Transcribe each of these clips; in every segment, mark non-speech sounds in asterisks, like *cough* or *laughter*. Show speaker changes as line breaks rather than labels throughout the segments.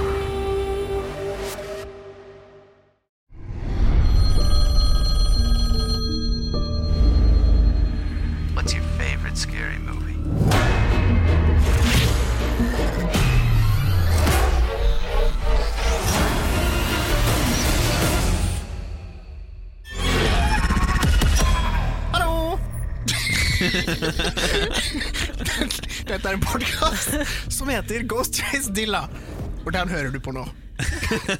What's your favorite scary movie?
Dette er en podkast som heter Ghost Chase Dilla. Og den hører du på nå.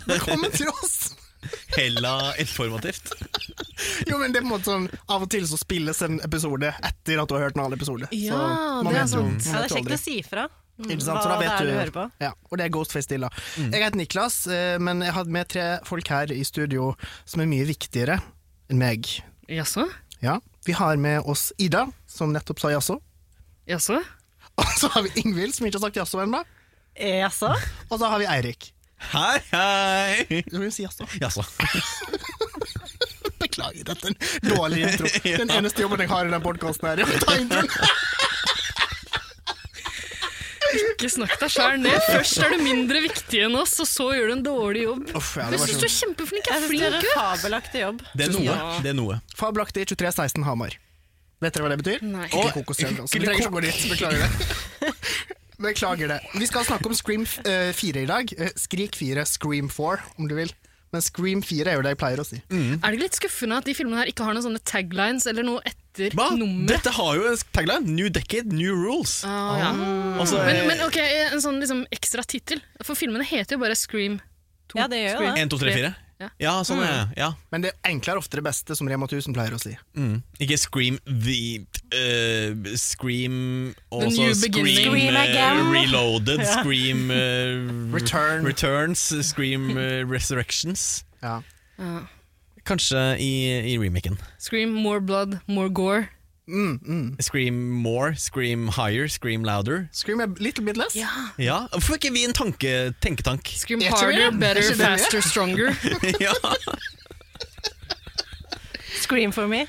Velkommen til oss!
Hella informativt.
Jo, men det er på en måte sånn Av og til så spilles en episode etter at du har hørt en annen episode.
Ja,
så man
det er
vet jo- man
sant. Ja,
vet
det er
jo
kjekt
aldri.
å si ifra. mm,
Ikke sant? Så
hva
da vet
det er
du,
du hører på.
Ja, og det er Ghostface Dilla.
Mm.
Jeg heter Niklas, eh, men jeg hadde med tre folk her i studio som er mye viktigere enn meg.
Jaså?
Ja, Vi har med oss Ida, som nettopp sa jaså. *laughs*
Jaså?
Og så har vi Ingvild, som ikke har sagt jaså ennå.
Eh, Jaså?
Og så har vi Eirik.
Hei, hei!
Du vil si jaså.
Jaså.
*laughs* Beklager, dette er en dårlig *laughs* intro. Den eneste jobben jeg har i den podkasten her, er å ta introen.
Ikke snakk deg sjæl ned. Først er du mindre viktig enn oss, og så gjør du en dårlig jobb.
Uff, ja, det var sånn.
er kjempeflink. Jeg flink, gjør en fabelaktig jobb.
Det er noe.
Ja.
Det er noe.
Fabelaktig 2316 Hamar. Vet dere hva det betyr?
Nei.
Ikke kokosnøtter, altså. Vi trenger ikke å gå dit. Beklager det. Beklager det. *laughs* Vi skal snakke om Scream eh, 4 i dag. Eh, Skrik 4, Scream 4, om du vil. Men Scream 4 er jo det jeg pleier å si.
Er det ikke litt skuffende at de filmene her ikke har noen sånne taglines eller noe etter
Hva?
nummeret?
Dette har jo en tagline. New decade, new rules.
Ah, ja.
Altså,
men, men ok, en sånn liksom, ekstra tittel. For filmene heter jo bare Scream 2. Ja, det gjør jo
1, 2, 3, 4.
Ja. Mm.
Ja, sånn er det. Ja.
Men det enkle er ofte det beste, som Rema 1000 pleier å si.
Mm. Ikke Scream the eh, Scream og
The
så
new
Scream,
beginning. Scream
eh,
again. *laughs*
Reloaded, Scream eh,
Return.
Returns, Scream eh, Resurrections.
Ja.
Kanskje i, i remaken.
Scream More Blood, More Gore.
Mm, mm.
Scream more, scream higher, scream louder.
Scream er little bit less.
Ah.
Ja, Hvorfor er ikke vi en tanke, tenketank?
Scream
Er ikke det?
Harder, Better,
Er ikke det?
Faster, Stronger.
*laughs*
*laughs* ja.
Scream for me.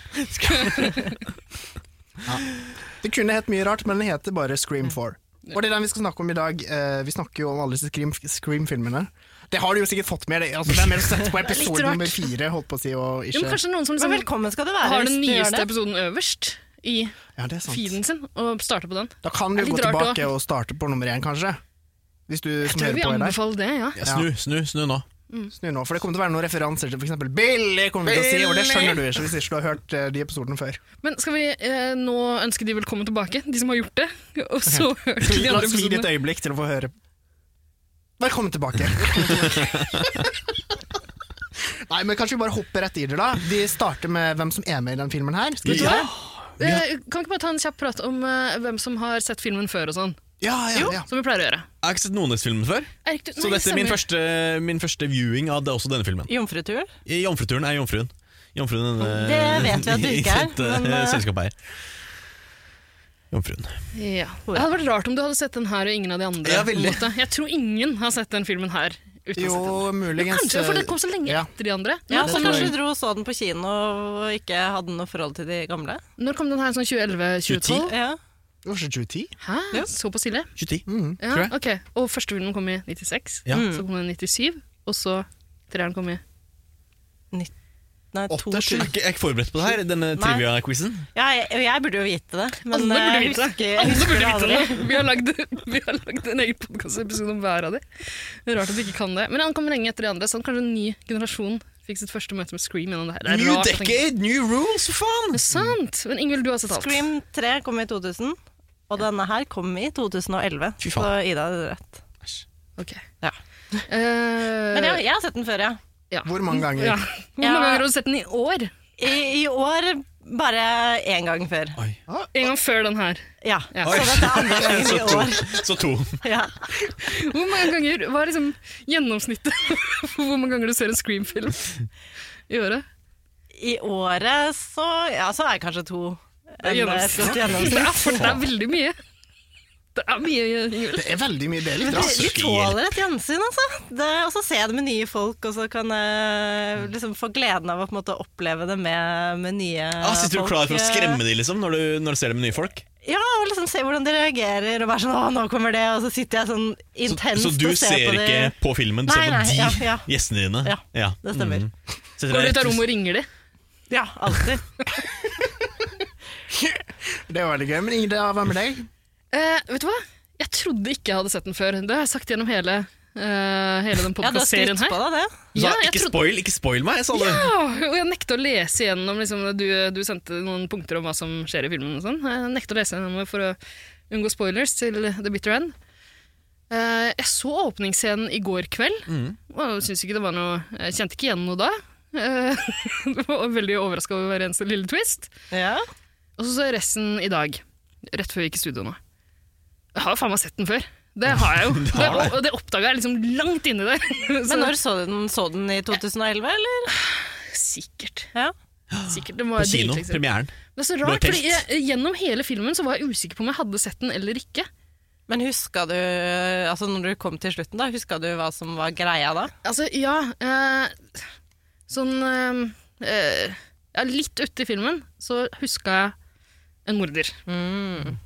Det kunne hett mye rart, men den heter bare Scream 4. Og det er den vi skal snakke om i dag. Eh, vi snakker jo om alle disse Scream- Scream-filmene. det har du jo sikkert fått med deg. Altså, hvem er *laughs* det som setter på
Litt
episode
rart.
nummer fire? Holdt på å si, og
Jo,
ikke.
men kanskje noen som liksom,
Velkommen skal du være.
har den
hvis du gjør
nyeste
det.
episoden øverst i
ja, det er sant.
feeden sin, og starter på den.
Da kan du
Det er
gå
litt rart
tilbake og starte på nummer én, kanskje. Hvis du som
Tror
hører
vi
på er der.
anbefaler det, ja.
Ja, Snu, snu, snu nå.
Snu nå, for det kommer til å være noen referanser til f.eks. Billy, kommer vi til å si, og det skjønner du ikke hvis ikke du har hørt eh, de episodene før.
Men skal vi eh, nå ønske de velkommen tilbake, de som har gjort det, *laughs* og så hørt de
La
andre
oss gi det et
episodene?
øyeblikk til å få høre. Velkommen tilbake. Nei, men Kanskje vi bare hopper rett i det, da. Vi starter med hvem som er med i den filmen her. Skal vi ikke det?
Eh, kan vi ikke bare ta en kjapp prat om eh, hvem som har sett filmen før og sånn?
Ja, ja, ja.
Som vi pleier å gjøre.
Jeg har ikke sett noen av disse filmene før,
Erik, du,
så dette er min
stemmer.
første, min første viewing av det, også denne filmen.
Jomfrutur.
I Jomfruturen er jomfruen. Jomfruen er
Det vet vi
*laughs*
at du ikke er, men, eh,
selskapet her. Jomfruen.
Ja. Det hadde vært rart om du hadde sett den her og ingen av de andre.
Ja,
på en
veldig.
måte. Jeg tror ingen har sett den filmen her. Uten
Jo,
å sette den.
muligens.
Kanskje, for det kom så lenge
ja.
etter de andre.
Ja,
Når
så
kom
kanskje
den-
du dro og så den på kino og ikke hadde noe forhold til de gamle?
Når kom den her? Sånn 2011-2012?
Ja. Mm.
Det var ikke 2010?
Hæ? Såpass ille?
2010.
Ja,
Mm, tror jeg.
ok. Og første filmen kom i 96,
Ja.
så kom den i 97, og så treeren kom i
90. Nei, to,
Jeg er ikke jeg er ikke forberedt på det her, denne
Nei.
trivia-quizen.
Ja, jeg, jeg burde jo vite det. Men
Alle burde
jeg
vite det.
husker-
Alle
husker
burde vite
aldri.
det. Vi har lagd, vi har lagd en egen podkastepisode om hver av de. Det er Rart at vi ikke kan det. Men han kom lenge etter de andre, så han kanskje en ny generasjon fikk sitt første møte med Scream gjennom det her. Det er
New
rart å tenke-
decade, new rules, for faen!
Det er sant! Men Ingvild, du har sett alt.
Scream 3 kom i 2000, og denne her kom i 2011.
Fy
Så
faen.
Ida hadde rett.
Ok.
Ja.
Eh,
Men jeg, jeg har sett den før, ja.
ja.
Hvor mange ganger?
Ja. Hvor
Ja.
mange ganger har du sett den i år?
I, i år bare én gang før.
En gang før den her.
Ja.
Ja.
Så dette er
*laughs*
andre gangen
Så
i
to.
år.
Så to.
Ja.
Hvor mange ganger var liksom gjennomsnittet *laughs* for hvor mange ganger du ser en Scream-film i året?
I året så Ja, så er det kanskje to.
Det er
enn et
gjennomsnitt.
godt
Det
gjennomsnitt.
er, for, det er veldig mye. Det er mye, Ingvild.
Det er veldig mye deler.
Men
da.
de, de tåler et gjensyn, altså. Det, og så ser jeg det med nye folk, og så kan jeg liksom få gleden av å på en måte oppleve det med, med nye
Ah, sitter du
folk. Eh,
klar for å skremme de liksom, når du, når du ser dem med nye folk?
Ja, og liksom se hvordan de reagerer, og være sånn 'Å, nå kommer det', og så sitter jeg sånn
Så,
intenst
så du
og ser,
ser
på
ikke
det.
på filmen,
Nei,
du ser
nei,
på de
ja, ja.
gjestene dine? Mm.
Ja, Det stemmer.
Setter
Går du
deg
ut av
rett-
rommet og ringer de?
Ja, alltid.
Det var veldig gøy. Men Ingrid, hva med deg?
Eh, vet du hva? Jeg trodde ikke jeg hadde sett den før. Det har jeg sagt gjennom hele, eh, hele
Ja,
den
du har
podkast-serien
skrytt
her.
på deg det.
Du sa,
Ja, jeg
ikke,
trodde-
spoil, ikke spoil meg, sa du.
Åh, Ah, og jeg nekter å lese igjennom liksom, du, du sendte noen punkter om hva som skjer i filmen. Og sånn. jeg nekter å lese igjennom det for å unngå spoilers til The Bitter End. Eh, jeg så åpningsscenen i går kveld, og jeg synes ikke det var noe Jeg kjente ikke igjen noe da. Eh, *laughs* var veldig overraska over hver eneste lille twist.
Ja.
Og så så jeg resten i dag, rett før vi gikk i studio nå. Jeg har jo faen meg sett den før. Det har *laughs* jeg jo. Det, og det oppdaga jeg liksom langt inni der. *laughs* Så-
Men når så du den? Så den i 2011, eller?
Sikkert.
Ja.
Sikkert. Det må
På
være
kino,
dritlenge siden.
premieren.
Det er så
Du har
rart, fordi
telt.
jeg, Gjennom hele filmen så var jeg usikker på om jeg hadde sett den eller ikke.
Men huska du Altså, når du kom til slutten, da, huska du hva som var greia da?
Altså, ja eh, Sånn eh, eh, ja, Litt uti filmen så huska jeg en morder.
Mm.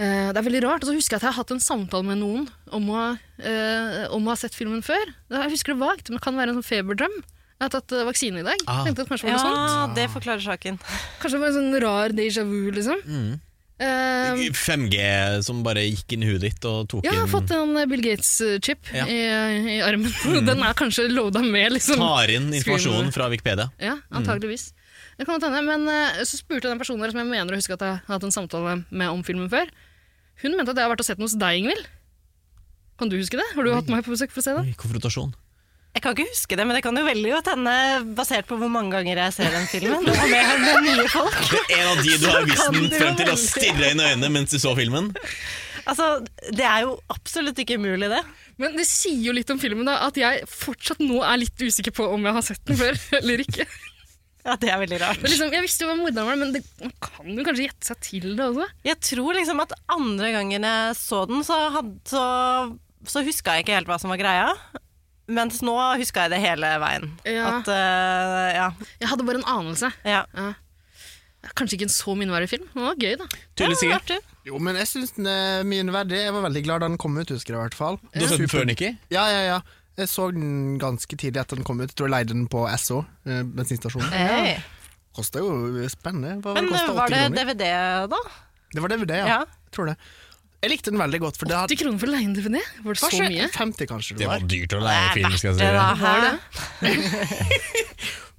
Eh, det er veldig rart. Og så husker jeg at jeg har hatt en samtale med noen om å, ha, eh, om å ha sett filmen før. Jeg husker det vagt, men det kan være en sånn feberdrøm. Jeg har tatt eh, vaksine i dag.
Ah.
Tenkte at kanskje det var
Ja,
noe sånt.
det forklarer saken.
*laughs* Kanskje det var en sånn rar déjà vu, liksom.
Mm.
Eh,
5G som bare gikk inn i huet ditt og tok
Ja, jeg har fått
inn
en eh, Bill Gates-chip
Ja.
i, i armen. *laughs* Den er kanskje loada med, liksom.
Tar inn
Scream.
informasjonen fra Wikipedia.
Ja,
Mm.
antageligvis. Det kan godt hende. Men eh, så spurte jeg den personen der som jeg mener å huske at jeg har hatt en samtale med om filmen før. Hun mente at jeg har vært og sett den hos deg, Ingvild. Kan du huske det? Har du hatt meg på besøk for å se den?
Oi, konfrontasjon.
Jeg kan ikke huske det, men det kan jo veldig godt hende, basert på hvor mange ganger jeg ser den filmen, og med, med nye folk.
Det er en av de du har vist
kan
den
du
frem til å
veldig.
stirre inn i øynene mens du så filmen.
Altså, det er jo absolutt ikke umulig, det.
Men det sier jo litt om filmen da, at jeg fortsatt nå er litt usikker på om jeg har sett den før *laughs* eller ikke.
Ja, det er veldig rart.
Men liksom, jeg visste jo hva morderen var, men det, man kan jo kanskje gjette seg til det også.
Jeg tror liksom at andre gangen jeg så den, så, had, så, så huska jeg ikke helt hva som var greia. Mens nå huska jeg det hele veien.
Ja.
At eh, ja,
Jeg hadde bare en anelse.
ja.
Ja. Kanskje ikke en så minneverdig film, men det var gøy, da.
Tydelig
Ja,
sikkert.
artig.
Jo, men jeg syns den er min verdig. Jeg var veldig glad da den kom ut, husker jeg i hvert fall.
Du har sett den før, Nikki?
Ja, ja, ja. Jeg så den ganske tidlig etter den kom ut. Jeg tror jeg leide den på SO, eh, bensinstasjonen.
Hey.
Kosta jo spennende. Hva var
Men
det kostet?
var
80
det
kroner?
DVD, da?
Det var DVD, ja.
Ja.
Jeg tror det. Jeg likte den veldig godt, for det hadde
80 kroner for leien-DVD? Var det så
Kanskje
mye?
50 kanskje det
Det var
var.
dyrt å leie film, skal jeg si.
Det da,
deg.
her,
det?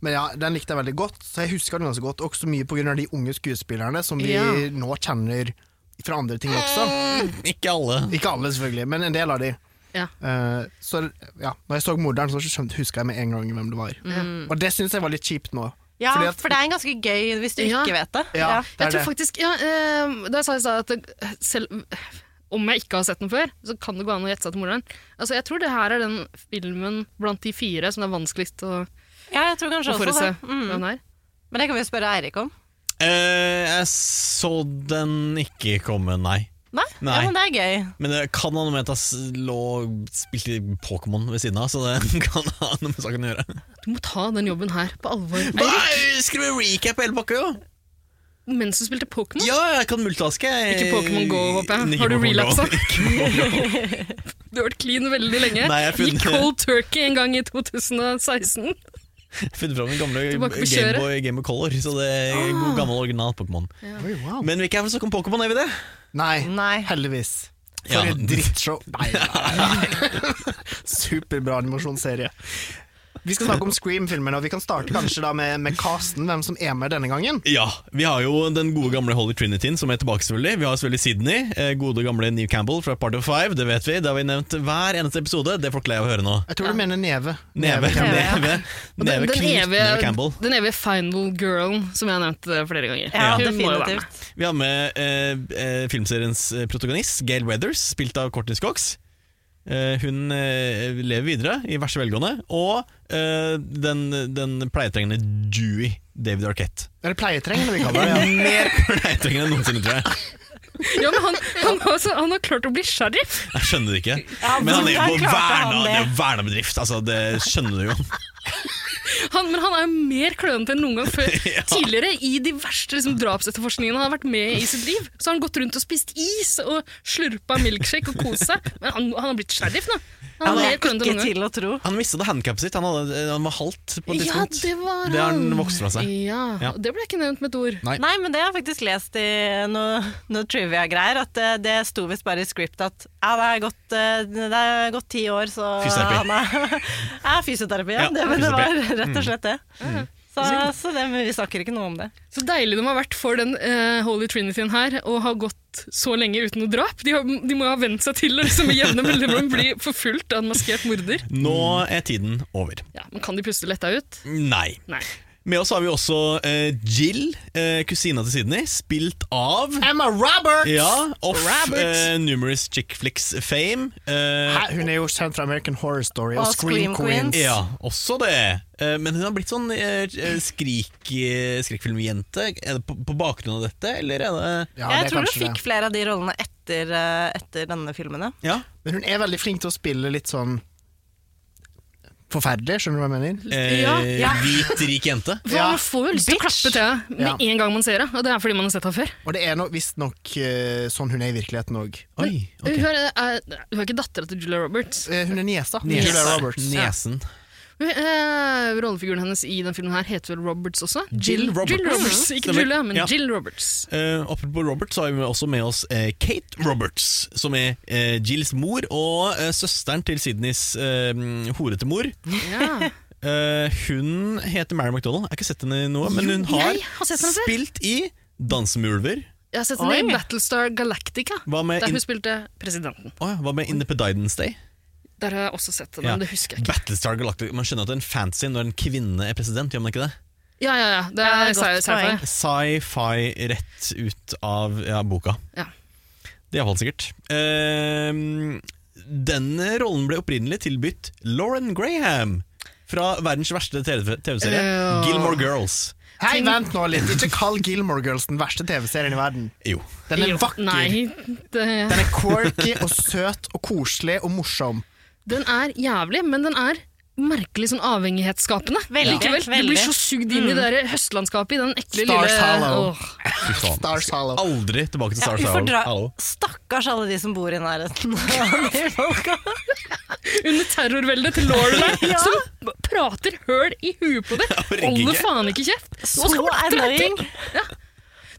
Men ja, den likte jeg veldig godt, så jeg husker den ganske godt. Også mye på grunn av de unge skuespillerne som vi
Ja.
nå kjenner fra andre ting også.
Ikke alle.
Ikke alle, selvfølgelig, men en del av de.
Ja.
Eh, så ja, når jeg så morderen, så skjønte- huska jeg med en gang hvem det var. Og det syns jeg var litt kjipt nå.
Mm. Ja,
Fordi at-
for det er en ganske gøy hvis du
Ja.
ikke vet det.
Ja,
Ja.
det er
Jeg tror
det.
faktisk ja, eh, Da jeg sa i stad at det, selv om jeg ikke har sett den før, så kan det gå an å gjette seg til morderen. Altså, jeg tror det her er den filmen blant de fire som det er vanskeligst å,
Ja, jeg tror kanskje
å
også
forutse
det. Mm.
hvem det er.
Men det kan vi jo spørre Eirik om.
Eh, jeg så den ikke komme, nei.
Nei?
Nei.
Ja, men det er gøy.
Men det kan ha noe med at jeg s- lå og spilte Pokémon ved siden av, så det *laughs* kan ha noe med saken å gjøre.
Du må ta den jobben her på alvor. Eirik,
Nei, skal vi recappe hele pakka, jo?
mens du spilte Pokémon?
Ja, jeg kan multitaske. jeg-
Ikke Pokémon Go, håper jeg.
Ikke
Har du
Pokémon Go.
relapsa?
*laughs* Ikke Pokémon Go.
Du har vært clean veldig lenge.
Nei, jeg har funnet-
Gikk cold turkey en gang i 2016.
Funnet fram den gamle
Tilbake på kjøret. Ah.
Gameboy Game of Color, så det er en god gammel original Pokémon.
Oi, wow.
Men vi er ikke her for å snakke om Pokémon, er vi det?
Nei, heldigvis. For
Ja.
et drittshow. Nei, nei. *laughs* Superbra animasjonsserie. Vi skal snakke om Scream-filmene, og vi kan starte kanskje da med, med casten, hvem som er med denne gangen.
Ja, vi har jo den gode gamle Holy Trinityen som er tilbake selvfølgelig Vi har selvfølgelig Sydney, eh, gode gamle Neve Campbell fra Part of Five Det vet vi, det har vi nevnt hver eneste episode Det får ikke jeg å høre nå
Jeg tror du mener Neve.
Neve,
Neve Campbell.
Neve,
Og den-
Neve,
den
knust Neve Campbell
evige, den evige final girlen som jeg har nevnt eh, flere ganger.
Ja,
Hun må jo være med.
definitivt.
Vi har med eh, eh, filmseriens eh, protagonist, Gail Weathers, spilt av Courtney Cox. Eh, hun eh, lever videre i verste velgående. Og eh, den, den pleietrengende Dewey, David Arquette.
Eller pleietrengende, vi kaller det.
Mer pleietrengende enn noensinne, tror jeg.
Ja, men han, han, har også, han har klart å bli sheriff!
Jeg skjønner det ikke.
Ja,
Men han er jo
hvordan
på
klarte han
verna, det er
det?
jo verna bedrift, altså, det skjønner du
*laughs*
jo.
Han, men han er jo mer klønete enn noen gang
*laughs*
før. Tidligere, i de verste liksom, drapsetterforskningene han har vært med i sitt liv, så har han gått rundt og spist is og slurpa milkshake og kost seg. Men han, han har blitt sheriff nå. Han
Ja,
er
det
mer
er
klønete enn
ikke
noen gang.
til å tro.
Han mistet handikappet sitt, han, hadde, han var halt på et
Ja,
tidspunkt.
det var han.
Det har han vokst fra seg.
Ja,
Ja.
og Det ble ikke nevnt med et ord.
Nei.
Nei, men det har jeg faktisk lest i noe, noe trivia-greier, at det, det sto visst bare i script at ja, det er gått, eh, det er gått ti år, så
Fysioterapi.
han er Ja, fysioterapi, ja.
Ja,
det, men det var
fysioterapi.
rett og slett det. Så, så det, men vi snakker ikke noe om det.
Så deilig de har vært for den eh, Holy Trinityen her å ha gått så lenge uten noe drap. De, har, de må jo ha vent seg til å liksom, med jevne mellomrom bli forfulgt av en maskert morder.
Nå er tiden over.
Ja, men Kan de plutselig lette ut?
Nei.
Nei.
Med oss har vi også eh, Jill, eh, kusina til Sydney, spilt av
Emma Roberts!
ja, Off
Roberts.
eh, numerous chick flicks fame. Eh,
Hæ, hun er jo kjent fra American Horror Story og,
Og
Scream
Scream
Queens.
Queens.
ja, også det. Eh, men hun har blitt sånn eh, skrik, eh, skrekkfilmjente. Er det på, på bakgrunn av dette, eller er det
Ja, det er
jeg tror du
kanskje det.
fikk flere av de rollene etter, eh, etter denne filmene.
Ja,
Men hun er veldig flink til å spille litt sånn forferdelig, skjønner du hva jeg mener?
eh,
Ja,
Hvit, rik jente.
For
Ja,
Man får jo lyst til å klappe til henne med
Ja.
en gang man ser henne, og det er fordi man har sett henne før.
Og det er no, visstnok uh, sånn hun er i virkeligheten òg.
Oi, ok.
Hun, er, er, hun er ikke dattera til Julia Roberts.
Eh, hun er niesa.
Nes-
Julia Roberts.
Nesen.
Hun, eh, rollefiguren hennes i den filmen her heter vel Roberts også?
Jill Roberts.
Jill Roberts. Ikke
Stemmer.
Julia, men
Ja.
Jill Roberts.
Eh, oppe på Robert så har vi også med oss eh, Kate Roberts, som er eh, Jills mor og eh, søsteren til Sydneys eh, horete mor.
Ja.
Eh, hun heter Mary McDonald. Jeg har ikke sett henne i noe, men hun
Jo,
har,
jeg har sett henne før.
spilt i Danse med ulver.
Jeg har sett henne i Battlestar Galactica,
Hva med,
der
in
hun spilte presidenten.
Åja, hva med Independence Day?
Der har jeg også sett den,
Ja.
men det husker jeg ikke.
Battlestar Galactic. Man skjønner at det er en fantasy når en kvinne er president, gjør man ikke det?
Ja, ja, ja. Det
Ja,
er
godt
sci-
poeng.
sci-fi.
Sci-fi rett ut av ja, boka.
Ja.
Det er iallfall sikkert. Ehm, denne rollen ble opprinnelig tilbudt Lauren Graham fra verdens verste TV- TV-serie,
Ja.
Gilmore Girls.
Hei, vent nå litt! Ikke kall Gilmore Girls den verste TV-serien i verden.
Jo.
Den er
Jo,
vakker,
Nei, det,
den er quirky og søt og koselig og morsom.
den er jævlig, men den er merkelig sånn avhengighetsskapende.
Veldig,
Likevel, Du
veldig.
blir så sugd
Mm.
inn i det der høstlandskapet i den ekle
Stars
lille
Hollow.
Åh.
Fy faen.
Stars Hollow.
Aldri tilbake til
Ja,
Star
vi får dra,
Hallo.
Stakkars alle de som bor i nærheten av de folka.
Under terrorveldet til Lorelei,
*laughs*
som b- prater høl i huet på deg.
orker
Holder
ikke.
faen ikke kjeft.
Så annoying!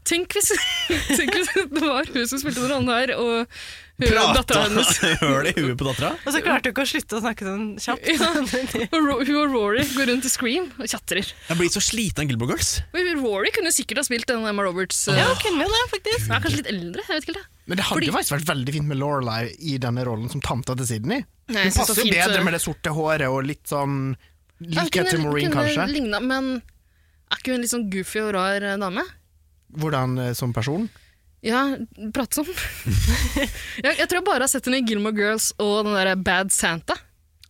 Tenk hvis, *laughs* tenk hvis det var hun som spilte den rollen her, og hun-
Prata
datteren
*laughs*
hennes.
*laughs*
Altså-
høl i huet på dattera.
Og så klarte du ikke å slutte å snakke sånn kjapt.
Ja. Og Ro- Hun og Rory går rundt og scream og tjatrer.
Jeg blir så sliten av Gilmore Girls.
Men Rory kunne sikkert ha spilt den Emma Roberts. eh,
Ja, kunne jo det, faktisk.
Hun er kanskje litt eldre, jeg vet ikke det.
Men det hadde jo faktisk vært veldig fint med Lorelei i denne rollen som tanta til Sydney.
Nei,
Hun
jeg synes
passer
det
jo
var fint,
bedre
eh,
med det sorte håret og litt sånn
Ja, hun
Likhet til
kunne-
Maureen,
kunne
kanskje.
Ligna, men er ikke hun litt sånn goofy og rar eh, dame?
Hvordan eh, som person.
Ja, *laughs* pratsom. jeg, jeg tror jeg bare har sett henne i Gilmore Girls og den der Bad Santa.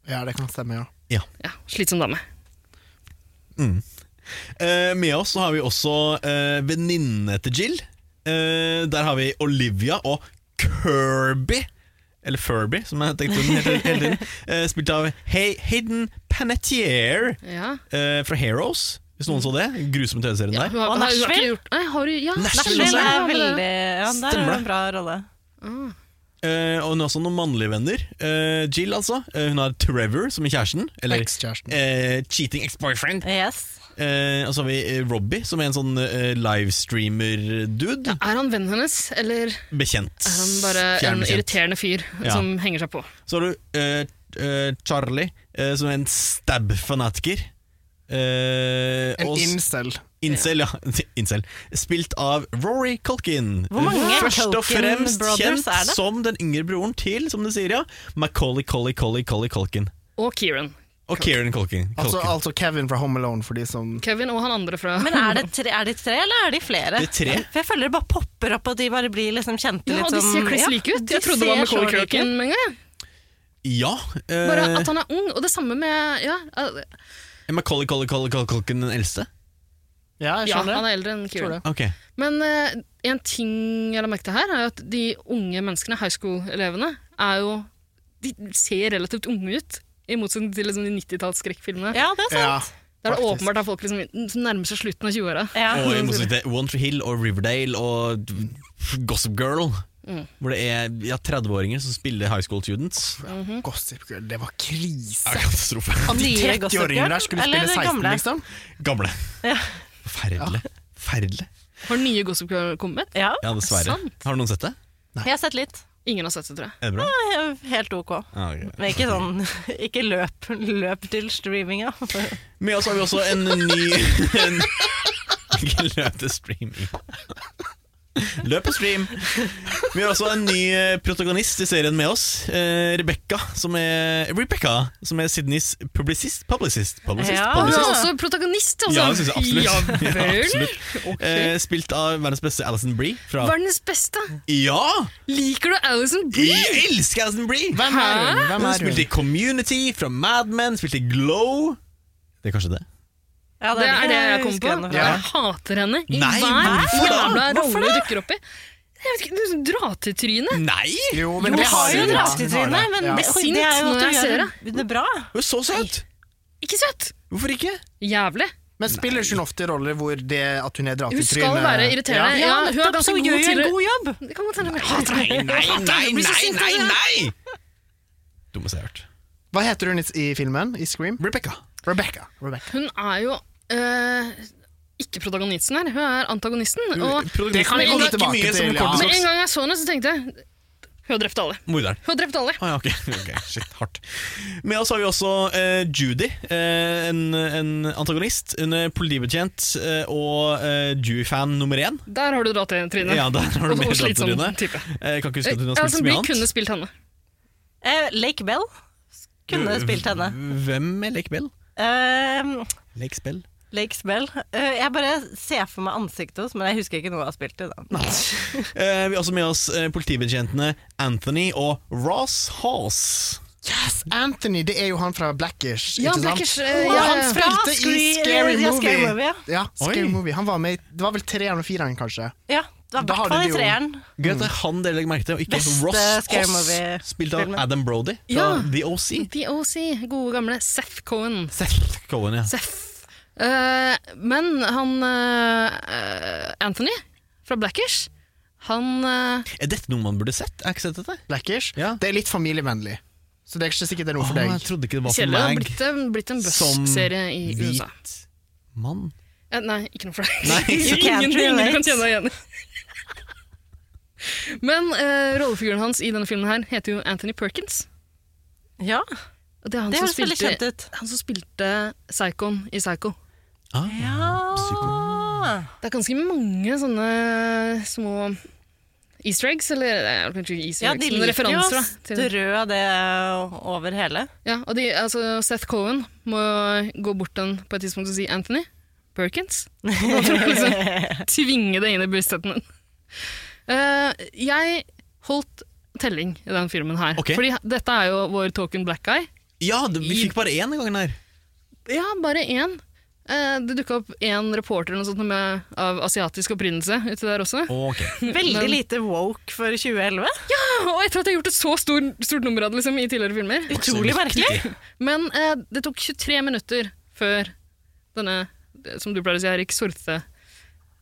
Ja, det kan stemme, ja.
Ja, Slitsom dame.
Eh, med oss så har vi også uh, venninne til Jill. Eh, der har vi Olivia og Kirby. Eller Furby, som jeg tenkte på den hele, hele tiden. Eh, spilt av Hay Hayden Panettiere
Ja.
eh, fra Heroes, hvis noen så det. Grusomme TV-serien
Ja,
der.
hun har-
Og
hun har ikke
Nashville?
gjort- Nei, har hun, ja,
Nashville
Det
ja,
er
hun hadde-
veldig Ja, der
Stemmer
har
det.
du en bra rolle.
eh, og hun har også noen mannlige venner. Eh, Jill, altså. Eh, hun har Trevor, som er kjæresten. Eller
Ekskjæresten.
eh, cheating ex-boyfriend.
Yes.
Eh, og så har vi eh, Robbie, som er en sånn eh, livestreamer-dude.
Er han vennen hennes, eller
Bekjent.
er han bare
Fjern
en
bekjent.
irriterende fyr
Ja.
som henger seg på?
Så har du eh, eh, Charlie, eh, som er en stab-fanatiker. Eh,
En
og s-
incel.
Incel, ja. *laughs* Incel. Spilt av Rory Culkin.
Hvor mange
Først og
Culkin
fremst
brothers
kjent
er det?
som den yngre broren til, som du sier, ja. Macaulay, Colly, Colly, Colly Culkin.
Og Kieran.
Og Kieran Culkin.
Altså,
Culkin.
altså Kevin fra Home Alone, for de som
Kevin og han andre fra
Men er det, tre, er det tre, eller er de flere?
Det er tre.
For jeg føler det bare popper opp, og de bare blir liksom kjente
*laughs* sånn- ja,
litt
de
som
ser kliss
ja,
like ut.
de
Jeg trodde det
ser
var
så
Macaulay
like ut.
Culkin med en gang. jeg.
Ja. eh,
Bare at han er ung, og det samme med Ja, eh,
Macaulay, Colly, Colly, Colly Culkin den eldste?
Ja, jeg
ja
skjønner
han
det.
er eldre enn Kieran.
Ok.
Men eh, en ting jeg la merke til her, er jo at de unge menneskene, high school-elevene, er jo De ser relativt unge ut, i motsetning til liksom, de 90-tallsskrekkfilmene.
Ja, det er
Ja,
sant.
Der er det
faktisk.
åpenbart at folk liksom, nærmer seg slutten av 20-åra.
Ja.
Og i motsetning til One Tree Hill og Riverdale og Gossip Girl,
Mm.
hvor det er ja, 30-åringer som spiller high school students.
Gossip Girl, det var krise.
Det er katastrofe.
At de
Nye Mhm. Gossip
30-åringene der
Girl,
skulle
eller
spille 16,
gamle?
liksom.
Gamle.
Ja.
Forferdelig. Forferdelig.
Har nye Gossip Girl kommet?
ja.
Ja, dessverre.
Sant.
Har noen sett det?
Jeg har sett litt.
Ingen har sett det, tror jeg.
Er det bra?
Helt ok.
Ah, ok.
Men ikke sånn *laughs* Ikke løp, løp til
*laughs*
streaminga. Hva
Med oss altså, har vi også en ny en, Ikke løp til streaming. Løp på stream! Vi har også en ny eh, protagonist i serien med oss. Eh, Rebekka, som er Rebecca, som er Sydneys publicist. Publicist. publicist,
Ja.
Hun
publicist.
er også protagonist, altså!
Ja, det synes jeg absolutt.
Ja
*laughs* Ja,
vel.
absolutt. Eh, spilt av verdens beste Alison Bree. Fra
Verdens beste!
Ja!
Liker du Alison Bree?
Jeg elsker Alison Bree!
Hvem er hun? Hvem
Hun
er hun?
spilte i Community, fra Mad Men, spilte i Glow. Det er kanskje det?
Ja,
Det er det jeg kom
husker
på.
henne fra.
Ja.
Jeg hater henne i
Nei,
hver
hvorfor da?
jævla
Hvorfor
rolle hun dukker opp i. Jeg vet ikke, det er sånn Dra til trynet.
Nei!
Jo,
Jo,
men det har
har
hun.
hun
ja.
Raskt i
Hun har
trynet,
det,
men
ja.
det,
Sint
det er jo
når
at du
jeg
gjør
ser
det bra.
Hun er så søt!
Ikke søt!
Hvorfor ikke?
Jævlig.
Men spiller hun ofte roller hvor det at hun er dratt i
Hun
trynet
skal være irriterende. Ja, hun er ganske
Så
god
gjør jo
til
en
det.
god jobb!
Det kan godt hende. Jeg hater
Nei,
henne.
*laughs* nei,
Jeg
nei,
hater henne. Jeg blir så
nei!
sint av
nei,
henne.
nei. Dummeste jeg har hørt.
Hva heter hun i, i filmen? I Scream?
Rebekka.
Rebecca. Rebecca.
Hun er jo eh, ikke protagonisten her, hun er antagonisten. Og
Det kan vi komme
Ikke
tilbake
mye som
til. Ja.
kommer til-
med en gang jeg så henne, så tenkte jeg hun har drept alle.
Morderen.
Hun har drept alle.
Å ja, ok. *laughs* ok, Shit, hardt. Med oss har vi også eh, Judy, eh, en, en antagonist. Hun er politibetjent eh, og eh, Jew-fan nummer én.
Der har du dratt til trynet.
Ja, der har du
Og-
mer
og slitsom
datter inne.
type.
Eh, kan ikke huske at hun har spilt
Alison
så mye
Brie
annet.
kunne spilt henne.
Eh, Lake Bell kunne spilt henne.
Hvem er Lake Bell?
Eh,
Lake Spell?
Lake Bell. Eh, jeg bare ser for meg ansiktet hennes, men jeg husker ikke noe hun har spilt i. Da.
Eh, vi har også med oss eh, politibetjentene Anthony og Ross Haas.
Yes, Anthony, det er jo han fra Blackish. ikke
Ja,
sant?
Blackers, eh,
Og
ja,
han
ja, ja.
spilte
Ja, Scree-
i Scary
ja,
Movie.
Scary Movie, ja.
ja. Scary
Oi.
Movie. Han var med i, det var vel treeren og fireren, kanskje.
Ja, det var i
Da har
hvert
du
fall
det
i
jo.
treeren.
Gøy at det
Mm.
er han dere legger merke til, og ikke
Beste
Ross
Scary
Haas,
Movie-filmen.
spilt av Adam Brody fra
Ja.
The OC.
The OC, gode gamle Seth Cohen.
Seth Cohen, ja.
Seth. Eh, men han eh, Anthony fra Blackish, han eh,
Er dette noe man burde sett? Jeg har ikke sett dette.
Blackish.
Ja.
Det er litt familievennlig, så det er ikke sikkert det er noe
Å,
for deg.
jeg trodde ikke det var for
Kjell har
meg.
blitt, eh, blitt en
Som
busk-serie i USA.
Hvit mann.
Eh, nei, ikke noe for deg.
Nei.
You can't
*laughs* ingen, ingen du kan
relate.
kjenne deg igjen i. Men eh, rollefiguren hans i denne filmen her heter jo Anthony Perkins.
Ja,
Og det er han,
det
som
høres veldig kjent
spilte,
ut.
han som spilte Psychon i Psycho.
Ah, psyko.
Det er ganske mange sånne små easter eggs, eller eh, kanskje ikke easter
Ja,
eggs,
de
men
liker jo
referanser.
å
da, til-
strø det over hele.
Ja, og de, altså Seth Cohen må gå bort den på et tidspunkt og si Anthony Perkins. Og så liksom tvinge det inn i bevisstheten din. Eh, jeg holdt telling i den filmen her.
Ok.
Fordi dette er jo vår token black guy.
Ja, det, vi fikk bare én den gangen her.
Ja, bare én. Eh, det dukka opp én reporter eller noe sånt med, av asiatisk opprinnelse uti der også.
Ok.
Veldig
Men-
lite woke for 2011.
Og etter at jeg har gjort et så stor, stort nummer av det liksom, i tidligere filmer.
Utrolig merkelig.
Men eh, det tok 23 minutter før denne, som du pleier å si, Erik, sorte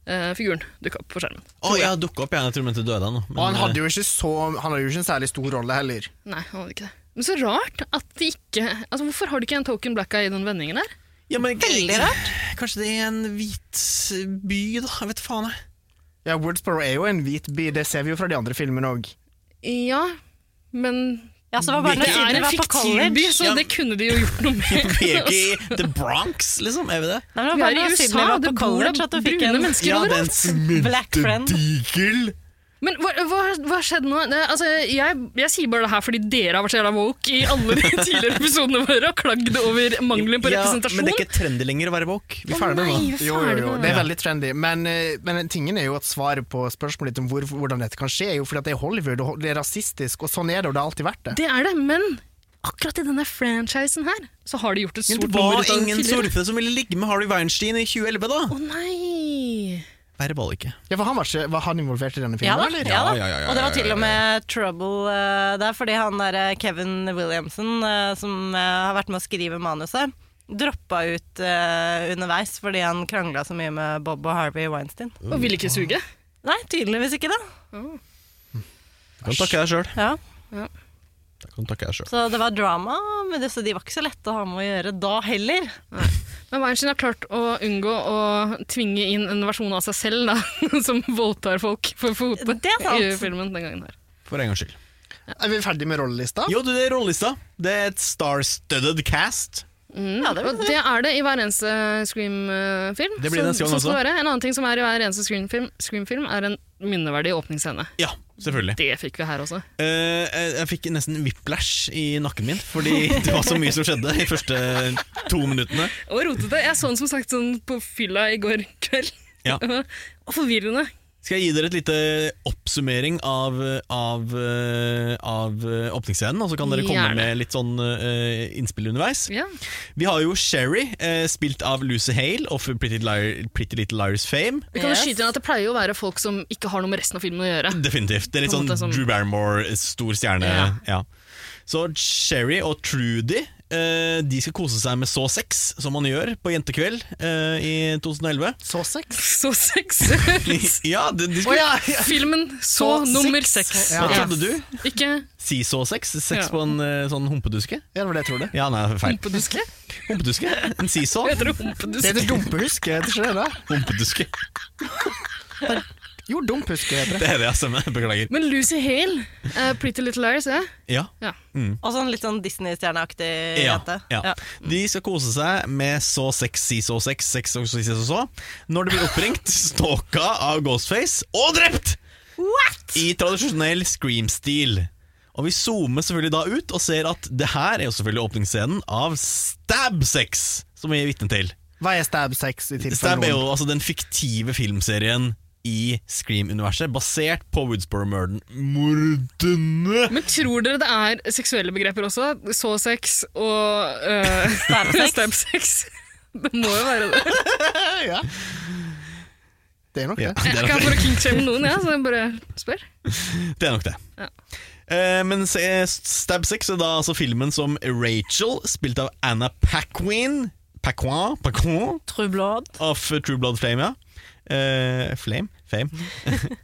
eh, figuren dukka opp på skjermen.
Å, jeg har dukka opp, jeg. Jeg tror du mente døde nå.
Og han hadde jo ikke så Han hadde jo ikke en særlig stor rolle heller.
Nei, han hadde ikke det. Men så rart at de ikke Altså, Hvorfor har de ikke en token black eye i den vendingen der?
Veldig rart. Kanskje det er en hvit by, da? Jeg vet faen, jeg.
Ja, Wordsborough er jo en hvit by, det ser vi jo fra de andre filmene òg.
Ja, men
Ja, så var bare når
det er
Sindre
en
var på
fiktiv
college
by, så
Ja.
det kunne de jo gjort noe med.
*laughs* Vi er ikke i The Bronx, liksom. Er vi det?
Nei, men det
Vi
var bare
er i
når Sydney
USA,
var på
det bor da
college at du fikk
brune
en
mennesker overalt.
black friend.
digel!
Men hva, hva, hva skjedde nå? Det, altså, jeg, jeg sier bare det her fordi dere har vært så jævla woke i alle de *laughs* tidligere episodene våre og klagd over mangelen på representasjon.
Men det er ikke trendy lenger å være woke. Vi er
Å
ferdig med
nei,
det.
vi er
Jo, jo, jo,
ferdig med
det er veldig trendy. Men, eh, men tingen er jo at svaret på spørsmålet ditt om hvor, hvordan dette kan skje, er jo fordi at det er Hollywood, og det er rasistisk, og sånn er det, og det har alltid vært det.
Det er det, men akkurat i denne franchisen her, så har de gjort et
Men
stort
det
nummer
var
ut av det
ingen
tidligere.
surfere som ville ligge med Harvey Weinstein i 2011, da!
Å nei!
Verre var det ikke.
Ja, for han var, ikke, var han involvert i denne
Ja da,
filmen? eller?
ja da.
ja, ja, ja,
Og det var til og med trouble eh, der, fordi han der eh, Kevin Williamson, eh, som eh, har vært med å skrive manuset, droppa ut eh, underveis fordi han krangla så mye med Bob og Harvey Weinstein.
Og vil ikke suge.
Nei, tydeligvis ikke det.
Du kan takke deg sjøl.
Ja.
Du kan takke deg selv.
Så det var drama, men det, så de var ikke så lette å ha med å gjøre da heller.
Men Weinstein har klart å unngå å tvinge inn en versjon av seg selv da, *laughs* som voldtar folk for fote
Det er sant.
i filmen den gangen her.
For en gangs skyld.
Er vi ferdig med rollelista?
Jo, du, det er rollelista. Det er et star-studded
Ja, det
cast.
vil
Mm, Og det er sånn. det i hver eneste eh, Scream-film.
Det blir
som-
neste gang
som skal
også.
være. En annen ting som er i hver eneste Scream-film, Scream-film er en minneverdig åpningsscene.
Ja, selvfølgelig.
Det fikk vi her også.
Eh, jeg, jeg fikk nesten whiplash i nakken min, fordi *laughs* det var så mye som skjedde de første to minuttene.
Og rotete. Jeg så den som sagt sånn på fylla i går kveld. *laughs*
Ja.
og forvirrende.
Skal jeg gi dere et lite oppsummering av, av, eh, av eh, åpningsscenen, og så kan dere komme
Gjerne.
med litt sånn eh, innspill underveis?
Ja.
Vi har jo Sherry, eh, spilt av Lucy Hale of Pretty, Liar, Pretty Little Liars fame.
Vi kan jo
Yes.
skyte inn at Det pleier jo å være folk som ikke har noe med resten av filmen å gjøre.
Definitivt. Det er litt
På en
sånn
måte som-
Drew Barrymore, eh, stor stjerne. Ja.
Ja.
Så Sherry og Trudy eh, De skal kose seg med så sex, som man gjør på jentekveld eh, i 2011.
Så sex?
*laughs* Så seksuelt!
Ja, de, de
Å
skal...
ja!
*laughs* Filmen Så,
Så
nummer
seks.
seks.
Hva
Ja.
trodde du?
Ikke
Si så sex? Sex
Ja.
på en eh, sånn humpeduske?
Ja, det var det jeg trodde.
Ja, nei, feil.
humpeduske.
Humpeduske? En
*laughs*
seesaw?
Heter det
Det
humpeduske?
heter dumpehusk, heter ikke det? det?
Humpeduske.
Jo, dumpehusk heter det.
Det er det jeg stemmer. Beklager.
Men Lucy Hale, eh, Pretty Little Liars, ja.
Ja.
ja.
Og sånn litt sånn Disney-stjerneaktig
Ja,
jente.
ja.
Ja.
De skal kose seg med så sex, si så sex, sex og si så så. Når de blir oppringt, *laughs* stalka av Ghostface og drept! What? I tradisjonell scream-stil. Og vi zoomer selvfølgelig da ut og ser at det her er jo selvfølgelig åpningsscenen av stab-sex, som vi er vitne til.
Hva er stab sex i tilfelle
Stab er
noen
jo altså den fiktive filmserien i Scream-universet, basert på Woodsboro-mordene.
Men tror dere det er seksuelle begreper også? Så sex og *laughs* eh,
Stabsex?
stabsex? Det må jo være det.
Ja. Det er nok
Ja,
det.
det
Jeg
er
kan
nok
bare
det.
kinkshame noen, ja, så jeg bare spør.
det, er nok det.
Ja.
Eh, men se- Stab 6 er da altså filmen som Rachel, spilt av Anna Paquin Paquin, Paquin
True Blood.
of True Blood Flame, ja. Eh, Flame?
*laughs*
Fame.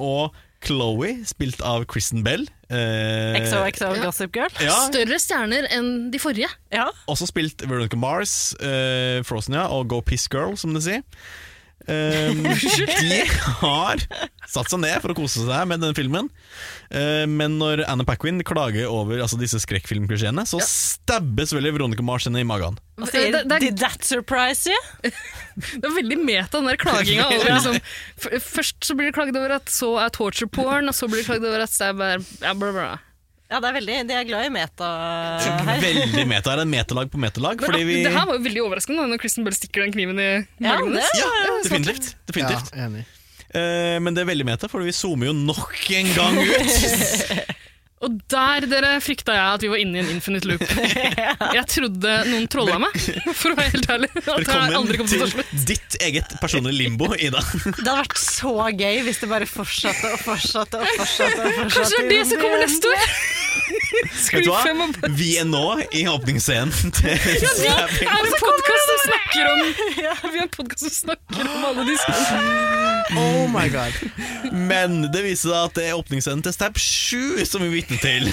Og Chloé, spilt av Kristen Bell. Eh,
XOXO Gossip Girl.
Ja,
Større stjerner enn de forrige.
Ja.
Også spilt Veronica Mars, eh, Frozen ja, og Go Piss Girl, som de sier.
*laughs*
Ehm, de har satt seg ned for å kose seg med denne filmen. Eh, men når Anna Paquin klager over altså, disse skrekkfilmklisjeene, så stabbes vel Veronica Mars henne i magen.
Og
Eh,
sier
det, det, er,
Did that surprise you?
det er veldig meta, den der klaginga. *laughs* Over, liksom, f- først så blir det klaget over at så er torture porn, og så blir det klaget over at stab er ja, bla, bla.
Ja, det er veldig, de er glad i meta her.
Veldig meta. Det er metalag på metalag.
Men,
Fordi vi
Det her var jo veldig overraskende da, når Kristen Bell stikker den kniven i
Ja,
magen.
det
hennes.
ja, definitivt.
Ja,
definitivt.
enig.
Eh, men det er veldig meta, for vi zoomer jo nok en gang ut.
Og der, dere, frykta jeg at vi var inne i en infinite
*laughs*
loop. *laughs* Jeg trodde noen trolla meg, for å være helt ærlig. *laughs* At jeg aldri
Velkommen
kom til å ta slutt.
til ditt eget personlige limbo, Ida.
Det hadde vært så gøy hvis det bare fortsatte og fortsatte. og fortsatte og fortsatte.
Kanskje det er det som kommer neste år?
Vet du
Scream 5 og
hva? Vi er nå i åpningsscenen til
Vi
Stabbing. *laughs*
har en podkast som snakker om Vi har en podcast som snakker om alle disse
Oh my god
Men det viste seg at det er åpningsscenen til Stab 7 som vi vitner til.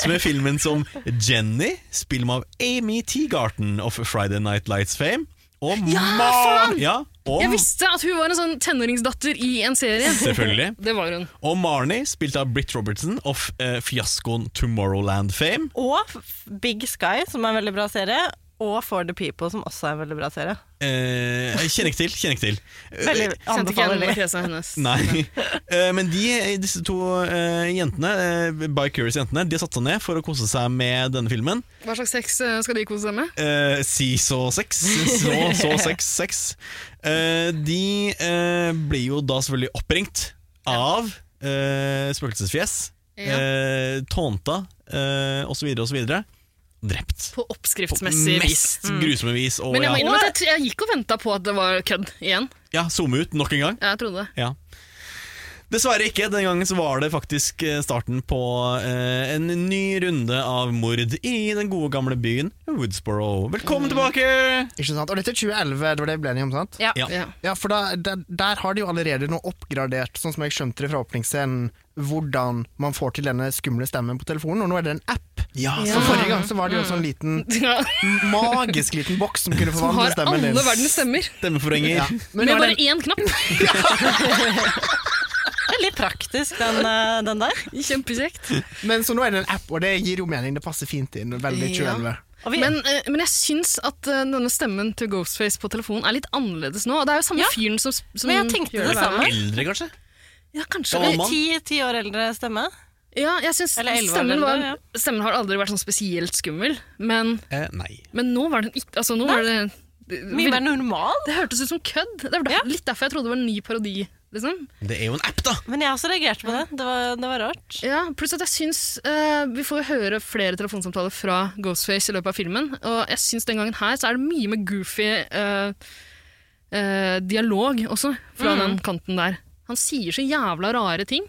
Som er filmen som Jenny, spiller med av Amy Teagarten of Friday Night Lights fame. Og
Ja,
Ma-
faen!
Ja, og
Jeg visste at hun var en sånn tenåringsdatter i en serie.
Selvfølgelig.
Det var hun.
Og Marnie, spilt av Britt Robertson of eh, fiaskoen Tomorrowland fame.
Og f- Big Sky, som er en veldig bra serie. Og For the People, som også er en veldig bra serie.
Eh, jeg kjenner ikke til, kjenner ikke til. Eh,
Veldig
Kjente ikke igjen
anbefaler de.
fjeset hennes.
Nei, *laughs* Eh, men de, disse to eh, jentene, eh, Bicurious-jentene, de har satt seg ned for å kose seg med denne filmen.
Hva slags sex eh, skal de kose seg med?
Eh, si så sex. Så
*laughs*
så sex, sex. Eh, de eh, blir jo da selvfølgelig oppringt av eh, spøkelsesfjes,
Ja.
eh, tånta eh, osv. osv. Drept.
På oppskriftsmessig vis.
Mest grusomme vis. Og
Men jeg
ja,
må innrømme at jeg, jeg gikk og venta på at det var kødd igjen.
ja, zoome ut nok en gang.
Jeg trodde det.
Ja. Dessverre ikke. Den gangen så var det faktisk eh, starten på eh, en ny runde av mord i den gode gamle byen Woodsboro. Velkommen
Mm.
tilbake!
Ikke sant? Og dette er 2011, det var det vi ble enige om, sant?
Ja.
Ja.
Ja. *laughs*
Ja, for da, der, der har de jo allerede noe oppgradert, sånn som jeg skjønte det fra åpningsscenen, hvordan man får til denne skumle stemmen på telefonen, og nå er det en app.
Ja,
Så forrige gang så var det jo en sånn liten,
Ja.
magisk liten boks som kunne
Som
forvandle
har
stemmen din.
alle verdens stemmer,
Stemmeforhenger.
Ja. Men
med
nå er
bare
det,
én *laughs* knapp.
Veldig praktisk, den, eh, den der.
Kjempekjekt.
men så nå er det en app, og det gir jo mening, det passer fint inn, veldig
Ja.
2011.
Og vi,
Men, eh, men jeg syns at eh, denne stemmen til Ghostface på telefonen er litt annerledes nå. Og det er jo samme
Ja.
fyren som, som
Men jeg tenkte
gjør
det
verre.
samme.
Eldre, kanskje?
Ja, kanskje.
Gammel mann.
ti, ti år eldre stemme.
Ja, jeg synes
Eller elleve år
stemmen, var,
eldre,
stemmen har aldri vært sånn spesielt skummel, men,
Eh, nei.
men nå var den ikke altså, nå var det, det,
Mye mer normal.
det hørtes ut som kødd. Det var der, litt derfor jeg trodde det var en ny parodi. Liksom.
Det er jo en app, da!
Men jeg også reagerte på det. Det var, det var rart.
Ja, pluss at jeg synes, eh, Vi får jo høre flere telefonsamtaler fra Ghostface i løpet av filmen, og jeg syns den gangen her så er det mye med goofy eh, eh, dialog også, fra
Mm.
den kanten der. Han sier så jævla rare ting.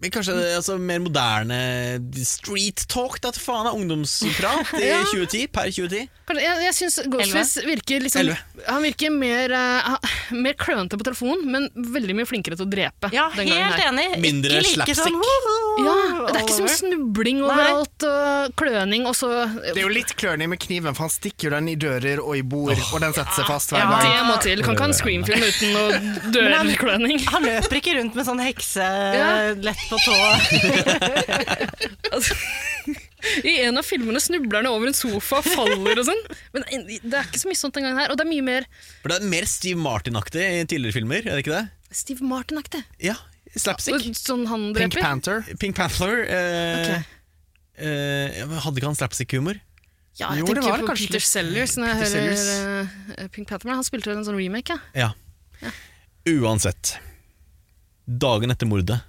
Men kanskje det er altså, mer moderne eh, street talk? Da, til faen er ungdomsprat
*laughs*
i 2010, per 2010.
Kanskje, jeg jeg syns Ghostface virker liksom
Elleve.
Han virker mer, eh, ha- mer klønete på telefonen, men veldig mye flinkere til å drepe.
Ja,
den gangen
helt
her.
enig.
Mindre
Eh, ikke like
slapstick.
Sånn, ho, ho,
Ja, det er ikke så mye
over.
snubling overalt og kløning og så
Det er jo litt klørning med kniven, for han stikker jo den i dører og i bord, og den setter seg fast hver
Ja.
gang.
Det må til. Kan ikke ha en screamfilm uten noe dørkløning.
Han løper ikke rundt med sånn hekse
Ja.
lett på tå.
*laughs* Altså, I en av filmene snubler han over en sofa og faller og sånn. Men det er ikke så mye sånt den gangen her. Og det er mye mer
For det er mer Steve Martin-aktig i tidligere filmer, er det ikke det?
Steve Martin-aktig.
Ja, slapstick.
Sånn han
Pink
dreper.
Panther.
Pink Panther. Eh,
Ok.
eh, hadde ikke han slapstick-humor?
Ja, jeg
Jo, det
tenker
var det
på
kanskje
Peter
litt-
Sellers når jeg
Peter
hører
Sellers.
eh, Pink Panther. men Han spilte vel en sånn remake, ja.
Ja. Uansett. Dagen etter mordet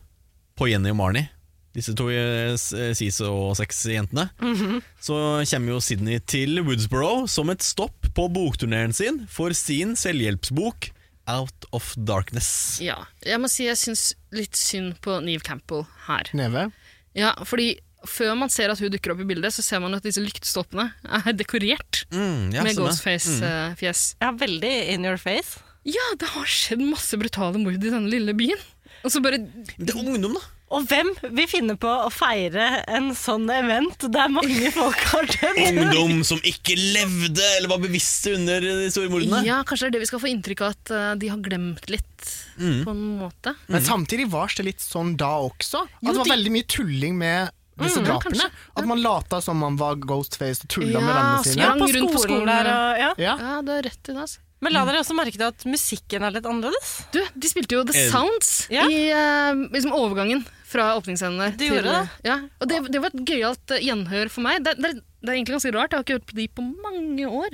på Jenny og Marnie, disse to eh, s- eh, sis og seks jentene,
Mhm.
så kommer jo Sydney til Woodsboro som et stopp på bokturneren sin for sin selvhjelpsbok Out of Darkness.
ja. Jeg må si jeg syns litt synd på Neve Campbell her.
Neve.
Ja, fordi før man ser at hun dukker opp i bildet, så ser man at disse lyktestolpene er dekorert
Mm, ja,
med
stemmer.
Ghostface-fjes.
Ja, veldig in your face.
Ja, det har skjedd masse brutale mord i denne lille byen. Og så bare
Det er ungdom, da!
Og hvem vil finne på å feire en sånn event der mange folk har dødd?
Ungdom som ikke levde eller var bevisste under de store mordene.
Ja, kanskje det er det vi skal få inntrykk av, at eh, de har glemt litt, på en måte.
Men
Mm.
samtidig var det litt sånn da også. At
Jo,
det var
de-
veldig mye tulling med disse
Mm,
drapene.
kanskje.
At man lata som man var Ghostface og tulla med
Ja,
vennene
ja.
sine.
På
Rundt på skolen.
skolen der og ja.
Ja.
Ja, du har rett i det. altså.
Men la dere også merke til at musikken er litt annerledes.
Du, de spilte jo The
Eh,
Sounds
ja.
i eh, liksom overgangen fra åpningsscenen der.
De gjorde det.
Ja, og det, det var et gøyalt eh, gjenhør for meg. Det, det, det er egentlig ganske rart, jeg har ikke hørt på de på mange år.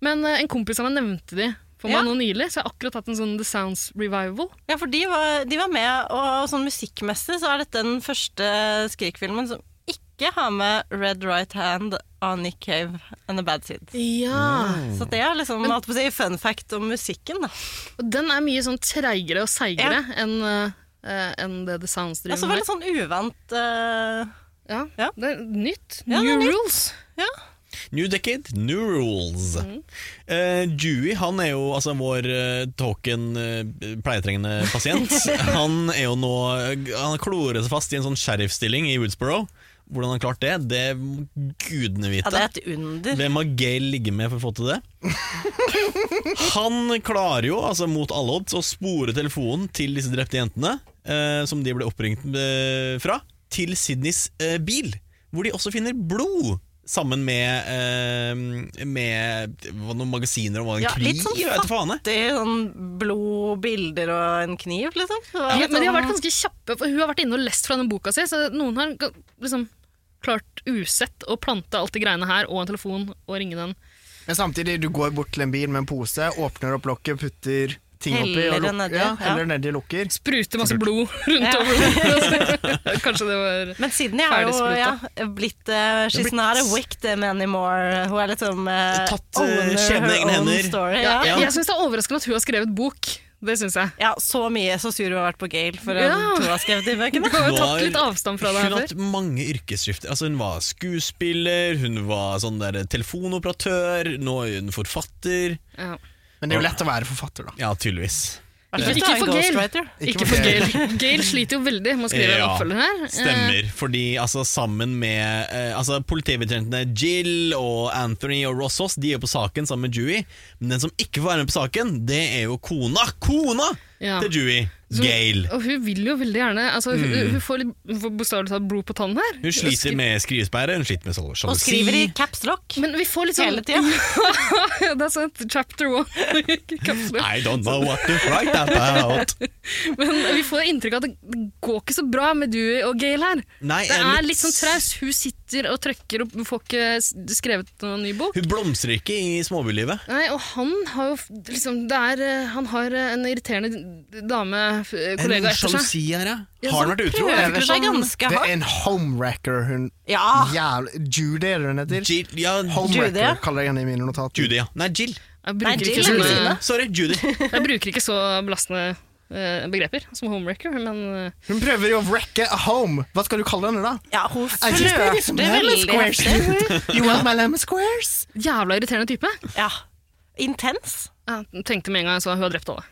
Men eh, en kompis av meg nevnte de for meg
Ja.
nå nylig, så jeg har akkurat hatt en sånn The Sounds revival.
Ja, for de var, de var med, og sånn musikkmessig så er dette den første Skrik-filmen som ikke har med Red Right Hand av Nick Cave and The Bad Seeds.
Ja.
Så det er liksom holdt på å si, fun fact om musikken, da.
Og den er mye sånn treigere og seigere enn eh, enn det The Sounds
Og
driver
så
med.
veldig sånn uvant eh,
Ja,
Ja.
det er nytt.
Ja, det
New
er nytt.
rules.
Ja.
New Decade, New Rules.
Mhm.
Eh, Dewey han er jo altså vår eh, Tolkien eh, pleietrengende
*laughs*
pasient. han er jo nå Han klorer seg fast i en sånn sheriffstilling i Woodsboro. Hvordan han har klart det, det må gudene vite.
Ja, det er et under.
Hvem har Gail ligget med for å få til det? Han klarer jo, altså mot alle odds, å spore telefonen til disse drepte jentene, eh, som de ble oppringt eh, fra, til Sydneys eh, bil, hvor de også finner blod. Sammen med, eh, med hva, noen magasiner og hva, en
Ja,
kniv
litt sånn
jeg vet ikke faen jeg.
fattig sånn blod, bilder og en kniv, liksom. Det var
Ja,
litt
men de har
sånn-
vært ganske kjappe, for hun har vært inne og lest fra den boka si, så noen har ga- liksom klart usett å plante alt de greiene her, og en telefon, og ringe den.
Men samtidig, du går bort til en bil med en pose, åpner opp lokket, putter ting oppi og
Heller
luk-
nedi,
ja,
ja.
heller nedi lukker.
Sprute masse blod *laughs* rundt
Ja.
over. *laughs* Kanskje det var
Men Sydney er jo
Ferdigspruta.
ja, blitt uh, She's
blitt-
not a wicked anymore. Hun er liksom eh,
Tatt, eh,
owner
skjebnen i
her
egne
own
hender.
Story, ja.
Ja,
Ja.
jeg jeg syns det er overraskende at hun har skrevet bok. Det syns jeg.
så mye så sur hun har vært på Gail for
Ja.
at hun har skrevet de
Du
bøkene.
har jo
Hun har-
tatt litt avstand fra det
Hun
her
har
før.
hatt mange yrkesskifter. Altså, hun var skuespiller, hun var sånn der telefonoperatør, nå er hun forfatter.
Ja.
Men det er jo lett å være forfatter, da.
Ja, tydeligvis.
Ikke,
Ikke for Gail.
ghostwriter.
Ikke for Gail. Gail sliter jo veldig med å skrive en
Ja,
oppfølger her. Eh,
Stemmer, fordi altså, sammen med eh, altså, politibetjentene Jill og Anthony og Ross Hoss De er jo på saken sammen med Dewey. Men den som ikke får være med på saken, det er jo kona! Kona
Ja.
til Dewey!
Så-
Gail. Mm.
Og hun vil jo veldig gjerne altså, hun, hun får, litt- hun får bokstavelig talt blod på tann her.
Hun sliter med skrivesperre, hun sliter med sånn sjal-
Og skriver i
sjalusi.
caps lock
Men vi får litt sånn
hele tida.
*laughs* Ja, det er sant. Chapter one. *laughs* Kapsler.
I don't know what to write
*laughs*
about.
Men vi får inntrykk av at det går ikke så bra med Dewey og Gail her.
Nei,
Det
jeg
er litt sånn traus. Hun sitter og trøkker og får ikke s- skrevet noen ny bok.
Hun blomstrer ikke i småbylivet.
Nei, og han har jo f- liksom det er, eh, Han har eh, en irriterende d- dame, f- eh, kollega, etter seg.
sjalusi her, ja.
Ja,
Har
sånn
han vært utro? Jeg fikk
Prøver
litt
seg
sånn-
ganske
Det er
hardt.
en homewrecker, hun
Ja.
jævla Judy, er det hun heter?
Jill, ja,
Homewrecker
Ah! Judy, ja.
kaller jeg henne i mine notater.
Judy, ja. Nei, Jill.
Nei,
Jeg bruker,
Jill
ikke
er
sånne,
venninne.
Sorry, Judy.
jeg bruker ikke så belastende eh, begreper som homewrecker, men eh,
Hun prøver jo å wrecke a home. Hva skal du kalle henne da?
Ja, hun
I just need
flørter
some lemon
veldig
squares.
heftig.
*laughs* You want my lemon squares?
jævla irriterende type.
Ja. Intens.
Jeg tenkte med en gang jeg så hun har drept alle.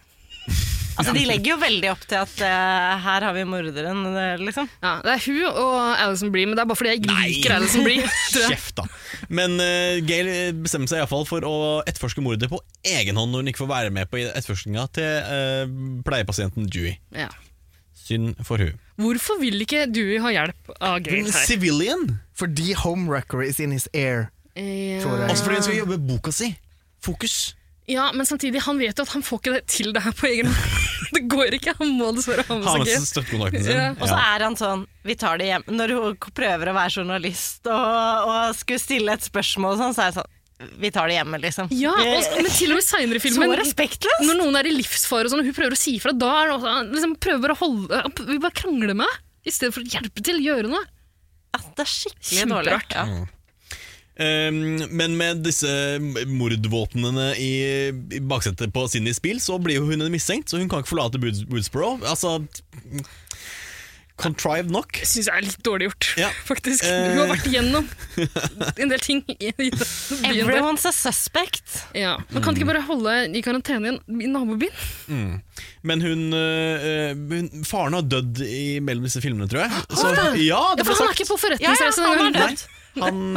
Altså, De legger jo veldig opp til at eh, her har vi morderen, eh, liksom.
Ja, det er hun og Alison Bree, men det er bare fordi jeg ikke liker Alison Bree. *laughs* Tror jeg.
Kjeft, da. Men eh, Gail bestemmer seg iallfall for å etterforske mordet på egen hånd når hun ikke får være med på etterforskninga til eh, pleiepasienten Dewey.
Ja.
Synd for hun.
Hvorfor vil ikke Dewey ha hjelp av Gail her?
Civilian!
Fordi homewrecker is in his air. tror
Ja.
jeg.
Altså fordi hun skal jobbe med boka si. Fokus.
ja, men samtidig, han vet jo at han får ikke det til det her på egen hånd. *laughs* Det går ikke, han må dessverre ha
Ha
med seg
med seg
Gail.
støttekontakten sin.
Ja.
Og så er han sånn Vi tar det hjem. Når hun k- prøver å være journalist og, og skulle stille et spørsmål, og sånn, så er det sånn Vi tar det hjemme, liksom.
Ja, og, s- men til og med seinere i
Så
filmen,
respektløst!
når noen er i livsfare og sånn, og hun prøver å si ifra, da er det også, han liksom prøver bare å holde han p- Vil bare krangle med i stedet for å hjelpe til, gjøre noe.
Altså, det er skikkelig dårlig.
Kjemperart.
Ja.
Um, men med disse mordvåpnene i, i baksetet på Sindys bil, så blir jo hun en mistenkt, så hun kan ikke forlate Woods- Woodsboro. Altså Contrived nok.
Jeg syns jeg er litt dårlig gjort,
Ja.
*laughs* faktisk.
Eh.
Hun har vært igjennom en del ting. i- i den byen der.
Everyone's a suspect.
Ja. Men kan de ikke bare holde i karantene i en- i nabobyen?
Men hun, øh, hun Faren har dødd i mellom disse filmene, tror jeg. Så, ja,
Ja,
det
for
ble
han er
sagt.
ikke
Ja,
på
ja,
forretningsreise
han
denne
har
gangen.
dødd.
Han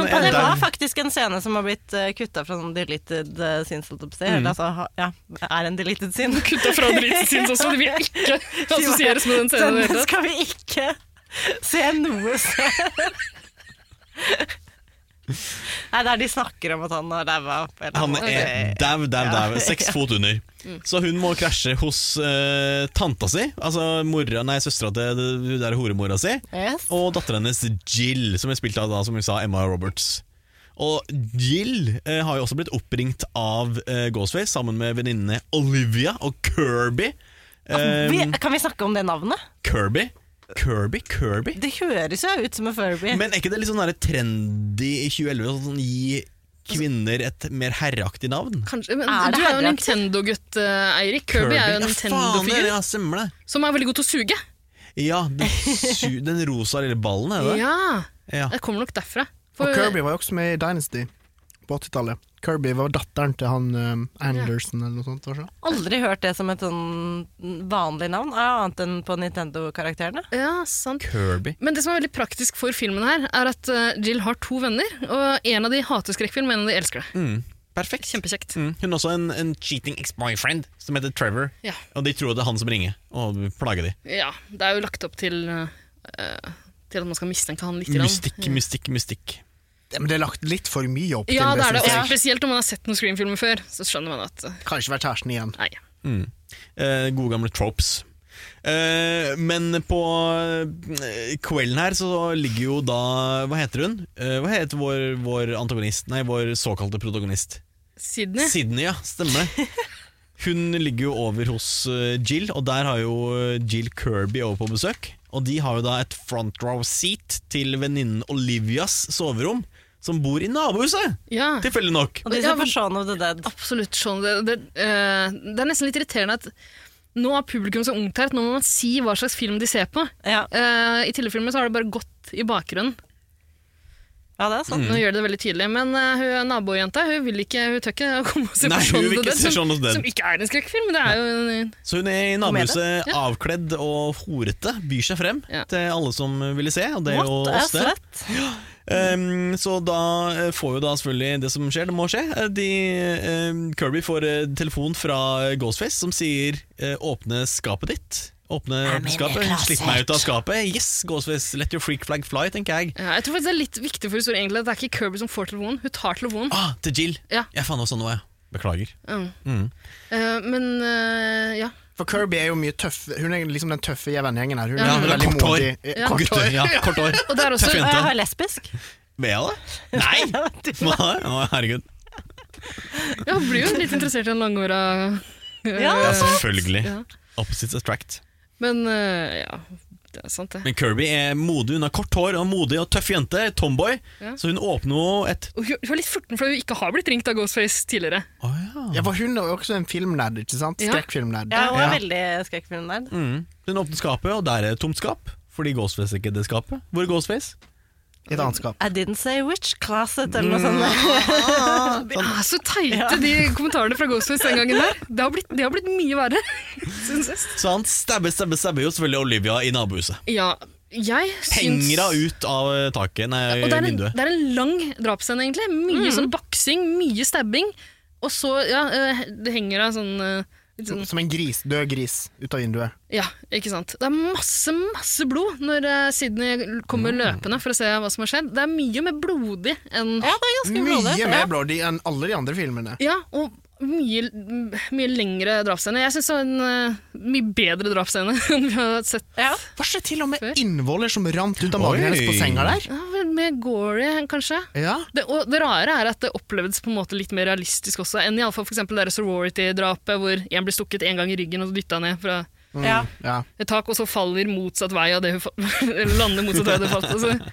*laughs* Og det
er
var
der.
faktisk en scene som har blitt uh, kutta fra sånn deleted uh, scenes, holdt jeg på å si. Eller
Mm.
Altså, ha, ja, er en deleted scene.
Kutta *laughs* fra dritsins også, det vil ikke assosieres med den scenen.
Denne
i det hele tatt.
skal vi ikke se noe sted. Nei, det er de snakker om at han har daua opp. eller
Han
noe.
er dau, dau, dau. Seks fot under.
Mm.
Så hun må krasje hos øh, tanta si, altså mora, nei, søstera til det- hun der horemora si,
Yes.
og datteren hennes Jill, som er spilt av da, som vi sa, Emma Roberts. Og Jill øh, har jo også blitt oppringt av øh, Ghostface sammen med venninnene Olivia og Kirby. Eh,
Ah, Vi, kan vi snakke om det navnet?
Kirby? Kirby? Kirby?
Det høres jo ut som en Furby.
Men er ikke det litt sånn der trendy i 2011 å sånn, gi kvinner et mer herreaktig navn?
Kanskje, men,
Er det
du er jo en
herreaktig?
Nintendo-gutt, eh, Eirik. Kirby er jo en
Ja, faen, det er-
Nintendo-figur
Ja, stemmer det.
som er veldig god til å suge.
Ja,
*laughs*
den, su den rosa lille ballen, er det det?
Ja,
Ja.
Det kommer nok derfra. For,
Og Kirby var jo også med i Dynasty. på 80-tallet. Kirby var datteren til han eh, Anderson eller noe sånt. Var det så?
Aldri hørt det som et sånn vanlig navn, ah, annet ennn på Nintendo-karakterene.
Ja, sant.
Kirby.
Men det som er veldig praktisk for filmen her, er at eh, Jill har to venner, og en av de hater skrekkfilm, en av de elsker det.
Mm. Perfekt.
Kjempekjekt.
Mm. Hun har også en, en cheating ex-boyfriend som heter Trevor.
Ja.
Og de tror det er han som ringer og plager de.
Ja, det er jo lagt opp til, eh, til at man skal mistenke han litt.
Mystikk, mystikk, mystikk.
Det, men det er lagt litt for mye opp
Ja,
til
det er
synes
det. Og
jeg.
spesielt om man har sett noen Scream-filmer før, så skjønner man at eh,
Kanskje vært kjæresten igjen.
Nei.
Mm. Eh, gode gamle tropes. Eh, men på eh, kvelden her så ligger jo da Hva heter hun? Eh, hva heter vår, vår antagonist? Nei, vår såkalte protagonist.
Sydney.
Sydney, ja. Stemmer det. Hun ligger jo over hos eh, Jill, og der har jo eh, Jill Kirby over på besøk. Og de har jo da et front row seat til venninnen Olivias soverom, som bor i nabohuset!
Ja.
Tilfeldig nok.
Og de
Ja,
ser
men-
på Shaun of the Dead.
Absolutt. Sånn. Det, det, eh, det er nesten litt irriterende at nå er publikum så ungt her at nå må man si hva slags film de ser på.
Ja,
Eh, I tidligfilmer så har det bare gått i bakgrunnen.
ja det er sant.
Nå gjør det det veldig tydelig, men eh, hun nabojenta hun vil ikke, hun tør ikke å komme og se
Nei,
på
hun
Shaun
vil
of the
ikke
Dead,
se Shaun of the
som,
Dead.
som ikke er en skrekkfilm. Det er jo en,
Så hun er i nabohuset avkledd og horete, byr seg frem
Ja.
til alle som ville se. Og det er jo
What
oss,
is
det.
that?
Ehm, så da eh, får jo da selvfølgelig det som skjer, det må skje. Eh, De, ehm, Kirby får eh, telefon fra Ghostface som sier eh, 'åpne skapet ditt'. Åpne skapet, Slipp meg ut av skapet. Yes, Ghostface, let your freak flag fly, tenker jeg.
ja, jeg tror faktisk det er litt viktig for historien egentlig, at det er ikke Kirby som får telefonen, hun tar telefonen.
Ah, til Jill.
Ja.
Jeg fant også noe, jeg. Beklager.
Mm.
Mm.
Eh, men eh, ja.
For Kirby er jo mye tøff Hun er liksom den tøffe i vennegjengen her. Hun
Ja,
er
Ja, hun har
veldig
kort hår.
modig. Eh,
Ja.
kort-
Gutter, ja, kort hår.
*laughs* Og det er også
Tøff
Og jeg
jente.
har lesbisk.
Ble jeg det?
*laughs*
Nei! Å, herregud.
Ja, hun blir jo litt interessert i en langhåra eh,
Ja.
Ja, selvfølgelig.
ja.
Opposites attract.
Men eh, ja, det er sant, det.
Men Kirby er modig, hun har kort hår og modig og tøff jente, tomboy,
Ja.
så hun åpner jo et
Og Hun hun er litt furten fordi hun ikke har blitt ringt av Ghostface tidligere.
Å ja.
Ja, for hun er jo også en filmnerd, ikke sant?
Ja.
Skrekkfilmnerd.
Ja, hun er
Ja.
veldig skrekkfilmnerd.
Mm. Hun åpner skapet, og der er det tomt skap. Fordi Ghostface er ikke det skapet. Hvor er Ghostface?
I et annet skap.
I didn't say which closet, eller noe
Mm.
sånt.
De er så teite, de kommentarene fra Ghostface den gangen der. Det har blitt, det har blitt mye verre, syns jeg.
Så han stabber, stabber, stabber jo selvfølgelig Olivia i nabohuset.
Ja, jeg syns
Henger henne ut av eh, taket, nei,
Og det er, en,
vinduet.
det er en lang drapsscene, egentlig. Mye sånn baksing, mye stabbing. Og så, ja, eh, det henger av sånn eh, litt sånn-
Som en gris, død gris ut av vinduet.
Ja, ikke sant. Det er masse, masse blod når eh, Sydney kommer
Mm.
løpende for å se hva som har skjedd. Det er mye mer blodig enn
Ja, det er ganske blodig.
Mye
Ja.
mer blodig enn alle de andre filmene.
Ja, og mye, m- mye lengre drapsscene. Jeg syns det var en eh, mye bedre drapsscene *laughs* enn vi har sett.
Ja.
Hva skjer til og med
Før?
innvoller som rant ut av magen
Oi.
hennes på senga der?
Ja, vel, Mer gory, kanskje.
Ja.
Det, og det rare er at det opplevdes på en måte litt mer realistisk også enn iallfall f.eks. det der sorority-drapet hvor én blir stukket én gang i ryggen og dytta ned fra
Ja.
Ja.
et tak, og så faller motsatt vei av det hun fa *laughs* eller lander motsatt vei av det hun falt. Altså.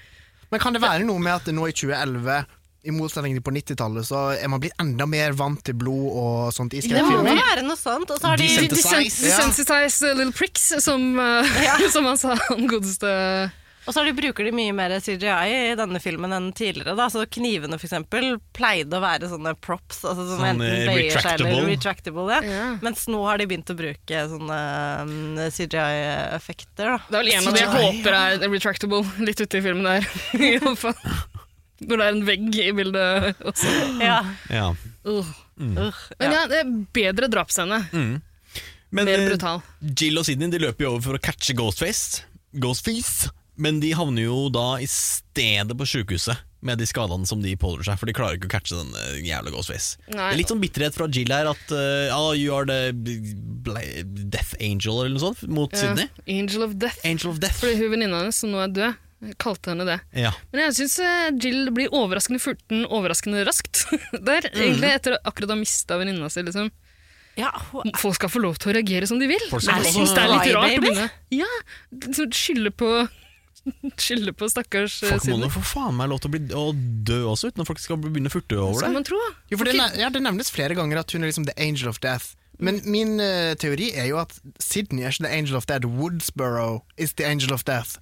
Men kan det være noe med at nå i 2011 i motsetning til på 90-tallet, så er man blitt enda mer vant til blod og sånt i
Det må
skrekkfilmer.
jo være noe sånt. Og så har de
De- de sen-
Desensitized. Ja.
Desensitized little pricks, som, eh, *laughs* som han sa, han godeste
Og så har de, bruker de mye mer CGI i denne filmen enn tidligere. Da. Så knivene for eksempel pleide å være sånne props, altså som
Sånn, eh,
enten bøyer seg eller
retractable.
retractable. Ja.
Ja.
Mens nå har de begynt å bruke sånne um, CGI-effekter.
Det er vel en av de jeg håper er retractable litt ute i filmen der. *laughs* I alle fall. Når det er en vegg i bildet også.
Ja.
Ja.
Uh.
Uh,
Men
ja.
ja, det er bedre drapsscene.
Men
Mer
eh,
brutal.
Jill og Sydney de løper jo over for å catche Ghostface. Ghostface. Men de havner jo da i stedet på sjukehuset med de skadene som de pådrar seg. For de klarer ikke å catche den eh, jævla Ghostface.
Nei.
Det er litt sånn bitterhet fra Jill her at eh, ah, You are the bla Death Angel eller noe sånt mot Sydney.
Ja. Angel of Death.
Angel of Death.
Fordi hun venninna hennes som nå er død, kalte henne det.
Ja.
Men jeg syns Jill blir overraskende furten overraskende raskt *laughs* der. Egentlig etter å akkurat ha mista venninna si, liksom.
ja, hun
Folk skal få lov til å reagere som de vil.
Folk
Men
skal
jeg
få
syns det er litt
lov-
rart å
Flybaby?
begynne Ja, liksom skylde på *laughs* Skylde på stakkars eh,
Folk må
Sydney.
nå få faen meg lov til å, bli, å dø også, uten at folk skal begynne å furte over
Skal
det. sånn
man tro. da.
Jo, for det, ne- ja, det nevnes flere ganger at hun er liksom the angel of death. Men min eh, teori er jo at Sydney er ikke the angel of death. Woodsboro is the angel of death.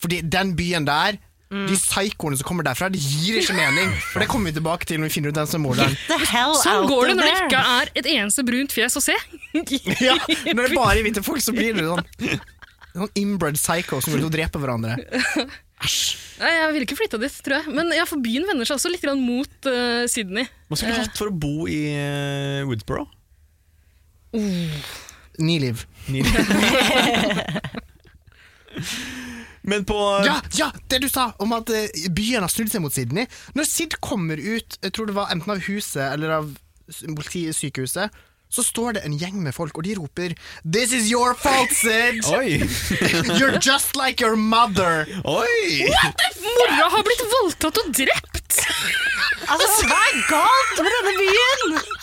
Fordi den byen der De psykoene som kommer derfra, det gir ikke mening. For det kommer vi tilbake til når vi finner ut hvem som bor der.
Sånn går det når det ikke er et eneste brunt fjes å se. *laughs*
ja, når det bare er hvite folk, så blir det sånn Sånn inbred psycho som vil drepe hverandre.
Nei, Jeg ville ikke flytta dit, tror jeg. Men ja, for byen vender seg også litt grann mot eh, Sydney.
Hva skulle du hatt for å bo i eh,
*laughs*
Woodsboro?
Niliv.
*laughs*
Men på
Ja, ja, det du sa om at eh, byen har snudd seg mot Sydney. Når Sid kommer ut, jeg tror det var enten av huset eller av s- politisykehuset, så står det en gjeng med folk, og de roper 'This is your fault, *laughs* Sid!
Oi!
You're just like your mother!'
Oi!
Mora har blitt voldtatt og drept!
Altså, hva er galt med denne byen?!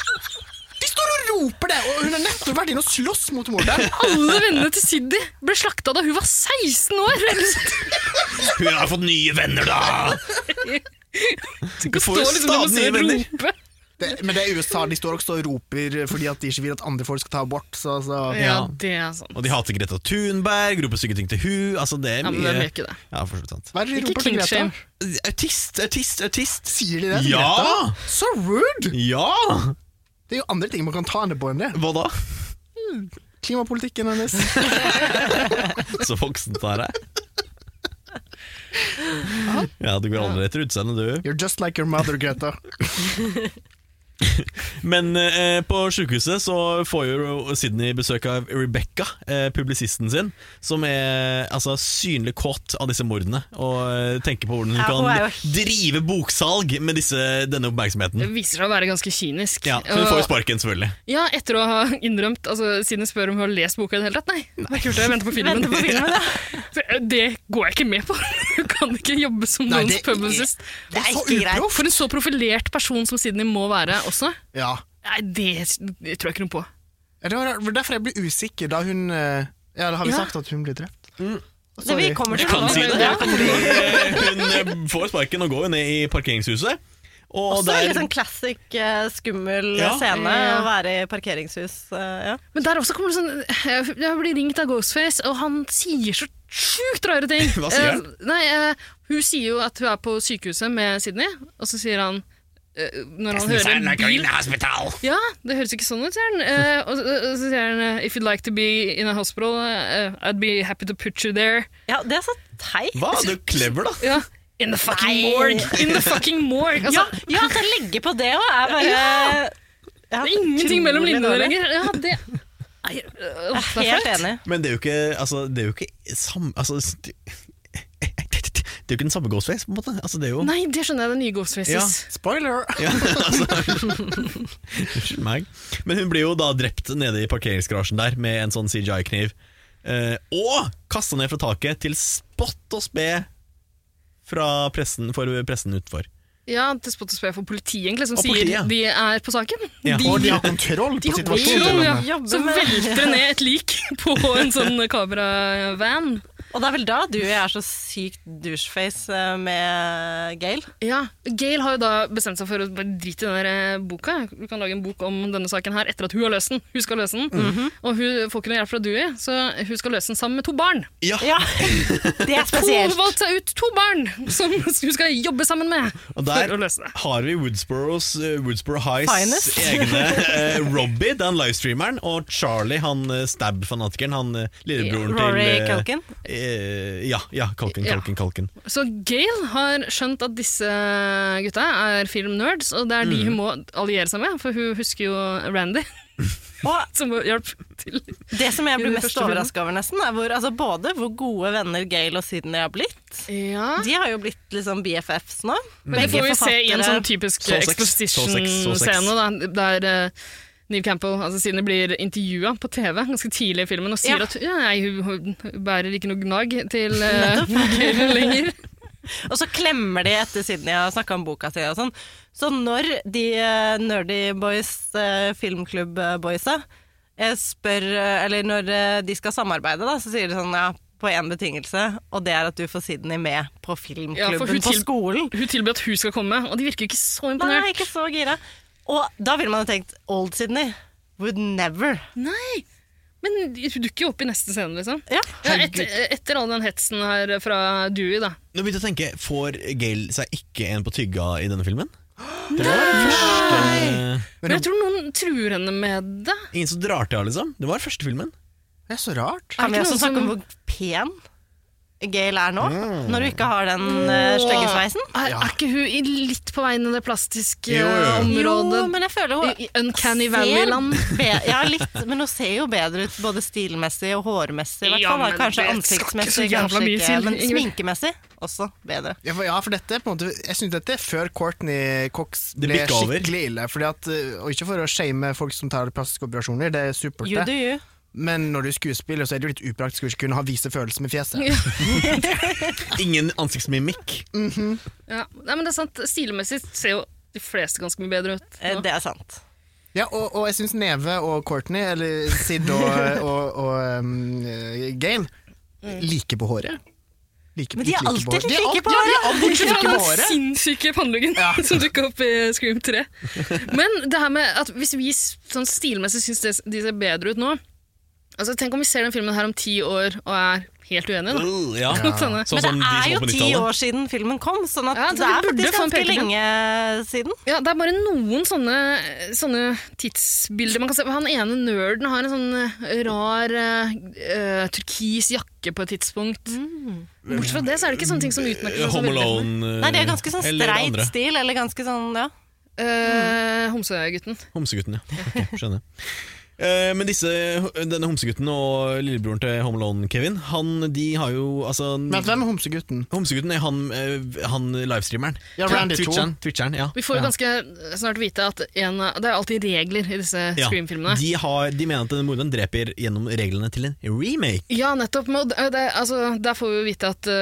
De står og roper det, og hun har nettopp vært inne og slåss mot morderen.
Alle vennene til Sydney ble slakta da hun var 16 år!
Hun har fått nye venner, da!
Du
får jo stadig nye venner.
Rope.
*laughs* Det, men det er USA, de står også og roper fordi at de ikke vil at andre folk skal ta abort. Så, så.
Ja, det er sant.
Og de hater Greta Thunberg, roper stygge ting til hun Altså, det er
Ja, men
mye
hvem gjør ikke det?
Ja, for så vidt sant.
Hva er det de
Ikke
roper til Greta?
kingshame.
Autist, autist, autist!
Sier de det til
Ja!
Greta? Så rude!
Ja!
Det er jo andre ting man kan ta henne på enn det.
Hva da?
Klimapolitikken hennes.
Så voksent det her er. Ja, du går aldri etter utseendet, du.
You're just like your mother, Greta.
Men eh, på sykehuset så får jo Sydney besøk av Rebecca, eh, publisisten sin, som er altså, synlig kåt av disse mordene, og eh, tenker på hvordan hun
Ja, hun er
kan
jo-
drive boksalg med disse, denne
Det
oppmerksomheten.
viser seg å være ganske kynisk.
Ja, så Hun får jo sparken, selvfølgelig.
Ja, etter å ha innrømt altså, Siden jeg spør om hun har lest boka i det hele tatt. Nei, det er kult, jeg venter på filmen.
Venter på filmen, ja.
*laughs* For, eh, Det går jeg ikke med på! Hun kan ikke jobbe som
Nei,
noens
det er-
publicist.
Det er
Så
ikke greit.
uproft.
For en så profilert person som Sydney må være også,
Ja.
nei, det, det tror jeg ikke noe på.
Ja, Det var derfor jeg ble usikker da hun eh, Ja, da har vi
Ja.
sagt at hun ble drept.
Det vi kommer til
Kan si det.
Ja.
Hun eh, får sparken og går jo ned i parkeringshuset. Og
Også
der,
veldig sånn classic, eh, skummel
Ja.
scene
Ja.
å være i parkeringshus. eh, ja.
Men der også kommer det sånn Jeg jeg blir ringt av Ghostface, og han sier så sjukt rare ting.
*laughs* Hva sier han?
Eh, nei, eh, hun sier jo at hun er på sykehuset med Sydney, og så sier han eh, når han hører en bil Ja, det høres ikke sånn ut, sier han. Eh, og, så- og så sier han eh, If you'd like to be in a hospital, eh, I'd be happy to put you there.
ja, det er så teit.
Hva? Du er clever, da.
Ja, In the fucking
Nei.
morgue! In the fucking morgue! Altså,
Ja, ja,
*laughs*
at jeg legger på det òg, er bare Ja,
Det er ingenting mellom
utrolig
linjene
dårlig.
lenger. Ja, det, Nei, øh, det er
Helt
flaut.
enig.
Men det er jo ikke Altså, det er jo ikke samme altså, det, det er jo ikke den samme Ghostface, på en måte. Altså, det er jo
Nei, det skjønner jeg. Det er nye Ghostfaces.
Spoiler!
Ja, altså. Unnskyld meg. Men hun blir jo da drept nede i parkeringsgarasjen der med en sånn CGI-kniv. Eh, og kasta ned fra taket til spott og spe fra pressen, for pressen utenfor.
Ja, til spott og spe for politiet, egentlig, som
Og politiet, ja.
sier de er på saken.
Ja.
Og de har kontroll
De
på
har
situasjonen.
kontroll, ja.
Jobber
Så
med-
velter det ned et lik *laughs* på en sånn kameravan.
Og det er vel da du er så sykt doucheface eh, med Gail.
Ja, Gail har jo da bestemt seg for å bare drite i den der eh, boka. Du kan lage en bok om denne saken her etter at hun har løst den. Hun skal løse den.
Mhm.
Og hun får ikke noe hjelp fra Dewey, så hun skal løse den sammen med to barn.
Ja,
Ja, det er
Hun har
spesielt.
valgt seg ut to barn som hun skal jobbe sammen med
Og
for
der
å løse det.
har vi Woodsboros, eh, Woodsboro Highs
Finest.
egne eh, Robbie, den livestreameren, og Charlie, han eh, stab-fanatikeren, han eh, lillebroren til
Rory
eh,
Culkin.
Eh, ja, ja, Culkin,
Ja.
Culkin, Culkin.
Så Gail har skjønt at disse gutta er filmnerds, og det er de hun
Mm.
må alliere seg med, for hun husker jo
*laughs*
Randy,
Og
som hjalp til.
det som jeg
I
blir
de
mest
første filmene.
overraska over, nesten, er hvor, altså både hvor gode venner Gail og Sydney har blitt.
Ja.
De har jo blitt liksom BFFs nå.
Men det
Begge
får vi se i en sånn
forfattere.
typisk
Så sex, så sex, så sex.
exposition-scene, da, der eh, Neve Campbell, altså Sidney, blir intervjua på TV ganske tidlig i filmen og sier
Ja.
at ja, nei, hun, hun bærer ikke noe gnag til eh, *laughs* Gail lenger.
Og så klemmer de etter Sydney og snakka om boka si og sånn. Så når de eh, Nerdy Boys, eh, filmklubb-boysa, eh, spør eh, Eller når eh, de skal samarbeide, da, så sier de sånn ja, på én betingelse, og det er at du får Sydney med på
Ja, for
filmklubben
hun
på
til-
skolen.
Hun tilbyr at hun skal komme, og de virker ikke så
Nei,
imponert.
ikke så gira. Og da ville man jo tenkt Old Sydney would never.
Nei. Men de dukker jo opp i neste scene, liksom. Ja, et, etter all den hetsen her fra Dewey, da.
Nå begynte jeg å tenke, Får Gail seg ikke en på tygga i denne filmen? Det var den første,
Men jeg tror noen truer henne med det.
ingen som drar til henne, liksom. Det var den første filmen.
Det er så rart.
Kan vi
ikke
også
noen
snakke
som-
om hvor pen Gail er nå?
Mm.
Når du ikke har den uh, stygge sveisen?
Er, er ikke hun i litt på vei ned det plastiske
Jo, jo.
eh, området?
Jo, men jeg føler hun
I, I Uncanny
ser
Valley-land?
be- Ja, litt, men hun ser jo bedre ut både stilmessig og hårmessig. I hvert
Ja,
fall da.
men
kanskje
det skal ikke så
ansiktsmessig,
jævla
kanskje
mye
ikke,
til,
men
Ingrid.
sminkemessig også bedre.
Ja, for, ja, for dette er på en måte Jeg synes dette er før Courtney Cox
Det
ble
bikket over.
skikkelig ille. Fordi at, øh, og ikke for å shame folk som tar plastiske operasjoner, det er supert,
You do
det.
you.
Men når du er skuespiller, så er det jo litt upraktisk å ikke kunne ha vise følelser med fjeset.
Ingen ansiktsmimikk.
Ja. Nei, men det er sant. Stilmessig ser jo de fleste ganske mye bedre ut.
Eh, Det er sant.
Ja, og, og jeg syns Neve og Courtney, eller Sid og, og, og um, øh, Gail, like på håret. Like,
Mm. Men de er alltid
håret. De er
like
alltid-
på
ja, de er
håret.
alltid
Bortsett
like
fra
på
den
håret.
sinnssyke panneluggen *laughs* som dukka opp i Scream 3. Men det her med at hvis vi sånn stilmessig syns det- de ser bedre ut nå Altså Tenk om vi ser den filmen her om ti år og er helt uenige, da.
Uh, ja.
Mot henne.
Sånn
Men det
som de
er
som
jo
var på
ti
90-tallet.
år siden filmen kom, sånn at
Ja, så
det
vi
er
burde
faktisk
liksom få en
ganske
pekepinn.
lenge siden.
Ja, Det er bare noen sånne, sånne tidsbilder man kan se. Han ene nerden har en sånn eh, rar eh, eh, turkis jakke på et tidspunkt.
Mm.
Bortsett fra det så er det ikke sånne ting som utmerker seg. så
Home
veldig.
Alone eh,
Nei, de har ganske sånn
eller
streit
andre.
stil, eller ganske sånn, ja.
Eh, Homsegutten.
Homsegutten, ja. Ok, skjønner. Eh, men disse, denne homsegutten og lillebroren til Home Alone-Kevin, han de har jo altså
Men hvem er homsegutten?
Homsegutten er han, eh, han livestreameren.
Ja, Randy
Twitcheren, Twitcheren, ja.
Vi får jo ganske snart vite at en, av- det er alltid regler i disse
Ja,
Scream-filmene.
De, har, de mener at denne morderen dreper gjennom reglene til en remake.
Ja, nettopp. Men det, det, altså, der får vi jo vite at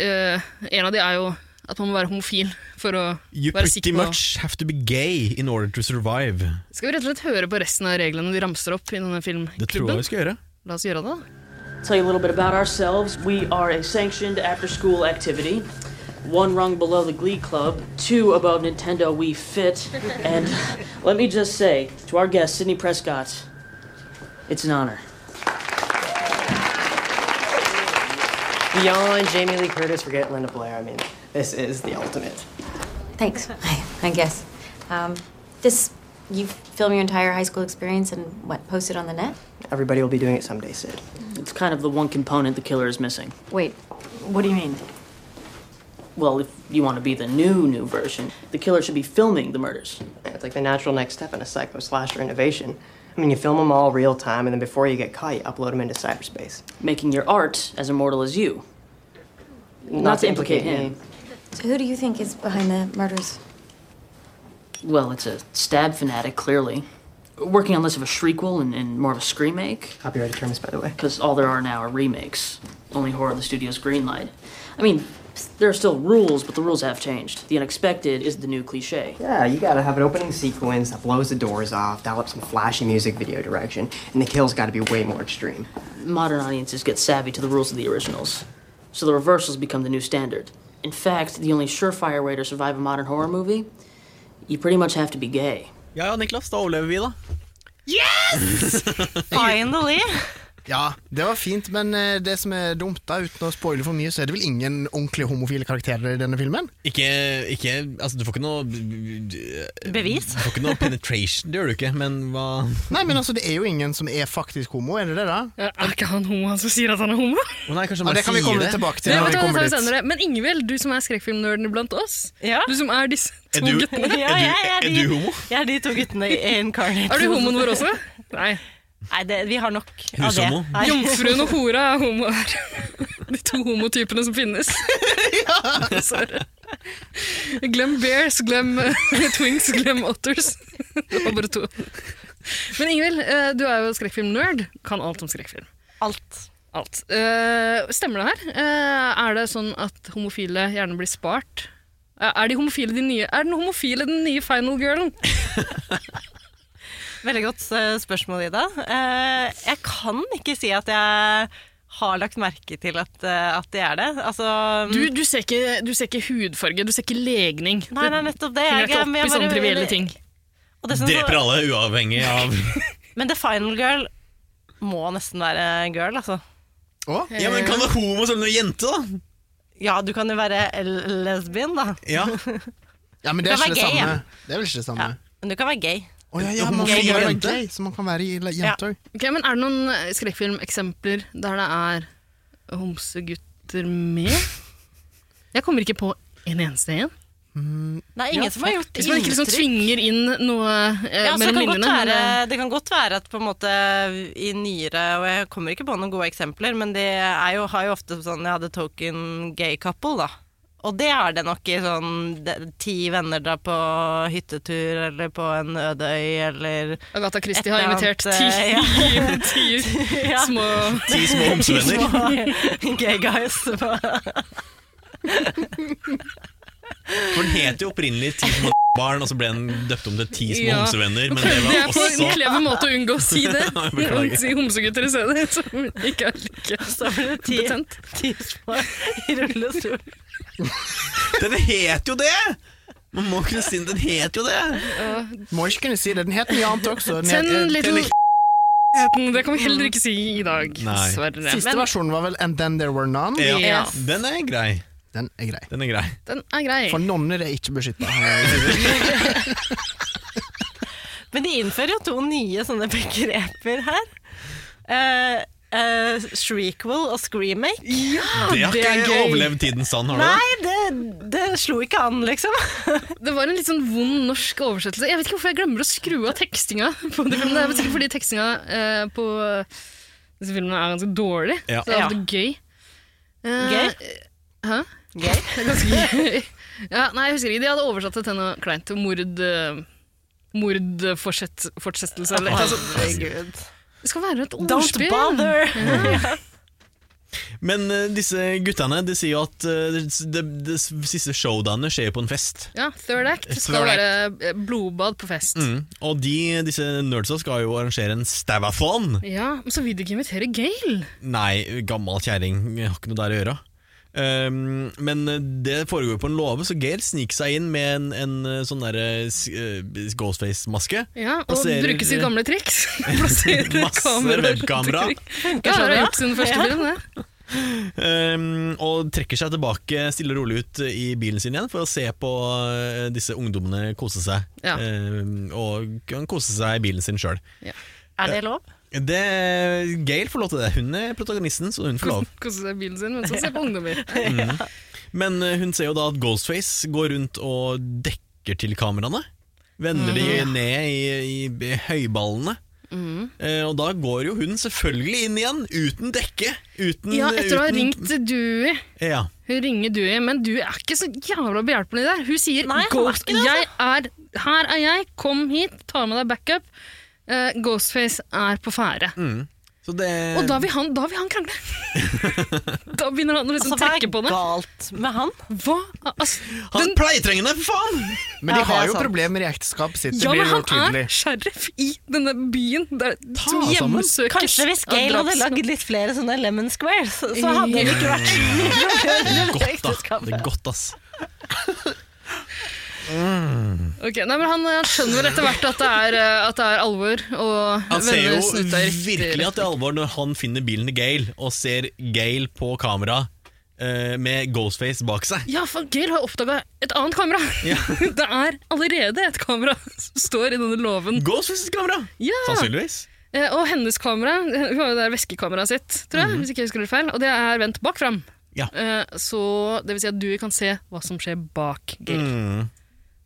eh, en av de er jo at man må være homofil for å
You
være
pretty
sikker på
much have to be gay in order to survive.
Skal vi rett og slett høre på resten av reglene de ramser opp i denne
Det tror jeg
filmklubben?
vi skal gjøre.
La oss gjøre det, da.
Tell you a little bit about ourselves. We are a sanctioned after school activity. One rung below the Glee Club, two above Nintendo Wii Fit. And let me just say to our guest, Sidney Prescott, it's an honor. Beyond Jamie Lee Curtis, forget Linda Blair. I mean, this is the ultimate.
Thanks, I, I guess. Um, this, you film your entire high school experience and what, post it on the net?
Everybody will be doing it someday, Sid. It's kind of the one component the killer is missing.
Wait, what do you mean?
Well, if you want to be the new, new version, the killer should be filming the murders.
It's like the natural next step in a psycho slasher innovation. I mean, you film them all real time, and then before you get caught, you upload them into cyberspace.
making your art as immortal as you. Not, to implicate him.
So who do you think is behind the murders?
Well, it's a stab fanatic, clearly. Working on less of a shriekwell and, and more of a scream make,
Copyrighted terms, by the way.
because all there are now are remakes. Only horror the studio's greenlight. I mean, there are still rules, but the rules have changed. The unexpected is the new cliche.
Yeah, Uh, you gotta have an opening sequence that blows the doors off, dial up some flashy music video direction, and the kill's gotta be way more extreme.
Modern audiences get savvy to the rules of the originals, so the reversals become the new standard. In fact, the only surefire way to survive a modern horror movie, you pretty much have to be gay.
Ja, ja, Niklas, da overlever vi, da.
Finally!
Ja, det var fint, men eh, det som er dumt, da, uten å spoile for mye, så er det vel ingen ordentlig homofile karakterer i denne filmen?
Ikke, ikke Altså, du får ikke noe Du
Bevis.
får ikke noe penetration, det gjør du ikke, men hva Å
Nei, men altså, det er jo ingen som er faktisk homo, er det det, da?
Er ikke han homo, han som sier at han er homo?
nei, kanskje
Ja,
man
det kan vi
sier
komme
det.
tilbake til
Det
når vi
vet du hva, det
kommer
tar vi
dit.
senere. Men Ingvild, du som er skrekkfilmnerden iblant oss.
Ja.
Du som er disse
Er
to
du-
guttene.
*laughs* Ja,
Er du-
jeg, jeg,
er
de,
du homo?
Jeg er de to guttene i Incarnate.
Er du homoen vår også? *laughs* Nei.
Nei, det, vi har nok av det.
Hushomo.
Nei.
Jomfruen og hora er homoer. De to homotypene som finnes. Sorry. Glem bears, glem eh, twinks, glem otters. Det var bare to. Men Ingvild, eh, du er jo skrekkfilmnerd. Kan alt om skrekkfilm.
Alt.
Alt. Eh, stemmer det her? Eh, er det sånn at homofile gjerne blir spart? Eh, er, de homofile de nye, er den homofile den nye final girlen?
*laughs* Veldig godt eh, spørsmål, Ida. Eh, Jeg kan ikke si at jeg har lagt merke til at, eh, at de er det. Altså
Du, du, ser ikke, du ser ikke hudfarge, du ser ikke legning.
Nei, nei, nettopp det.
Du
Jeg-
henger ikke
jeg-
opp
jeg
i sånne
bare-
trivielle ting.
Og det som-
Dreper alle uavhengig av
Men The Final Girl må nesten være girl, altså.
Å? Ja, men kan du være homo selv om du er jente, da?
Ja, du kan jo være l- lesbien, da.
Ja.
Ja, men
Du
det er,
kan være
ikke det,
gay,
samme.
ja.
det er vel ikke det samme.
Men du kan være gay.
Å ja, ja, man kan være gay, så man kan være i- eller jente òg.
Ok, men Er det noen eh, skrekkfilmeksempler der det er homsegutter med? Jeg kommer ikke på en eneste en.
Det er ingen som har gjort
Hvis man ikke liksom tvinger inn noe eh,
Ja, så det kan,
mellom
godt
linjene. men,
være,
eh,
det kan godt være at på en måte i nyere Og jeg kommer ikke på noen gode eksempler, men det er jo, har jo ofte sånn Jeg hadde token gay couple, da. Og det er det nok i sånn de- ti venner drar på hyttetur eller på en øde øy eller
eh, Agatha
et
Christie har
eller annet,
invitert
eh, ja.
*laughs* ti, ti
*laughs* Ja.
små
Ti
*laughs*
små homsevenner.
små *laughs* Gay guys.
For den het jo opprinnelig Ti små barn, og så ble den døpt om til Ti små
Ja. *laughs*
homsevenner. Men
Prøvde
det
jeg
var
på
også
en clever måte å unngå å si det.
*laughs* Ja, jeg beklager.
Si homsegutter i stedet, *laughs* som ikke er like betent.
Ti små i rullestol.
Den het jo det! Man må kunne si den het jo det.
Må ikke kunne si det. Den het mye annet også. Den het-
Ten
het-
little
het-
Det kan vi heller ikke si i dag,
Nei.
dessverre.
Mm. Siste
Men
versjonen var vel 'And then there were none'.
Ja.
Ja.
Den er grei.
Den er grei.
Den er grei.
den er grei.
For nonner er ikke beskytta.
Men de innfører jo to nye sånne begreper her. Eh, eh, shriekwell og screamake.
Det har ikke overlevd tidens tann, har du det?
Nei, det, det slo ikke an, liksom.
Det var en litt sånn vond norsk oversettelse. Jeg vet ikke hvorfor jeg glemmer å skru av tekstinga. *laughs* På det, men det er vel sikkert fordi tekstinga eh, på disse filmene er ganske dårlig.
Ja.
Så det er
liksom.
ofte gøy. Eh,
Gøy?
Hæ?
Gøy.
*laughs* Det er ganske gøy. Ja, nei, jeg husker ikke. De hadde oversatt det til noe kleint. Mord... eh, Mordfortsettelse eller noe sånt.
Herregud.
Det skal være et
Don't
ordspill.
bother!
Men eh, disse guttene de sier jo at eh, det, det, det siste showdownet skjer jo på en fest.
Ja, Third act skal
Third act.
være eh, blodbad på fest.
Mm. Og de, disse nerdsa skal jo arrangere en stavathon.
Ja, men Så vil de ikke invitere Gail.
Nei, gammal kjerring. jeg Har ikke noe der å gjøre. Ehm, men det foregår på en låve, så Gail sniker seg inn med en, en eh, sånn der eh, s- eh, Ghostface-maske.
Ja, Og
Plasserer-
bruke sitt gamle
*laughs*
triks. *laughs* Plassere
Masse
kamera rundt
webkamera.
omkring. Ja, det har jeg gjort sin første
Ja.
film, det.
Ehm, og trekker seg tilbake stille og rolig ut i bilen sin igjen for å se på eh, disse ungdommene kose seg.
Ja.
Ehm, og kan kose seg i bilen sin sjøl.
Ja.
Er det lov?
Gail får lov til det. Hun er protagonisten, så hun får lov.
Kose seg i bilen sin mens han ser på
*laughs*
ungdommer.
Mm. Men eh, hun ser jo da at Ghostface går rundt og dekker til kameraene. Vender de
Mhm.
ned i, i, i høyballene.
Mm.
Eh, og da går jo hun selvfølgelig inn igjen, uten dekke. Uten,
Ja, etter å ha
uten-
ringt Dewey.
Ja.
Hun ringer Dewey, men Dewey er ikke så jævla behjelpelig der. Hun sier
Nei, han er
Ghost,
ikke det, altså.
jeg er, 'Her er jeg, kom hit, ta med deg backup'. Eh, Ghostface er på ferde.
Mm. Så det
Og da vil han, da vil han
*laughs*
krangle! da begynner han å
Altså,
liksom
hva
trekke
er
på det.
galt med han?
Hva? Altså,
Han
den,
er pleietrengende, for faen!
*laughs*
Ja,
Men de
det
har
er
jo
sant.
problemer i ekteskapet sitt. Det
ja,
blir
men
jo
han
tydelig.
er sheriff i denne byen der, som
sammen.
hjemsøkes
Kanskje hvis
av
Gail hadde
draps-
lagd litt flere sånne lemon squares, så så hadde det ikke vært så mye problemer i
Godt,
det
da. Det er
ekteskapet.
godt, ass.
Ok, nei, men han, han skjønner vel etter hvert at det er, eh, at det er alvor, og
Han ser
vender
jo
snuta i riktig
virkelig at det er alvor når han finner bilen til Gail, og ser Gail på kamera eh, med Ghostface bak seg.
Ja, for Gail har oppdaga et annet kamera. *laughs* det er allerede et kamera som står i denne låven.
Ghostfaces kamera!
Ja.
Sannsynligvis.
Eh, Og hennes kamera, hun har jo det der veskekameraet sitt, tror jeg,
Mhm.
hvis ikke jeg husker det feil, og det er vendt bak fram.
Ja.
Eh, Så det vil si at du kan se hva som skjer bak Gail.
Mm.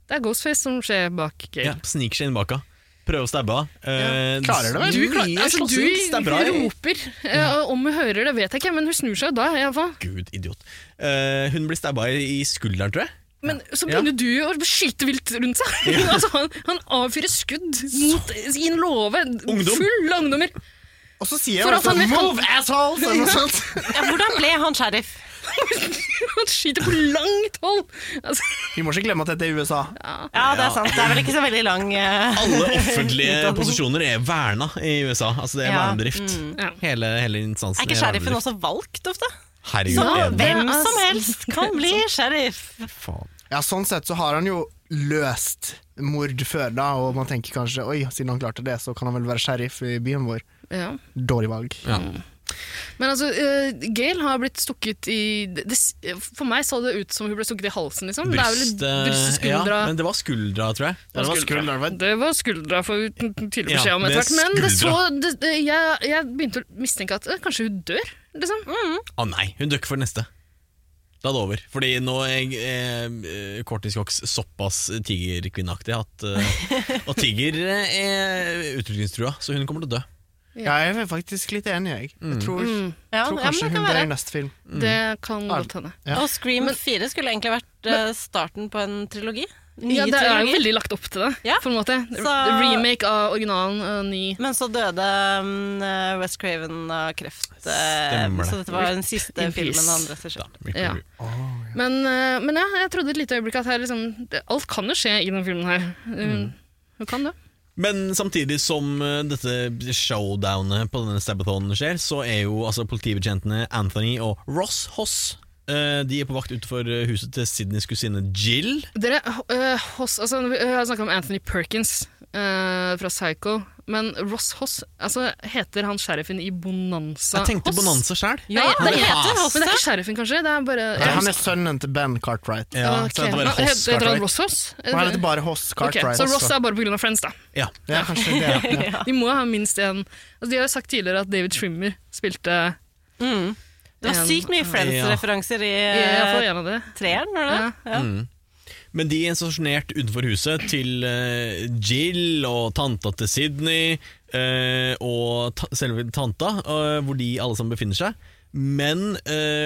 Det er Ghostface som skjer bak Gail.
Ja, sniker seg inn bak henne. Prøver å stabbe henne. Eh,
Klarer det vel?
Du, klar, altså, du
stabber henne.
roper, eh, og om hun hører det vet jeg ikke, men hun snur seg jo da. i alle fall.
Gud, idiot. Eh, hun blir stabba i i skulderen, tror jeg.
Men så
Ja.
begynner du å skyte vilt rundt seg. *laughs* altså, han, han avfyrer skudd mot sin låve,
Ungdom.
full av ungdommer. *laughs*
Og så sier jeg
For at
også
han vet-
'move, assholes'! Eller noe sånt.
Ja, hvordan ble han sheriff?
Han skyter på langt hold! Altså,
*laughs* Vi må ikke glemme at dette er USA.
Ja, det er sant. Det er vel ikke så veldig lang eh,
Alle offentlige posisjoner er verna i USA. Altså Det er
Ja.
vernedrift.
ja.
Hele, hele instansen
Er ikke sheriffen også valgt ofte?
Herregud,
Så
er altså- det-
hvem som helst kan bli sheriff.
faen.
Ja, Sånn sett så har han jo løst mord før, da, og man tenker kanskje 'oi, siden han klarte det, så kan han vel være sheriff i byen vår'.
Ja.
Dårlig valg.
Men altså, eh, Gail har blitt stukket i det, det- For meg så det ut som hun ble stukket i halsen, liksom.
Bryst,
det er vel bryst,
eh, ja,
skuldra
men det var skuldra, tror jeg.
Det var skuldra. Det var skuldra, får vi tydelig
Ja,
beskjed om etter
det
hvert. Men det så,
skuldra.
det, det- jeg, jeg begynte å mistenke at eh, kanskje hun dør, liksom.
Å nei, hun dør ikke for neste. Da er det over. Fordi nå er eh, Courtney Cox såpass tigerkvinneaktig at eh, Og tiger eh, er utrydningstrua, så hun kommer til å dø.
Ja, jeg er faktisk litt enig, jeg. Jeg tror,
Mm.
Ja, ja,
tror
men
kanskje
det kan
hun dør
være.
i neste film.
Det kan godt hende.
Og Scream 4 skulle egentlig vært eh, starten på en trilogi. Ny
Ja, det er jo
trilogi.
veldig lagt opp til det, på en måte.
Så-
Remake av originalen, eh, ny.
Men så døde um, eh, Wes Craven av kreft. eh,
Stemmer det.
Så dette var den siste
In peace.
filmen han regisserte.
Ja. Men, eh, men ja, jeg trodde et lite øyeblikk at her, liksom, det, alt kan jo skje i denne filmen her. Hun, hun kan det.
Men samtidig som eh, dette showdownet på denne stabbathonen skjer, så er jo altså politibetjentene Anthony og Ross Hoss eh, De er på vakt utenfor eh, huset til Sydneys kusine Jill.
Dere, eh, Hoss, altså, vi har snakket om Anthony Perkins eh, fra Psycho, men Ross Hoss, altså, heter han sheriffen i Bonanza
Jeg tenkte
Hoss?
Bonanza selv.
Ja,
Ja,
det
det
heter
heter
Hoss, men det er ikke sheriffen kanskje, det er bare...
Nei, han er sønnen til Ben Cartwright.
Ja, ok. Hva- heter- heter han Ross Hoss?
Nei, Han heter bare Hoss
Ok,
Cartwright.
så Ross er bare på grunn av Friends da.
Ja.
ja, kanskje det. Ja.
De må ha minst en... Altså, de har jo sagt tidligere at David Schwimmer spilte... Mm.
Det var
en-
sykt mye Friends-referanser i
Ja, jeg får
eh,
en av det.
treeren, var det det? Ja.
Mm. Men de er stasjonert utenfor huset til eh, Jill og tanta til Sydney eh, og ta selve tanta, eh, hvor de alle sammen befinner seg. Men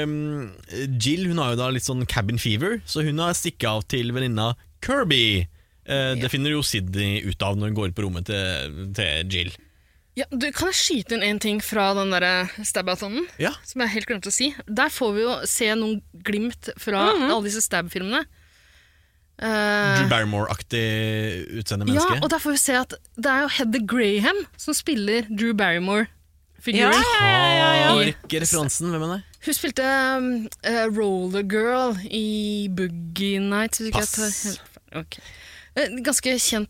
eh, Jill hun har jo da litt sånn cabin fever, så hun har stikket av til venninna Kirby. Eh, Det finner jo Sydney ut av når hun går på rommet til, til Jill.
Ja, du, kan jeg skyte inn en ting fra den der stab-atonen?
Ja.
Som jeg helt glemte å si. Der får vi jo se noen glimt fra
Mhm.
alle disse stab-filmene. Eh,
Drew Barrymore-aktig utseende
ja,
menneske.
og der får vi se at det er jo Heather Graham som spiller Drew Barrymore-figuren. I-
Ikke referansen, hvem er det?
Hun spilte um, eh, Roller Girl i Boogie Nights. hvis ikke jeg tar
Pass.
helt feil. Ok. Eh, ganske kjent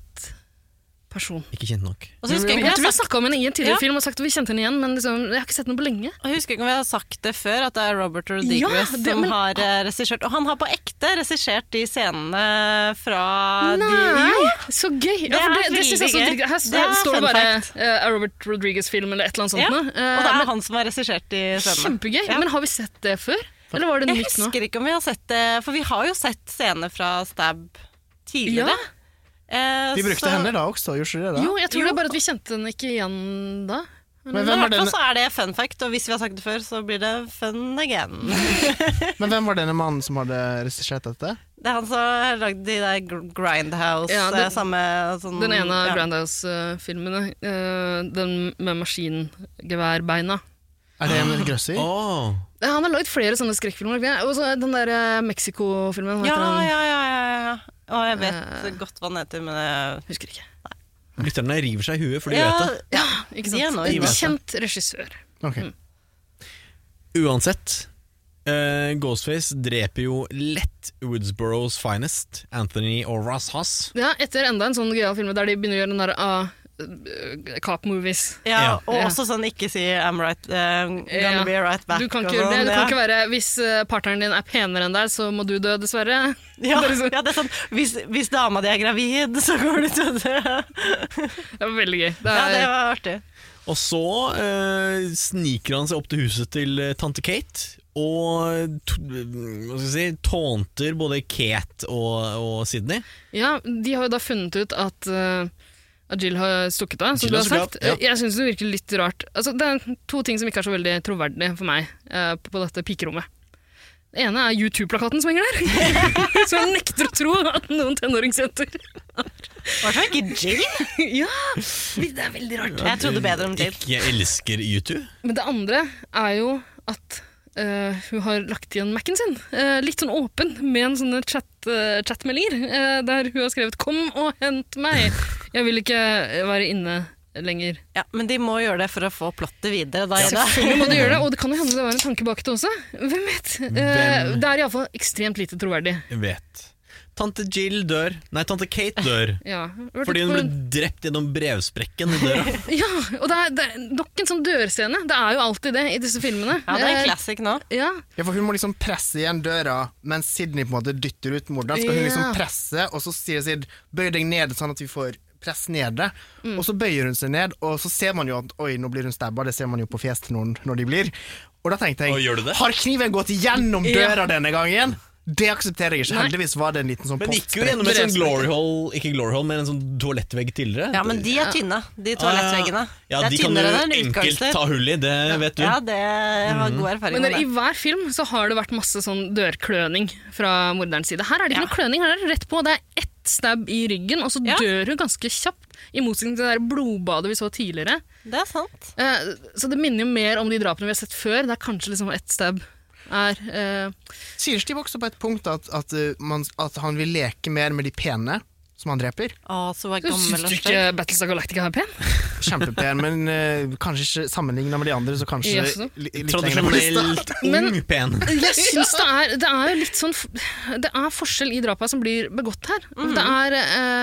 person.
Ikke kjent nok.
Og så husker jeg
Vi
ikke om
har
vi har sagt-
snakka om henne i en tidligere
Ja.
film og sagt at vi kjente henne igjen, men liksom, jeg har ikke sett henne på lenge.
Og Jeg husker ikke om vi har sagt det før, at det er Robert Rodriguez
Ja, det-
som
men-
har eh, regissert. Og han har på ekte regissert de scenene fra
Nei,
de
så gøy!
Det er
Ja, for det, det, synes jeg
veldig
er så
gøy.
dritgøy. Her
Det er
står det
fun
bare
fact.
eh, A Robert Rodriguez-film eller et eller annet sånt.
Ja,
nå.
og det
Eh,
er
men
han som har regissert de scenene.
Kjempegøy!
Ja.
Men har vi sett det før? Eller var det
Jeg
nytt nå?
husker ikke om vi har sett det, for vi har jo sett scener fra Stab tidligere. Eh,
De brukte
så-
henne da også, gjorde ikke de det?
Jo, jeg tror det er bare at vi kjente den ikke igjen da.
Men i hvert fall så er det fun fact, og hvis vi har sagt det før, så blir det fun again.
Men hvem var denne mannen som hadde regissert dette?
Det er han som har lagd de der gr- Grindhouse
Ja,
eh,
den-
samme sånn,
Den ene av
ja.
Grandhouse-filmene. den med maskingeværbeina.
Er det Emil Grøssi?
Oh.
Eh, Han har lagd flere sånne skrekkfilmer. Ja, Og så den der eh, Mexico-filmen. hva
Ja,
heter den? Eh.
ja, ja, ja, ja. Og jeg vet godt hva den heter, men jeg
husker ikke.
Lytterne river seg i huet, for de
Ja,
vet det.
Ja, ikke
De er
sant?
nå i
En
vet det.
Kjent regissør.
Uansett, eh, Ghostface dreper jo lett Woodsboroughs finest, Anthony og Ross Hass.
Ja, etter enda en sånn gøyal film der de begynner å gjøre den der ah, eh, cop-movies.
Ja, og også sånn ikke si 'I'm right, eh, gonna
Ja.
be right back'.
Du kan
og
ikke, gjøre
sånn,
det, du
ja.
kan ikke være Hvis eh, partneren din er penere enn deg, så må du dø, dessverre.
*laughs*
*laughs*
Ja,
Det er liksom-
ja, det er sånn Hvis, hvis dama di er gravid, så går du til å dø.
Det var veldig gøy.
Ja, det var artig.
Og så eh, sniker han seg opp til huset til eh, tante Kate og t hva skal jeg si, tånter både Kate og, og Sydney.
Ja, de har jo da funnet ut at, eh, at Jill har stukket av, som
Jill
du
har
har
stukket
sagt.
av, ja.
Jeg syns det virker litt rart. Altså, det er to ting som ikke er så veldig troverdige for meg eh, på- på dette pikerommet. Det ene er U2-plakaten som henger der, *laughs* som jeg nekter å tro at noen tenåringsjenter
Var det ikke Jill?
*laughs* ja, det er veldig rart.
Jeg trodde bedre om Jill.
Jeg elsker YouTube.
Men det andre er jo at eh, hun har lagt igjen Mac-en sin. eh, litt sånn åpen, med en sånne chat, eh, chatmeldinger. eh, der hun har skrevet 'Kom og hent meg'. Jeg vil ikke være inne lenger.
Ja, men de må gjøre det for å få plottet videre. Da, Ida.
Selvfølgelig må du gjøre det, og det kan jo hende det var en tanke bak det også. Hvem vet? Eh,
Hvem?
det er iallfall ekstremt lite troverdig.
Jeg vet. Tante Jill dør. Nei, tante Kate dør.
Ja.
Fordi hun ble drept gjennom brevsprekken i døra.
Ja, og det er, det er nok en sånn dørscene. Det er jo alltid det i disse filmene.
Ja, det er en
Eh,
classic nå.
Ja.
Ja, for Hun må liksom presse igjen døra, mens Sydney på en måte dytter ut morderen. Skal hun
Ja.
liksom presse, og så sier Sid 'bøy deg ned', sånn at vi får press ned det. Og så bøyer hun seg ned, og så ser man jo at 'oi, nå blir hun stabba', det ser man jo på fjeset til noen når de blir. Og da tenkte
gjør du
jeg
det?
har kniven gått gjennom døra
Ja.
denne gangen? Det aksepterer jeg ikke.
Nei.
Heldigvis var det en liten sånn
Men gikk jo gjennom en sånn glory hole, ikke glory hole, men en sånn toalettvegg tidligere. Ah,
Ja, men de er tynne, de toalettveggene.
Ja,
det er
de kan du
tynnere enn
enkelt
utgangsløp.
ta hull i, det vet du.
Ja, det jeg har god erfaring
Men
med
dere,
det.
i hver film så har det vært masse sånn dørkløning fra morderens side. Her er det ikke noe kløning, her er det rett på. Det er ett stab i ryggen, og så dør hun ganske kjapt. I motsetning til det der blodbadet vi så tidligere. Eh,
Det er sant.
så det minner jo mer om de drapene vi har sett før. Det er kanskje liksom ett stab er eh,
Sier ikke de også på et punkt at, at, uh, man, at han vil leke mer med de pene som han dreper?
Å, så var
Du
gammel
syns
og
du
stygg.
ikke Battlestar Galactica er pen?
Kjempepen, men eh, kanskje ikke sammenligna med de andre, så kanskje
Jaså.
li- litt
Tradisjonelt
Men-
ung pen.
*laughs* Jeg synes det er, det er jo litt sånn f- Det er forskjell i drapa som blir begått her. Det er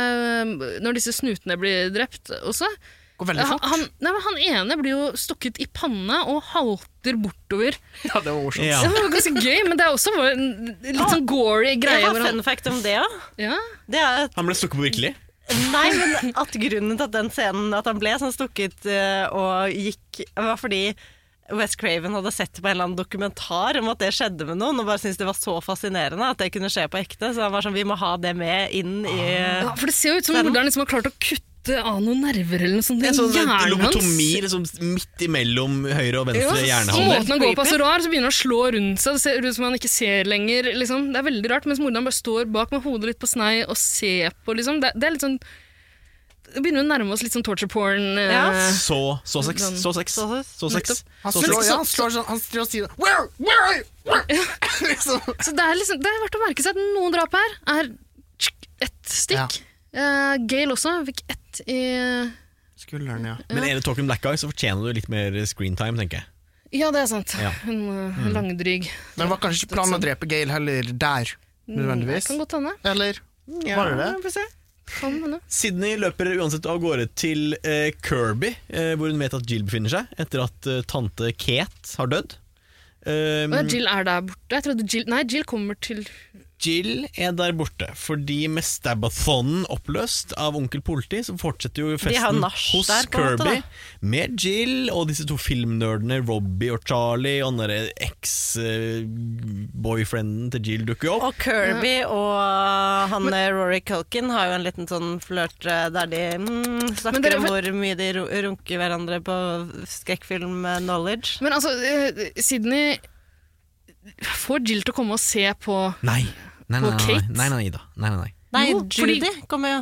eh, når disse snutene blir drept også.
Går veldig fort.
Han, nei, men han ene blir jo stukket i panna og halter bortover.
Ja, det var morsomt.
Det var ganske gøy, men det er også en litt sånn gory greie.
Jeg har
hvor han-
fun fact om det òg.
Ja.
Det er at
Han ble stukket på virkelig.
Nei, men at grunnen til at den scenen At han ble sånn stukket eh, og gikk Var fordi Wes Craven hadde sett på en eller annen dokumentar om at det skjedde med noen, og bare syntes det var så fascinerende at det kunne skje på ekte. Så han var sånn, vi må ha det med inn i
ja, for det ser jo ut som morderen liksom har klart å kutte av noen nerver eller noe sånt.
En sånn
Hjernen hans.
lobotomi altså, liksom, midt imellom høyre og venstre
Ja, Og måten han
hjernehalvdel.
går på er så rar, så begynner han å slå rundt seg. Det ser ut som han ikke ser lenger. Liksom. Det er veldig rart, mens morderen bare står bak med hodet litt på snei og ser på. Liksom. Det, det er litt sånn Det begynner å nærme oss litt sånn torture porn. eh,
Så, så sex,
Sånn.
så sex, så sex.
Han
Så
slår,
sex.
ja, han slår sånn, han står og sier Where, where are you? Liksom.
Så det er, liksom, det er verdt å merke seg at noen drap her er tsk, ett stikk. Eh, Gail også fikk ett i
Skulderen, ja.
Men er det Talking Black Guy, så fortjener du litt mer screentime, tenker jeg.
Ja, det er sant.
Ja.
Hun eh,
Mm.
langdryg.
Men var kanskje ikke planen å drepe Gail heller
Mm,
der, nødvendigvis?
Det kan godt hende.
Eller var det det?
Kan hende.
Mm.
Sydney løper uansett av gårde til eh, Kirby, eh, hvor hun vet at Jill befinner seg, etter at eh, tante Kate har dødd. Um,
Å ja, Jill er der borte. Jeg trodde Jill, nei, Jill kommer til
Jill er der borte, fordi med stabbathonen oppløst av onkel Politi, så fortsetter jo
De har
festen
nach
hos
der, på en måte,
Kirby. med Jill og disse to filmnerdene, Robbie og Charlie, og den derre eks-boyfrienden til Jill dukker opp.
Og Kirby og han eh, Rory Culkin har jo en liten sånn flørt eh, der de mm,
Men
snakker
dere-
om hvor mye de ru- runker hverandre på skrekkfilm-knowledge.
Men altså, eh, Sydney får Jill til å komme og se på
Nei. Nei, nei,
Og
nei,
Kate?
nei, nei, Ida. Nei, nei, nei.
Nei,
Jo, fordi-
Judy kommer jo.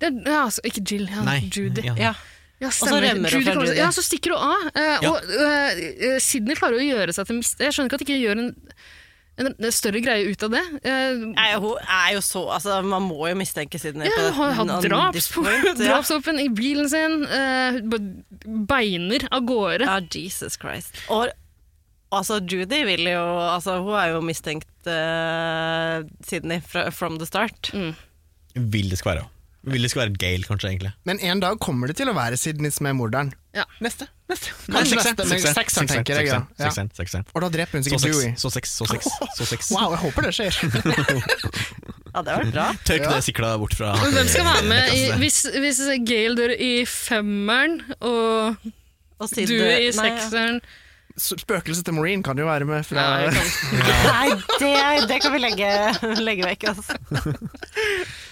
det, ja, altså, Ikke Jill, ja,
Nei,
Judy.
ja.
Ja.
Ja,
Og så
stemmer.
rømmer hun
Judy
fra
kommer-
Judy.
Ja, så stikker hun av. eh,
Ja.
Og eh, eh, Sydney klarer å gjøre seg til mist... Jeg skjønner ikke at de ikke gjør en, en, større greie ut av det. Eh,
Nei, hun er jo så altså, Man må jo mistenke Sydney.
Ja,
på
hun har
dette,
hatt
on this
*laughs*
point,
drapsvåpen
ja.
i bilen sin. eh, hun bare beiner av gårde.
Ja, Jesus Christ. Og altså, Judy vil jo altså, Hun er jo mistenkt eh, Sydney fra, from the start.
Vil det skal være Vil det skal være Gail, kanskje, egentlig.
Men en dag kommer det til å være Sydney som er morderen.
Neste. Neste.
Kanskje neste, men sekseren, tenker jeg, ja. Ja.
Sekseren, sekseren.
Og da dreper hun sikkert
så
Dewey.
seks, så seks, så seks,
*laughs*
så seks.
Wow, jeg håper det skjer.
ja, det var bra.
Tørk det sikla bort fra
Men Hvem skal være med
*laughs*
altså.
i, hvis, hvis Gail dør i femmeren og,
Sid
du
dør- nei,
i
ja.
sekseren
Spøkelset til Maureen kan jo være med fra
*laughs* Nei, det, det kan vi legge, legge vekk, altså.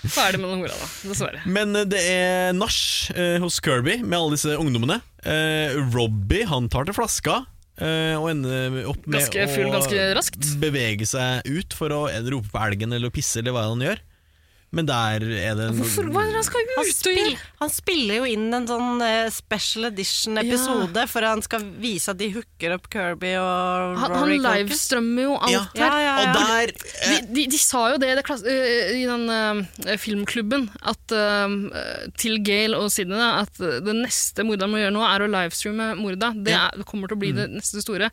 Ferdig med den hora, da. Dessverre.
Men eh, det er nach eh, hos Kirby med alle disse ungdommene. Eh, Robbie han tar til flaska eh, og ender opp med
Ganske full,
å
ganske raskt.
bevege seg ut for å eh, rope på elgen eller pisse eller hva han gjør. Men der er det en
Hvorfor, hva er det han skal
Han,
ut og
spil, han spiller jo inn en sånn eh, special edition-episode,
Ah.
for han skal vise at de hooker opp Kirby og
Han, han
Rory Culkin.
livestrømmer jo alt
Ja.
her.
Ja, ja, ja. Og
de, de, de sa jo det i det klass, øh, i den øh, filmklubben at, øh, til Gail og Sydney da, at
Mm.
øh, det neste morderen må gjøre nå, er å livestreame morda. Det, er, det kommer til å bli det neste store.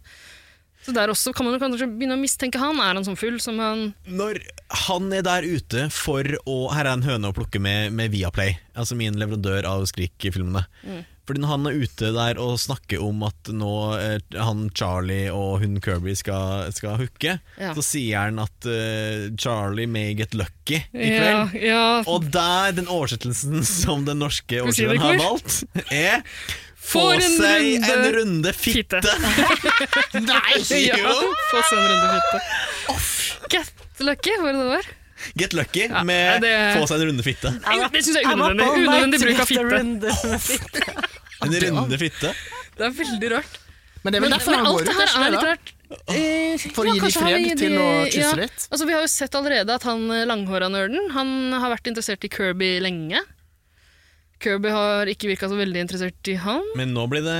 Så der også kan man jo kanskje begynne å mistenke han. Er han sånn full som han
Når han er der ute for å Her er en høne å plukke med, med Viaplay, altså min leverandør av Skrik-filmene.
Mm.
Fordi når han er ute der og snakker om at nå eh, han Charlie og hun Kirby skal, skal hooke,
Ja.
så sier han at eh, Charlie may get lucky i
Ja,
kveld.
ja.
Og der den oversettelsen *laughs* som den norske
vi si det,
oversetteren har
Kurt?
valgt, er Få
For en
seg en
runde
runde fitte! *laughs*
*laughs* Nei! Ja,
Jo.
*laughs* få seg en runde fitte. Get lucky, var det det var?
Get lucky med
det-
få seg en runde fitte.
Det syns jeg er unødvendig. Unødvendig bruk av fitte.
En runde fitte?
Det er veldig rart.
Men det er vel derfor han går
alt det
ut,
her
kanskje,
er
det
litt
da?
rart. Eh,
For å gi de
kanskje han
fred
vil gi
til å kysse
ja.
litt?
Altså, vi har jo sett allerede at han eh, langhåra nerden Han har vært interessert i Kirby lenge. Kirby har ikke virka så veldig interessert i han.
Men nå blir det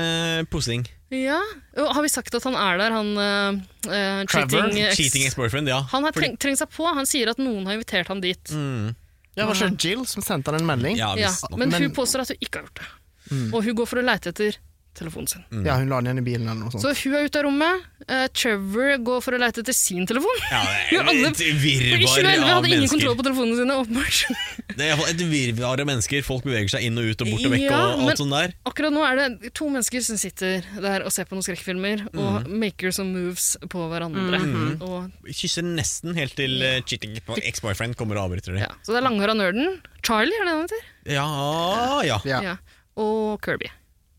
posing.
Ja, og Har vi sagt at han er der, han eh, eh, cheating ex?
Cheating ex-boyfriend, ja.
Han har
Fordi-
treng, trengt seg på. Han sier at noen har invitert han dit.
Mm. Ja, var det Jill som sendte han en melding?
Ja, men hun påstår at hun ikke har gjort det.
Mm.
Og hun går for å leite etter telefonen sin.
Ja, hun la den igjen i bilen eller noe sånt.
Så hun er ute av rommet. eh, Trevor går for å leite etter sin
*laughs*
telefon.
Ja, det er
Alle-
et
For I
virvar
2011
av
hadde ingen
mennesker.
kontroll på telefonene sine, åpenbart. *laughs*
Det er i hvert fall et virvar av mennesker. Folk beveger seg inn og ut og bort og vekk.
Ja,
og
men-
alt sånt der
Akkurat nå er det to mennesker som sitter der og ser på noen skrekkfilmer, og maker some moves på hverandre.
Mhm.
Og,
Kysser nesten helt til eh, cheating på ex-boyfriend kommer og avbryter det. Ja.
så det er langhåra nerden. Charlie, er det han heter?
Ja, ja.
Ja. Og Kirby.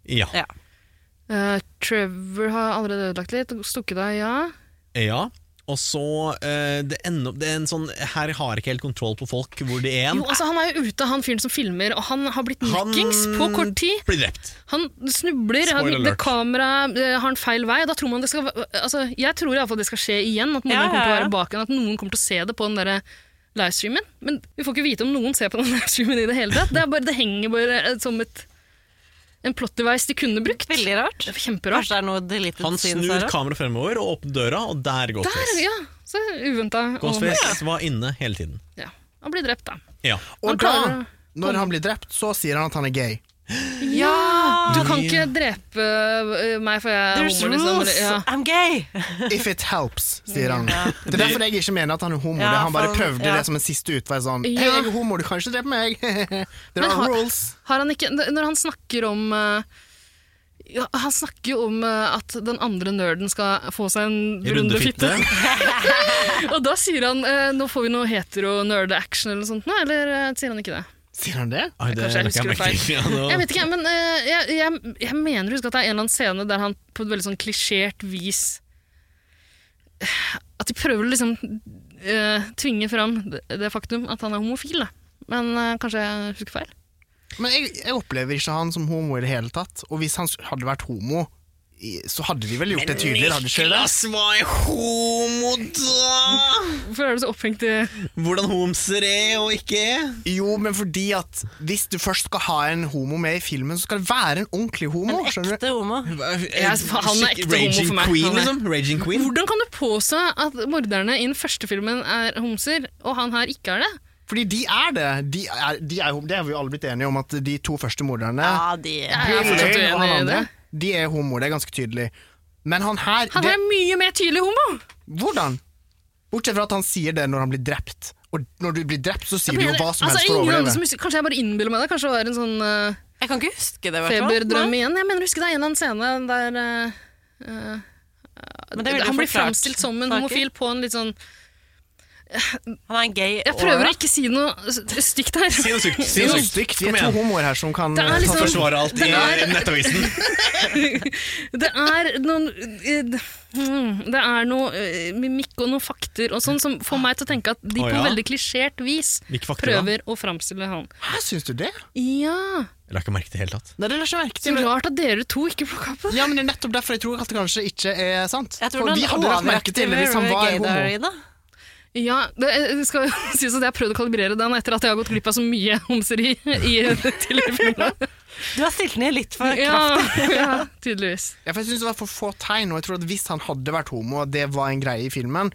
Ja. ja.
Eh, Trevor har allerede ødelagt litt. Stukket av, ja.
Og så eh, det ender opp Det er en sånn Her har jeg ikke helt kontroll på folk hvor de er.
Jo, altså, han er jo ute, han fyren som filmer, og han har blitt
Han
neckings på kort tid.
Blir drept.
Han snubler,
Spoiler
han, det
alert.
kameraet eh, har en feil vei. Da tror man det skal, altså, jeg tror iallfall det skal skje igjen, at noen
Ja, ja,
kommer til å
ja.
være bak han, at noen kommer til å se det på den derre livestreamen. Men vi får ikke vite om noen ser på den *laughs* livestreamen i det hele tatt. Det, er bare, det henger bare eh, som et, en plot-device de kunne brukt. Veldig rart. Kjemperart. Kanskje
det er noe deleted
Han snur kameraet fremover og åpner døra, og der går
Der,
Ghostface.
ja. Så uventa.
Ghostface var inne hele tiden.
Ja. Han blir drept, da.
Ja.
Han
Og
klarer
da,
å-
når han blir drept, så sier han at han er gay.
Ja! Ah, Du kan
Ja.
ikke drepe øh, meg, for jeg er
There's
homo. Liksom.
rules.
eller- Ja.
I'm gay!
If it helps, sier han.
Ja.
Det er derfor jeg ikke mener at han er homo.
Ja,
det er han bare
for-
prøvde
ja.
det som en siste utvei. Sånn,
Ja.
hey, jeg er homo, du kan ikke drepe meg. *laughs* There
Men
are
har,
rules.
har han ikke, når han snakker om øh, ja, Han snakker jo om øh, at den andre nerden skal få seg en runde fitte. *laughs* og da sier han øh, nå får vi noe hetero-nerde-action eller noe sånt. Nå, eller øh, sier han ikke det?
Sier han det?
Oi, det
Kanskje jeg
rakk
husker det
merke
feil.
til. Ja, nå-
Jeg vet ikke, men øh, jeg, jeg, jeg mener å huske at det er en eller annen scene der han på et veldig sånn klisjert vis At de prøver å liksom øh, tvinge fram det, det faktum at han er homofil. Da. Men øh, kanskje jeg husker feil.
Men jeg, jeg opplever ikke han som homo i det hele tatt. Og hvis han s- hadde vært homo, i- så hadde de vel gjort det tydeligere. Hadde de ikke det?
var homo, da!
Hvorfor er du så opphengt i
Hvordan homser er og ikke er?
Jo, men fordi at hvis du først skal ha en homo med i filmen, så skal det være en ordentlig homo. En ekte
homo.
han er ekte homo
Raging
for meg. Han
Queen,
er-
liksom. Raging Queen.
Hvordan kan du påstå at morderne i den første filmen er homser, og han her ikke er det?
Fordi de er det. De er, de er, det har vi jo alle blitt enige om, at de to første morderne
Ja, de er-
Jeg er fortsatt
Bill Lane og han
uenig i
andre,
det.
De er homo, det er ganske tydelig. Men han her
Han
det,
er mye mer tydelig homo!
Hvordan? Bortsett fra at han sier det når han blir drept. Og når du blir drept, så sier du jo hva som
Altså,
helst for å
ingen andre som
overleve.
husker- Kanskje jeg bare innbiller meg det? Kanskje det var en sånn eh,
Jeg kan ikke huske det. i hvert fall.
feberdrøm
Nei.
igjen? Jeg mener, husker det er en eller annen scene der eh, eh,
Men det ville
Han blir
forklart
fremstilt som en
saker.
homofil på en litt sånn
Han er en gay
Jeg prøver
aura.
å ikke si noe s- stygt her.
Si noe stygt.
Det er jo stygt. Vi er to homoer her som kan
Det er
eh,
liksom-
Forsvare alt i
Det er-
Nettavisen.
Det er noen eh, mm, Det er noe eh, mimikk og noen fakter og sånn som får meg til å tenke at de
Å,
på
ja.
veldig klisjert vis
Hvilke fakter da?
prøver å framstille han.
Hæ, syns du det?
Ja
Jeg la ikke merke til det i det hele tatt.
Nei, det er ikke merke
Så rart at dere to ikke plukka opp det.
Ja, men det er nettopp derfor jeg tror at det kanskje ikke er sant.
Jeg tror
For
den
de hadde lagt merke til det hvis han var
overactiver gay der,
homo.
Ida.
Ja, det, eh, det skal *laughs* jo sies at jeg har prøvd å kalibrere den etter at jeg har gått glipp av så mye homseri i *laughs* tidligere filmer.
Du har stilt ned litt for
Ja,
kraftig.
ja, tydeligvis.
Ja, for jeg synes det var for få tegn, og jeg tror at hvis han hadde vært homo, og det var en greie i filmen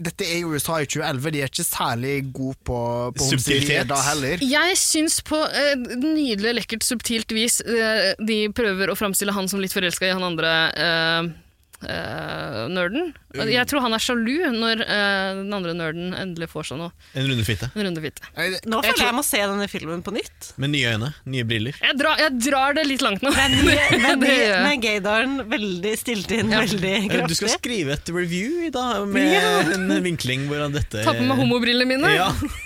Dette er jo USA i 2011, de er ikke særlig gode på, på homofilier
Subtilitet.
da heller.
Jeg syns på eh, nydelig, lekkert, subtilt vis eh, de prøver å framstille han som litt forelska i han andre eh, eh, nerden.
Mm.
Og Jeg tror han er sjalu når eh, den andre nerden endelig får seg noe.
En runde fitte.
En runde fitte.
Nå føler jeg jeg må se denne filmen på nytt.
Med nye øyne, nye briller.
Jeg drar, jeg drar det litt langt nå.
*laughs* Men, men
Det
de,
gjør jeg.
med gaydaren veldig stilt inn, veldig
Eh, Du
kraftig.
skal skrive et review i dag med
Ja.
en vinkling hvordan dette
Ta på meg homobrillene mine.
Eh,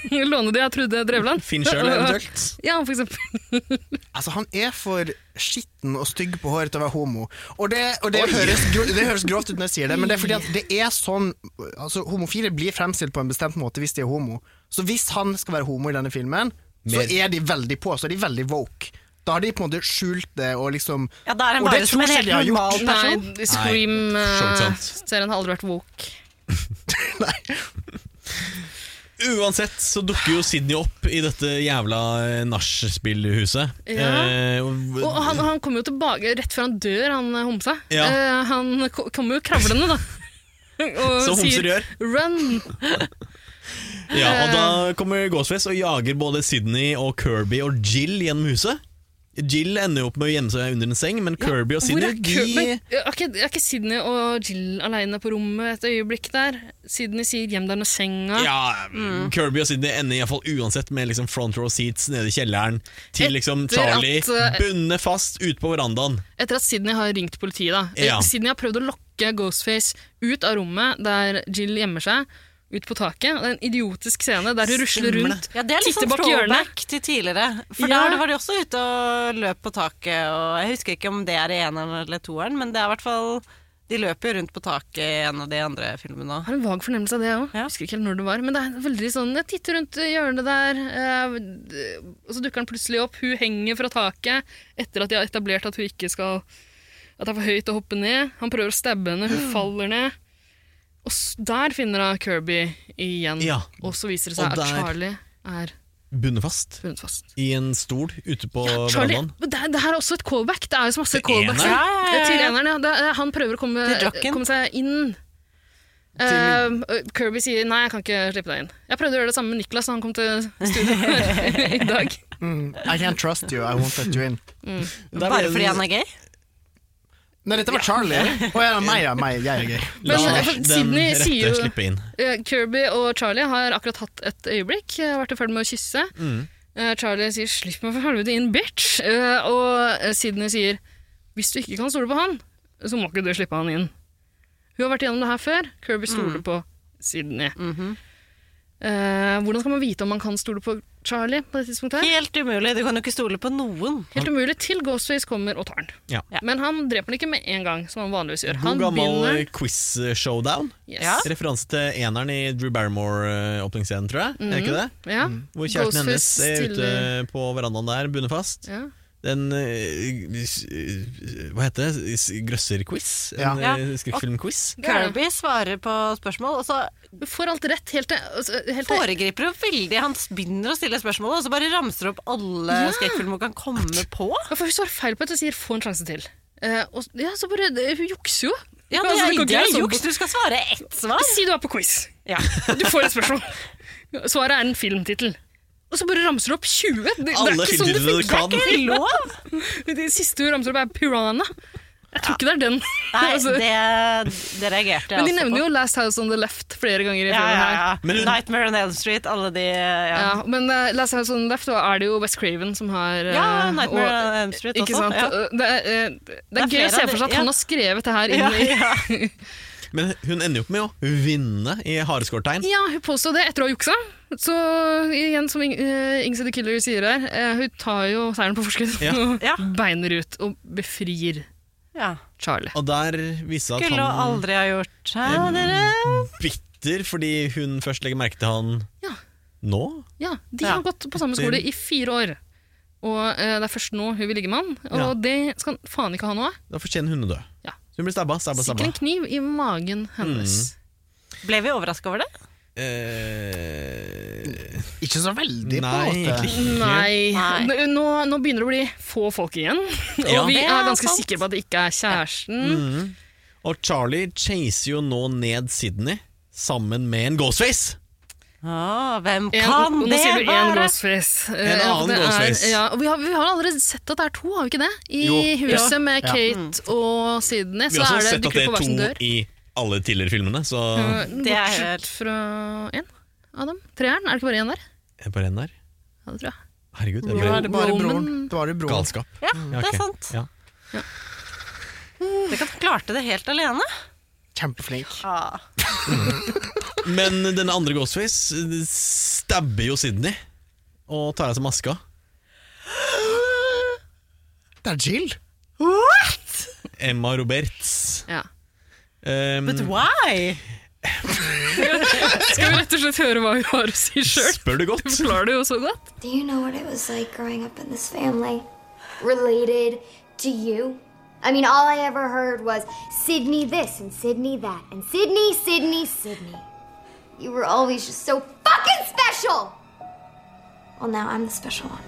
Ja.
Låne de *laughs* jeg trodde jeg drevland.
Finn selv, eventuelt.
*laughs* Ja, for eksempel.
Altså, han er for skitten og stygg på håret til å være homo. Og det, og det, høres, gro det høres grovt ut når jeg sier det, men det er fordi at det er sånn altså, Homofile blir fremstilt på en bestemt måte hvis de er homo. Så hvis han skal være homo i denne filmen, så
Mer.
er de veldig på, så er de veldig woke. Da har de på en måte skjult det og liksom
Ja, da er han
og det
bare som
tror
en
jeg
helt
de har
normal
gjort.
Nei,
skjønt sant.
Scream-serien har aldri vært woke.
Uansett så dukker jo Sydney opp i dette jævla eh, nachspielhuset.
Ja.
Eh,
Og han, han kommer jo tilbake rett før han dør, han eh, homsa.
Ja.
Eh, han ko- kommer jo kravlende, da.
*laughs*
Og
Som homser
sier,
gjør.
Run!
ja, og da
eh,
kommer Ghostface og jager både Sydney og Kirby og Jill gjennom huset. Jill ender jo opp med å gjemme seg under en seng, men Kirby og
Hvor
Sydney
er Kirby?
de
Er ikke, er ikke Sydney og Jill aleine på rommet et øyeblikk der? Sydney sier 'gjem deg under senga'.
ja,
Mm.
Kirby og Sydney ender i hvert fall uansett med liksom front row seats nede i kjelleren til liksom
Etter
Charlie
at, eh,
bundet fast ute på verandaen.
Etter at Sydney har ringt politiet, da. Eh,
Ja.
Sydney har prøvd å lokke Ghostface ut av rommet der Jill gjemmer seg, ut på taket. Det er en idiotisk scene der hun rusler rundt,
Ja, det er litt
titter
sånn
bak hjørnet.
throwback til tidligere. For
Ja.
da var de også ute og løp på taket, og jeg husker ikke om det er i eneren eller toeren, men det er i hvert fall De løper jo rundt på taket i en av de andre filmene òg.
Har en vag fornemmelse av det òg. Husker ikke helt når det var. Men det er veldig sånn Jeg titter rundt hjørnet der, eh, d- og så dukker han plutselig opp. Hun henger fra taket etter at de har etablert at hun ikke skal At det er for høyt å hoppe ned. Han prøver å stabbe henne, hun faller ned. Og s- der finner hun Kirby igjen.
Ja.
Og så viser det seg
Og
at
der-
Charlie er
Bundet fast. I en stol ute på
Charlie,
verandaen.
det, er- det her er også et callback. Det er jo så masse callbacks
eneren?
her.
Ja, ja, ja, ja.
til eneren. Ja. Det er, han prøver å komme,
Til Jocken.
komme seg inn. Eh, Kirby sier 'nei, jeg kan ikke slippe deg inn'. Jeg prøvde å gjøre det samme med Niklas da han kom til studio
*laughs*
her i dag.
Mm, I can't trust you, I won't let you in.
Mm.
Bare fordi han er gay?
Nei, dette var Charlie. Å ja, meg, ja, meg, jeg er gay.
Men, La eh, for den Sydney rette sier jo- slippe
inn.
Eh, Kirby og Charlie har akkurat hatt et øyeblikk. Jeg har vært i ferd med å kysse.
Mm.
Eh, Charlie sier 'slipp meg for helvete inn, bitch'. Eh, og eh, Sydney sier 'hvis du ikke kan stole på han, så må ikke du slippe han inn'. Hun har vært igjennom det her før. Kirby stoler
Mm.
på Sydney.
Mhm.
Eh, hvordan skal man vite om man kan stole på Charlie på det tidspunktet? her?
Helt umulig. Du kan jo ikke stole på noen.
Helt umulig til Ghostface kommer og tar den.
Ja.
Men han dreper den ikke med en gang, som han vanligvis gjør. Han
God gammel
binder
eh, quiz-showdown.
Yes. Ja.
Referanse til eneren i Drew Barrymore-åpningsscenen, tror jeg. Er det ikke det?
Mhm. Ja.
Mm.
Hvor kjæresten hennes
Ghostface
er ute
stiller-
på verandaen der, bundet fast.
Ja.
Den eh, s- eh, Hva heter det? S- Grøsser-quiz? En
Ja.
eh, skrekkfilm-quiz?
Kirby svarer på spørsmål, og så
får alt rett helt til
Foregriper jo veldig. Han begynner å stille spørsmål, og så bare ramser opp alle
Ja.
skrekkfilmer hun kan komme på.
Ja, for hun svarer feil på et og sier 'få en sjanse til'. Eh, og, ja, så bare, det- Hun jukser jo.
Ja, det er,
Altså, kan
det er
ikke være sånn
juks. Du
på-
skal svare ett svar.
Si du er på quiz. Du får et spørsmål. Svaret er en filmtittel. Og så bare ramser du opp 20. Det, det er
Alle
ikke sånn det
filmtitlene
funker.
du kan.
Det er ikke lov. *laughs* Det siste hun ramser opp, er 'Piranha'. Jeg tror ikke det er den.
Nei,
*laughs* Altså,
det, det reagerte jeg
men de
også
nevner
på.
jo 'Last House on the Left' flere ganger i
ja,
filmen
ja,
her.
ja. Nightmare on Elm Street, alle de ja.
Ja, men eh, Last House on the Left da er det jo Wes Craven som har eh,
Ja, Nightmare
og-
on Elm Street
ikke
også,
Sant?
ja.
Og Det, er, eh, det, er
Det er
gøy
flere
å se
av
for
de-
seg at han
ja.
har skrevet det her inn
*laughs* Ja,
i *laughs*
Men hun ender jo opp med å vinne i hareskårtegn.
Ja, hun påstår det etter å ha juksa. Så igjen, som Ing- eh, Ingse the Killer sier her, eh, hun tar jo seieren på forskudd
Ja.
og beiner ut og befrir
Ja.
Charlie.
Og der viser det at
Skulle
han
hun aldri ha gjort Hæ,
Eh,
dere?
bitter fordi hun først legger merke til han nå.
Ja, De
Ja.
har gått på samme skole i fire år, og eh, det er først nå hun vil ligge med han. Og
Ja.
det skal han faen ikke ha noe av.
Da fortjener hun å dø. Så hun blir stabba, stabba,
Stikker
stabba.
en kniv i magen hennes.
Ble vi overraska over det?
Ikke så veldig,
Eh, Nei, egentlig ikke.
Nei. N- Nå, nå begynner det å bli få folk
*laughs*
igjen, og
Ja.
vi
Det
er
er
ganske
sant.
sikre på at det ikke er kjæresten.
Mm.
Mhm. Og Charlie chaser jo nå ned Sydney sammen med en Ghostface.
Å, hvem
En-
kan
nå
det
sier du en
være?
gåsfjes. Eh,
En
ja,
annen
det er-
gåsfjes.
Ja, og vi, har, vi har allerede sett at det er to, har vi ikke det? I
Jo.
huset
Ja.
med
Ja.
Kate
Mm.
og Sydney.
Vi
Så
har
er
også
det
sett at det
dukker på
er
hver sin
to
dør.
i alle tidligere filmene, så
Eh,
Det er
Bortsett fra én av dem. Treeren. Er det ikke bare én der?
Er det bare en der?
Ja, det tror jeg.
Herregud,
Ro-
bare-
er det bare Roman- broren?
Det var jo broren.
Galskap.
Ja, det
ok.
er sant.
Ja.
Tenk at han klarte det helt alene.
Kjempeflink.
Ah.
Men denne andre Ghostface eh, stabber jo Sydney og tar av seg maska.
*gasps* Det er Jill.
What?
Emma Roberts.
Ja.
Um,
But why?
Skal vi *laughs* rett og slett høre hva hun har å si sjøl?
Spør
*laughs*
du godt?
Forklarer det jo så godt.
Do you know what it was like growing up in this family? Related to you? I mean, all I ever heard was Sydney this and Sydney that and Sydney, Sydney, Sydney. You were always just so fucking special! Well, now I'm the special one.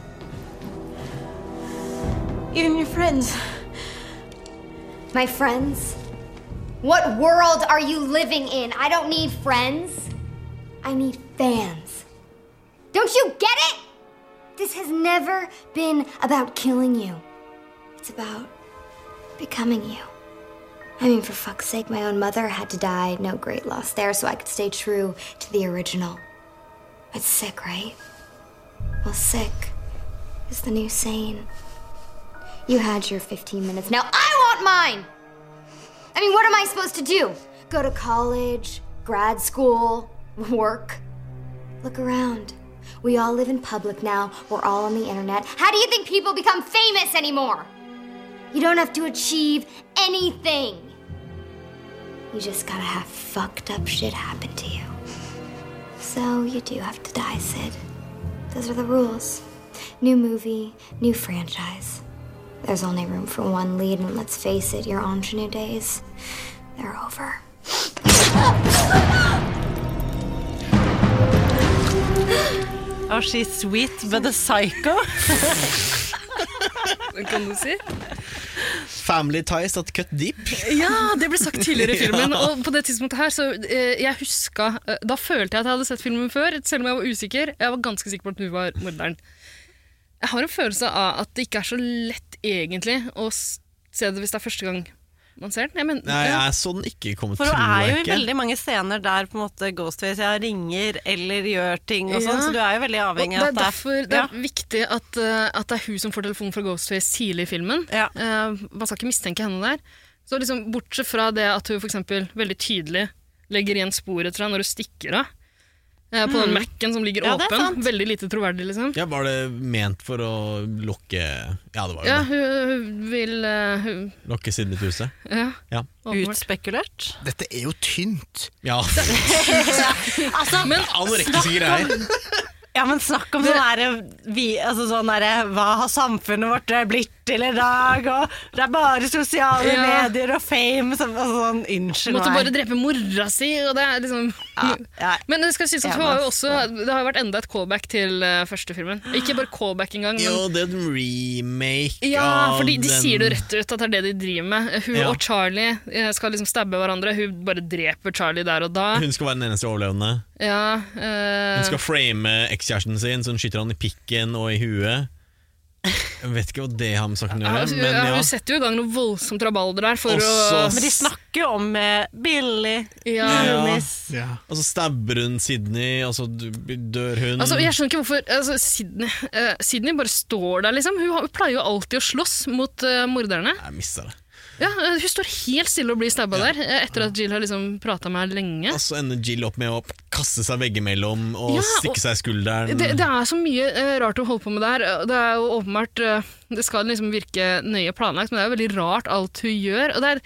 Even your friends.
My friends? What world are you living in? I don't need friends. I need fans. Don't you get it? This has never been about killing you. It's about becoming you. I mean, for fuck's sake, my own mother had to die. No great loss there, so I could stay true to the original. It's sick, right? Well, sick is the new sane. You had your 15 minutes. Now I want mine! I mean, what am I supposed to do? Go to college, grad school, work? Look around. We all live in public now. We're all on the internet. How do you think people become famous anymore? You don't have to achieve anything.
You just gotta have fucked up shit happen to you.
So you do have to die, Sid. Those are the rules. New movie, new franchise. There's only room for one lead, and let's face it, your ingenue days, they're over.
Oh, she's sweet, but a psycho.
Kan du si?
Family ties that cut deep.
Ja, det ble sagt tidligere i filmen.
Ja.
Og på det tidspunktet her, så eh, jeg huska eh, Da følte jeg at jeg hadde sett filmen før, selv om jeg var usikker. Jeg var ganske sikker på at du var morderen. Jeg har en følelse av at det ikke er så lett, egentlig, å s- se det hvis det er første gang man ser den. Jeg mener,
Nei,
ja.
jeg så den ikke komme,
For
tror
hun er jo
jeg
i
ikke.
veldig mange scener der på en måte Ghostface ja, ringer eller gjør ting og sånn,
Ja.
så du er jo veldig avhengig
Og
av at
det er
det
derfor det er viktig at, eh, at det er hun som får telefonen fra Ghostface tidlig i filmen. Eh, man skal ikke mistenke henne der. Så liksom, Bortsett fra det at hun for eksempel veldig tydelig legger igjen sporet etter deg når hun stikker av. eh, på den
Mm.
Mac-en som ligger
Ja, det er sant.
åpen. Veldig lite troverdig, liksom.
Ja, Var det ment for å lokke Ja, det var jo
Ja,
det.
hun, hun vil eh, hun,
Lokke Sydney til huset.
Ja.
Ja.
Utspekulert.
Dette er jo tynt.
*laughs*
Ja.
altså,
men,
Anorektiske greier.
Ja, men snakk om sånn derre vi- altså sånn derre, Hva har samfunnet vårt blitt til i dag? Og det er bare sosiale
Ja.
medier og fame som altså, sånn, Unnskyld
Måtte
meg.
bare drepe mora si, og det er liksom Men det er skal sies at
Ja,
hun har jo
men-
også Det har jo vært enda et callback til eh, første filmen. Ikke bare callback engang, men
*laughs* Jo, det er en remake
Ja,
av
for de, de
den
sier det jo rett ut at det er det de driver med. Hun
Ja.
og Charlie eh, skal liksom stabbe hverandre. Hun bare dreper Charlie der og da.
Hun skal være den eneste overlevende.
Ja, eh,
Hun skal frame ekskjæresten sin, så hun skyter han i pikken og i huet. Jeg vet ikke hva det har med saken å
ja,
gjøre,
hun,
men
ja,
ja.
hun setter jo i gang noe voldsomt rabalder der for
Også-
å
Men de
snakker jo om eh, Billy.
Ja.
Ja. Og så stabber hun Sydney, og så dør hun.
Altså, jeg skjønner ikke hvorfor altså, Sydney, eh, Sydney bare står der, liksom. Hun, har- hun pleier jo alltid å slåss mot eh, morderne.
Jeg mista det.
Ja, eh, hun står helt stille og blir stabba der eh, etter at Jill har liksom prata med henne lenge.
Og så ender Jill opp med å kaste seg veggimellom og
Ja, og-
stikke seg i skulderen.
Det, det er så mye eh, rart hun holder på med der. og Det er jo åpenbart eh, Det skal liksom virke nøye planlagt, men det er jo veldig rart alt hun gjør. Og det er,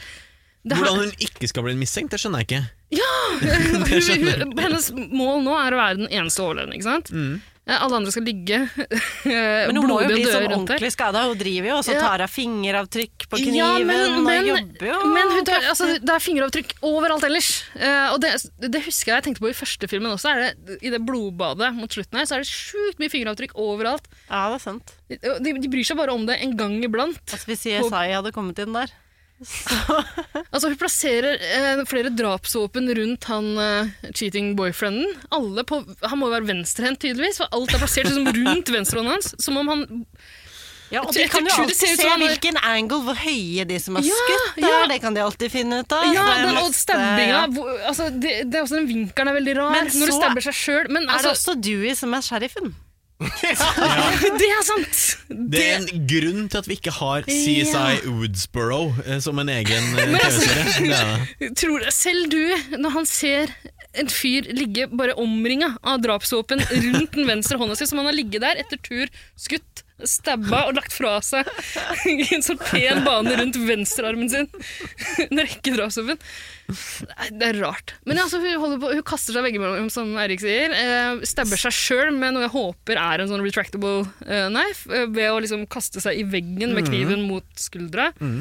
det her-
Hvordan hun ikke skal bli mistenkt, det skjønner jeg ikke.
Ja! hun,
*laughs* Det skjønner jeg.
hun, hennes mål nå er å være den eneste overlevende, ikke sant? Eh, Alle andre skal ligge *laughs* eh,
Men hun må jo
blodig og
bli
dø
sånn
rundt der.
ordentlig skada. Hun driver jo og så
Ja.
tar av fingeravtrykk på kniven
Ja, men, men,
og jobber jo.
men hun tar, altså, det er fingeravtrykk overalt ellers. Eh, og det, det husker jeg jeg tenkte på i første filmen også. Er det, I det blodbadet mot slutten her, så er det sjukt mye fingeravtrykk overalt.
Ja, det er sant. Altså,
De, de bryr seg bare om det en gang iblant.
Hvis CSI hadde kommet inn der.
Altså, hun plasserer eh, flere drapsvåpen rundt han eh, cheating boyfrienden. Alle på, han må jo være venstrehendt, tydeligvis, for alt er plassert liksom, rundt venstrehånden hans. Som om han
Ja, og
Etter-
de kan jo
etter- det
alltid
ser ut
se
som han har-
hvilken angle, hvor høye de som har
Ja,
skutt er.
ja.
Det kan de alltid finne ut av.
Ja,
Det er
den, og
masse-
stabbinga.
ja.
hvor- Altså, det, det er også den vinkelen er veldig rar.
Men
når du
så
stabber seg sjøl. Men
er det
altså,
også Dewey som er sheriffen.
det er sant!
Det er en grunn til at vi ikke har CSI Woodsboro eh, som en egen
*laughs*
eh,
Men altså-
TV-serie. Det er det.
Tror, selv du, når han ser en fyr ligge bare omringa av drapsvåpen rundt den venstre hånda si, som han har ligget der etter tur, skutt, stabba og lagt fra seg i en sånn pen bane rundt venstrearmen sin. En rekke drapsvåpen. Nei, Det er rart. Men altså, hun, holder på, hun kaster seg veggimellom, som sånn Eirik sier. Eh, stabber seg sjøl med noe jeg håper er en sånn retractable eh, knife, eh, ved å liksom kaste seg i veggen med
Mhm.
kniven mot skuldra.
Mm.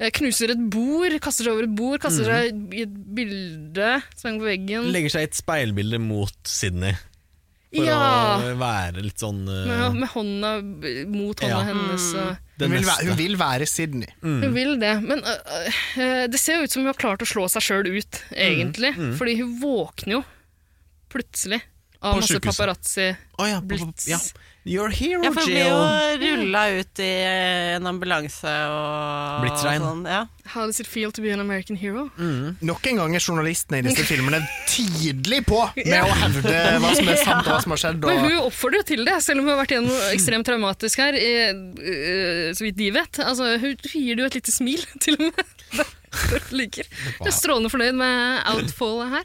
Eh, Knuser et bord, kaster seg over et bord, kaster
Mhm.
seg i et bilde som henger på veggen.
Legger seg i et speilbilde mot Sydney. For
Ja.
å være litt sånn eh,
med, med hånda b- mot hånda
Ja.
hennes.
Mm.
eh, Og,
det
Hun vil,
neste.
være, hun vil være Sydney.
Hun vil det, men øh, øh, det ser jo ut som hun har klart å slå seg sjøl ut, egentlig.
Mhm.
Fordi hun våkner jo plutselig av
På
masse
sykehuset.
paparazzi-blits.
ja. You're a hero,
Ja, for hun blir
Jill.
jo rulla ut i en ambulanse og
Blitzregn.
sånn. Ja.
How does it feel to be an American hero?
Nok en gang er journalistene i disse filmene tidlig på
*laughs*
med
Ja.
å hevde hva som er sant og hva som har skjedd.
Men
Og
hun oppfordrer jo til det, selv om hun har vært igjennom noe ekstremt traumatisk her. eh, eh, så vidt de vet. Altså, hun gir det jo et lite smil, *laughs* til og med. Det liker. Hun er strålende fornøyd med outfallet her.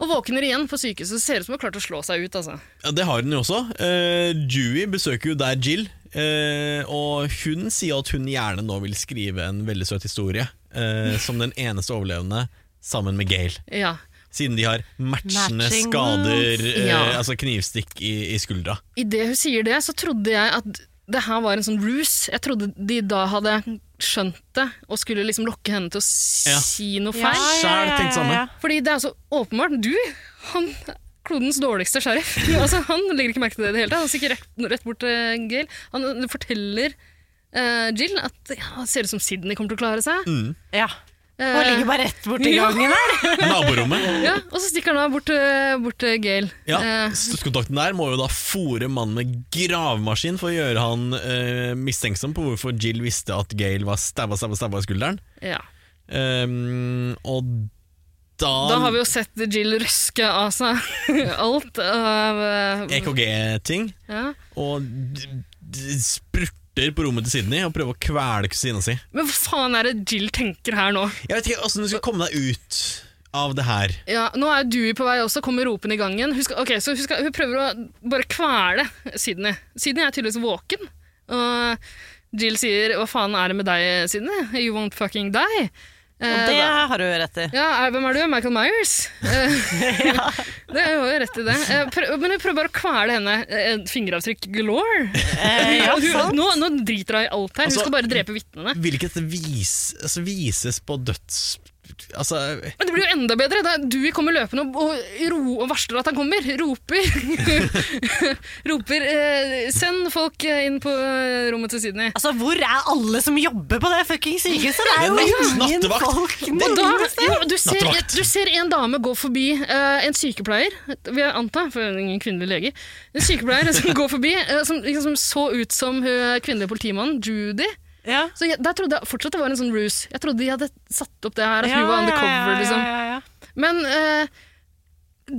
Og våkner igjen på sykehuset. Det Ser ut som hun har klart å slå seg ut. altså.
Ja, det har hun jo også. Eh, Dewey besøker jo der Jill, eh, og hun sier at hun gjerne nå vil skrive en veldig søt historie
*laughs*
eh, som den eneste overlevende sammen med Gail.
Ja.
Siden de har matchende
Matching
skader,
wounds.
eh,
Ja.
altså knivstikk i, i skuldra.
Idet hun sier det, så trodde jeg at det her var en sånn ruse. Jeg trodde de da hadde skjønt det og skulle liksom lokke henne til å
Ja.
si noe
Ja,
feil.
ja, ja, Selv tenkte samme. ja, ja.
Fordi det er så åpenbart. Du, han klodens dårligste sheriff. altså, han legger ikke merke til det i det hele tatt. Han stikker rett, rett bort til Gail. Han eh, forteller eh, Jill at ja, det ser ut som Sydney kommer til å klare seg.
Mm.
Ja.
Eh,
Hun ligger bare rett borti
ja.
gangen her.
Naborommet.
Ja, og så stikker han da bort, eh, bort til Gail.
Ja,
*laughs* Eh,
Støttekontakten der må jo da fòre mannen med gravemaskin for å gjøre han eh, mistenksom på hvorfor Jill visste at Gail var stabba, stabba, stabba i skulderen.
ja.
Ehm, og da,
Da har vi jo sett Jill røske av seg *laughs* alt av eh,
EKG-ting.
Ja.
Og d- d- spurter på rommet til Sydney og prøver å kvele kusina si.
Men hva faen er det Jill tenker her nå?
Jeg vet ikke åssen du skal komme deg ut av det her.
Ja, nå er Dewey på vei også, kommer ropen i gangen. Hun, skal, ok, så hun, skal, hun prøver å bare kvele Sydney. Sydney er tydeligvis våken. Og Jill sier 'hva faen er det med deg, Sydney? You won't fucking die'. Eh,
Og det har hun rett i.
Ja, er- Hvem er du? Michael Myers? Eh, det er jo rett i det. Eh, prøv, men hun prøver bare å kvele henne. Eh, Fingeravtrykk galore.
Eh, ja,
Og hun,
sant.
nå, nå driter hun i alt her. Hun
Altså,
skal bare drepe vitnene.
Vil ikke dette vis, altså, vises på døds... Altså
Men det blir jo enda bedre da Dewey kommer løpende og, og, ro, og varsler at han kommer. Roper. roper eh, Send folk eh, inn på eh, rommet til Sydney.
Altså, hvor er alle som jobber på det fuckings sykehuset? Det er jo
Ja.
ingen folk
Og da,
noe sted.
jo, du, ser, du ser en dame gå forbi eh, en sykepleier, vil jeg anta, for hun er ingen kvinnelig lege. En sykepleier som går forbi, eh, som liksom så ut som hun kvinnelige politimannen, Judy. Så jeg, der trodde jeg fortsatt det var en sånn ruse. Jeg trodde de hadde satt opp det her, at
Ja,
hun var
ja,
undercover,
ja, ja,
liksom.
ja, ja.
Men eh,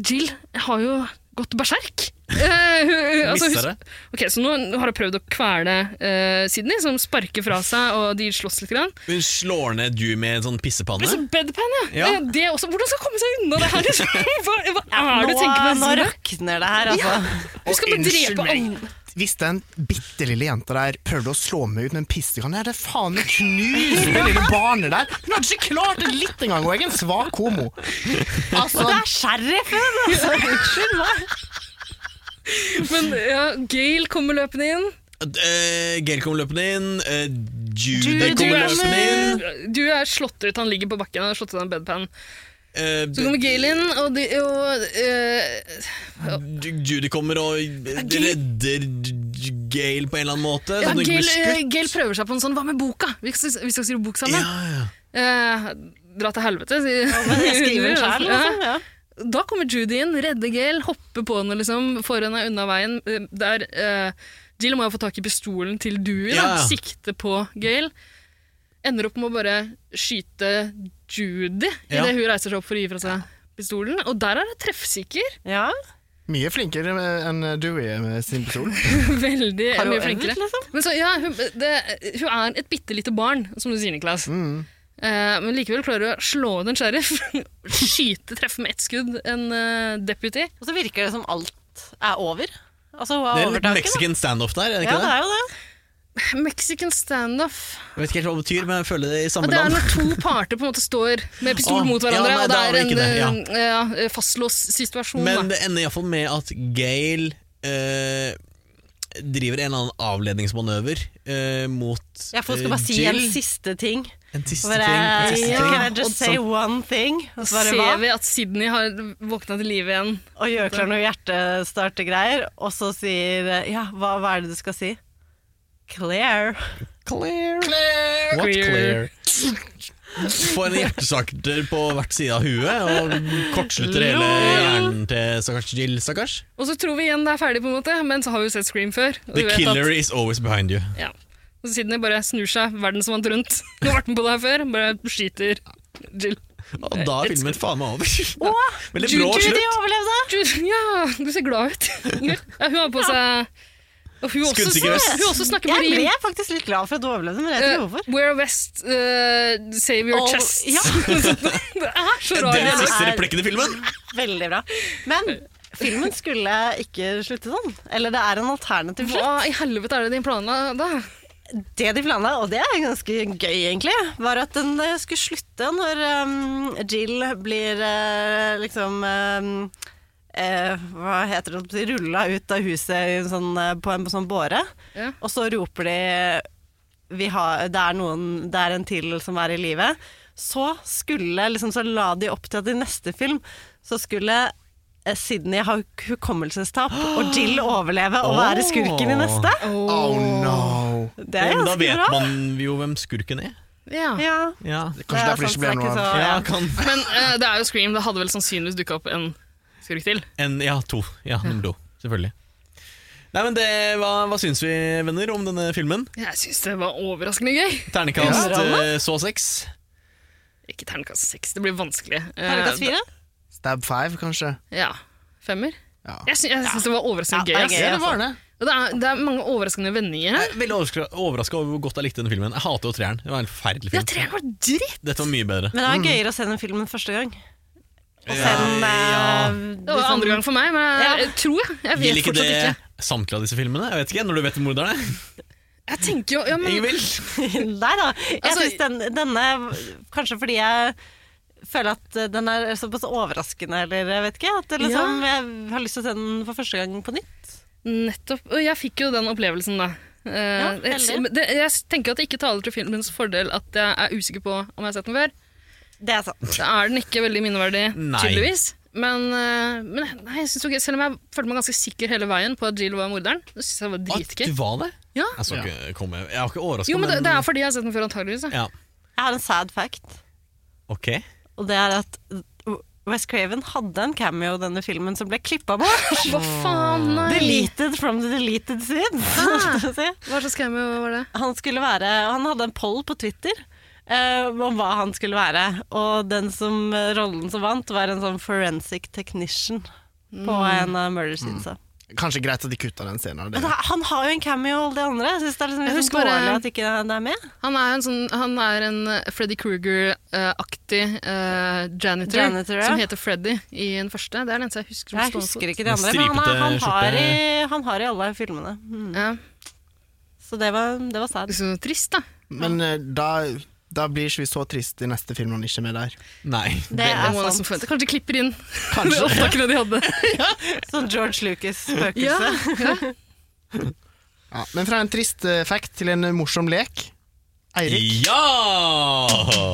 Jill har jo gått berserk. Eh, hun- hun-
Misser
hun-
det.
Ok, Så nå har hun prøvd å kvele eh, Sydney, som sparker fra seg, og de slåss litt. Grann.
Hun slår ned du med en sånn pissepanne.
Men så bedpan, ja!
Ja.
Eh, Det også, hvordan skal hun komme seg unna det her?
*laughs*
liksom? Hva, hva er
nå-
det du tenker med
nå
Sydney?
rakner det her, altså.
Ja. Hun skal
Og
bare
unnskyld
drepe
meg.
alle.
Hvis den bitte lille jenta der prøvde å slå meg ut med en pissekanne, er det faen meg knust det lille barnet der! Hun hadde ikke klart det litt engang, og jeg er en svak homo.
Og det er sheriffen! Altså. Unnskyld meg.
Men ja, Gail kommer løpende inn.
Eh, Gail kommer løpende inn. eh, Judy
Du, du,
kommer
er,
løpende inn.
du er slått ut, han ligger på bakken, han har slått ut av en bedpan.
Eh,
Så kommer Galen og, de, og eh,
Ju- Judy kommer og redder Gale på en eller annen måte.
ja,
sånn at hun ikke
Gail,
blir
Eh,
skutt.
Gail prøver seg på en sånn 'hva med boka'? Vi skal, vi skal skrive bok sammen. Eh, dra til helvete, sier
men jeg
*laughs*
skriver den
Judy,
selv,
altså.
liksom, ja.
Da kommer Judy inn, redder Gail, hopper på henne, liksom, får henne unna veien. eh, Der eh, Jill må jo få tak i pistolen til Dewey,
Ja,
da,
ja.
sikte på Gail. Ender opp med å bare skyte Judy
Ja.
idet hun reiser seg opp for å gi fra seg pistolen. Og der er det treffsikker.
Mye flinkere med- enn Dewey med sin pistol.
Veldig
Har hun
mye flinkere.
øvd, liksom?
Men så, ja, hun, det, hun er et bitte lite barn, som du sier, Niklas. Eh, men likevel klarer hun å slå ut en sheriff, *laughs* skyte, treffe med ett skudd en eh, deputy.
Og så virker det som alt er over. Altså, hun
Det
har
er litt
overtaket.
mexican standoff der, er det
ja,
ikke
det er jo det.
*laughs* Mexican standoff.
Jeg vet ikke helt hva det betyr, men jeg føler det er i
Ja,
samme
det er
land.
når
*laughs*
to parter på en måte står med pistol
Åh,
mot hverandre,
ja, nei,
og det
da er
er
det
en
ikke
eh, ja, fastlåst situasjon.
Men
da.
det ender iallfall med at Gale eh, driver en eller annen avledningsmanøver eh, mot
Jeg får
eh,
skal bare si en
Jill.
siste ting.
En siste
Bare,
ting, en siste
ja,
ting.
Can I just
Og
say
så-
one thing? Og så
Så
bare,
ser
hva?
vi at Sydney har våkna til live igjen.
Og gjør klar noe hjertestartegreier, og så sier Ja, hva, hva er det du skal si? Claire.
Claire. What Claire? Får en hjertesakter på hvert side av huet og kortslutter hele hjernen til stakkars Jill. Stakkars.
Og så tror vi igjen det er ferdig, på en måte, men så har vi jo sett Scream før. og vi
The
vet at-
killer is always behind you.
Ja. Og så Sydney bare snur seg verdensvant rundt. Nå har vært med på det her før, bare skyter Jill.
Og da er filmen faen meg over. *laughs*
Å,
Veldig brå slutt.
overlevde!
ja, du ser glad ut. *laughs* Ja, hun har på seg og hun, også,
Skuddsikker vest.
hun også snakker på
Jeg
rim.
ble faktisk litt glad for at du overlevde, men jeg vet ikke hvorfor.
Eh, wear a vest, eh, save your
All-
chest.
Ja.
det er så rar
Den
dialog.
siste replikken i filmen.
Veldig bra. Men filmen skulle ikke slutte sånn. Eller det er en alternativ slutt.
Hva i helvete er det de planla da?
Det de planla, og det er ganske gøy egentlig, var at den eh, skulle slutte når um, Jill blir eh, liksom um, eh, Hva heter det Rulla ut av huset i en sånn, eh, på en sånn båre.
Ja.
Og så roper de vi har, det, er noen, det er en til som er i live. Så skulle liksom, Så la de opp til at i neste film så skulle eh, Sydney ha hukommelsestap og
*gasps*
Jill overleve og være skurken i neste.
Oh no.
Det er
Men da
ganske
vet
bra.
man jo hvem skurken er.
Ja.
Ja.
Kanskje derfor det
sånn
ikke ble noe av.
Ja, kan.
Men eh, det er jo Scream, det hadde vel sannsynligvis dukka opp en skurk til.
En, ja, to. Ja, nummer to. Selvfølgelig. Nei, men det, hva, hva syns vi, venner, om denne filmen?
Jeg syns det var overraskende gøy.
Ternekast
Ja.
eh, så seks.
Ikke terningkast seks, det blir vanskelig. Eh,
Terningkast
altså,
fire?
da-
Stab five, kanskje.
Ja. Femmer? Jeg, sy jeg syns det var overraskende
Ja, det
gøy.
er
ass.
gøy, Ja, det var altså.
sånn.
det.
Og det, er, det er mange overraskende vendinger her.
Veldig overraska over hvor godt jeg likte denne filmen. Jeg hater jo treeren. Det var en forferdelig
Ja,
film.
treeren var dritt!
Dette var mye bedre.
Men det var gøyere å se den filmen første gang.
å
Det var andre gang for meg, men jeg tror jeg. Jeg vet
Gjelder ikke det
fortsatt ikke.
samtlige av disse filmene? Jeg vet ikke, Når du vet morderne?
Jeg tenker jo ja, men,
*laughs*
Altså-
Nei da. Jeg synes den, denne Kanskje fordi jeg føler at den er såpass overraskende, eller jeg vet ikke. At det liksom, jeg har lyst til å se den for første gang på nytt.
Nettopp. Og jeg fikk jo den opplevelsen, da. Eh,
Ja,
jeg,
heldig.
men det, jeg tenker at det ikke taler til filmens fordel at jeg er usikker på om jeg har sett den før.
Det er sant.
Da er den ikke veldig minneverdig,
Nei.
tydeligvis. Men, eh, men nei, jeg synes det var gøy. selv om jeg følte meg ganske sikker hele veien på at Jill var morderen, det synes jeg var dritgøy.
Du var det?
Ja.
Jeg, så ikke komme. jeg var ikke overraska,
Jo, men det, det er fordi jeg har sett den før, antageligvis. da.
ja.
Jeg har en sad fact,
Ok.
og det er at West Craven hadde en cameo i denne filmen som ble klippa bort.
Hva faen, nei.
Deleted from the deleted scenes. *laughs*
Ah. Hva slags cameo var det?
Han, skulle være, han hadde en poll på Twitter eh, om hva han skulle være. Og den som, eh, rollen som vant, var en sånn forensic technician på
Mm.
en av murder scenes. da.
Kanskje greit at de kutta den scenen.
Men
Det.
det, han har jo en cameo og alle de andre. Jeg synes det er liksom
Jeg
litt
husker bare-
dårlig at ikke det er med.
Han er en, sånn, han er en eh, Freddy Kruger-aktig eh, janitor,
Janitor, ja.
som heter Freddy i den første. Det er den eneste jeg husker. som
Jeg
står på.
husker ikke de andre, men han, er, han, har, i, han har i alle filmene. Mm. Så det var, det var sad.
trist, da.
Men eh, da, da blir ikke vi så trist i neste film når han ikke er med der.
Nei.
Det er Det må man sant. nesten forvente. Kanskje de klipper inn Kanskje. opptakene de hadde.
Sånn George Lucas-spøkelse.
Ja, ja.
Ja, men fra en trist eh, fact til en eh, morsom lek. Eirik.
Ja!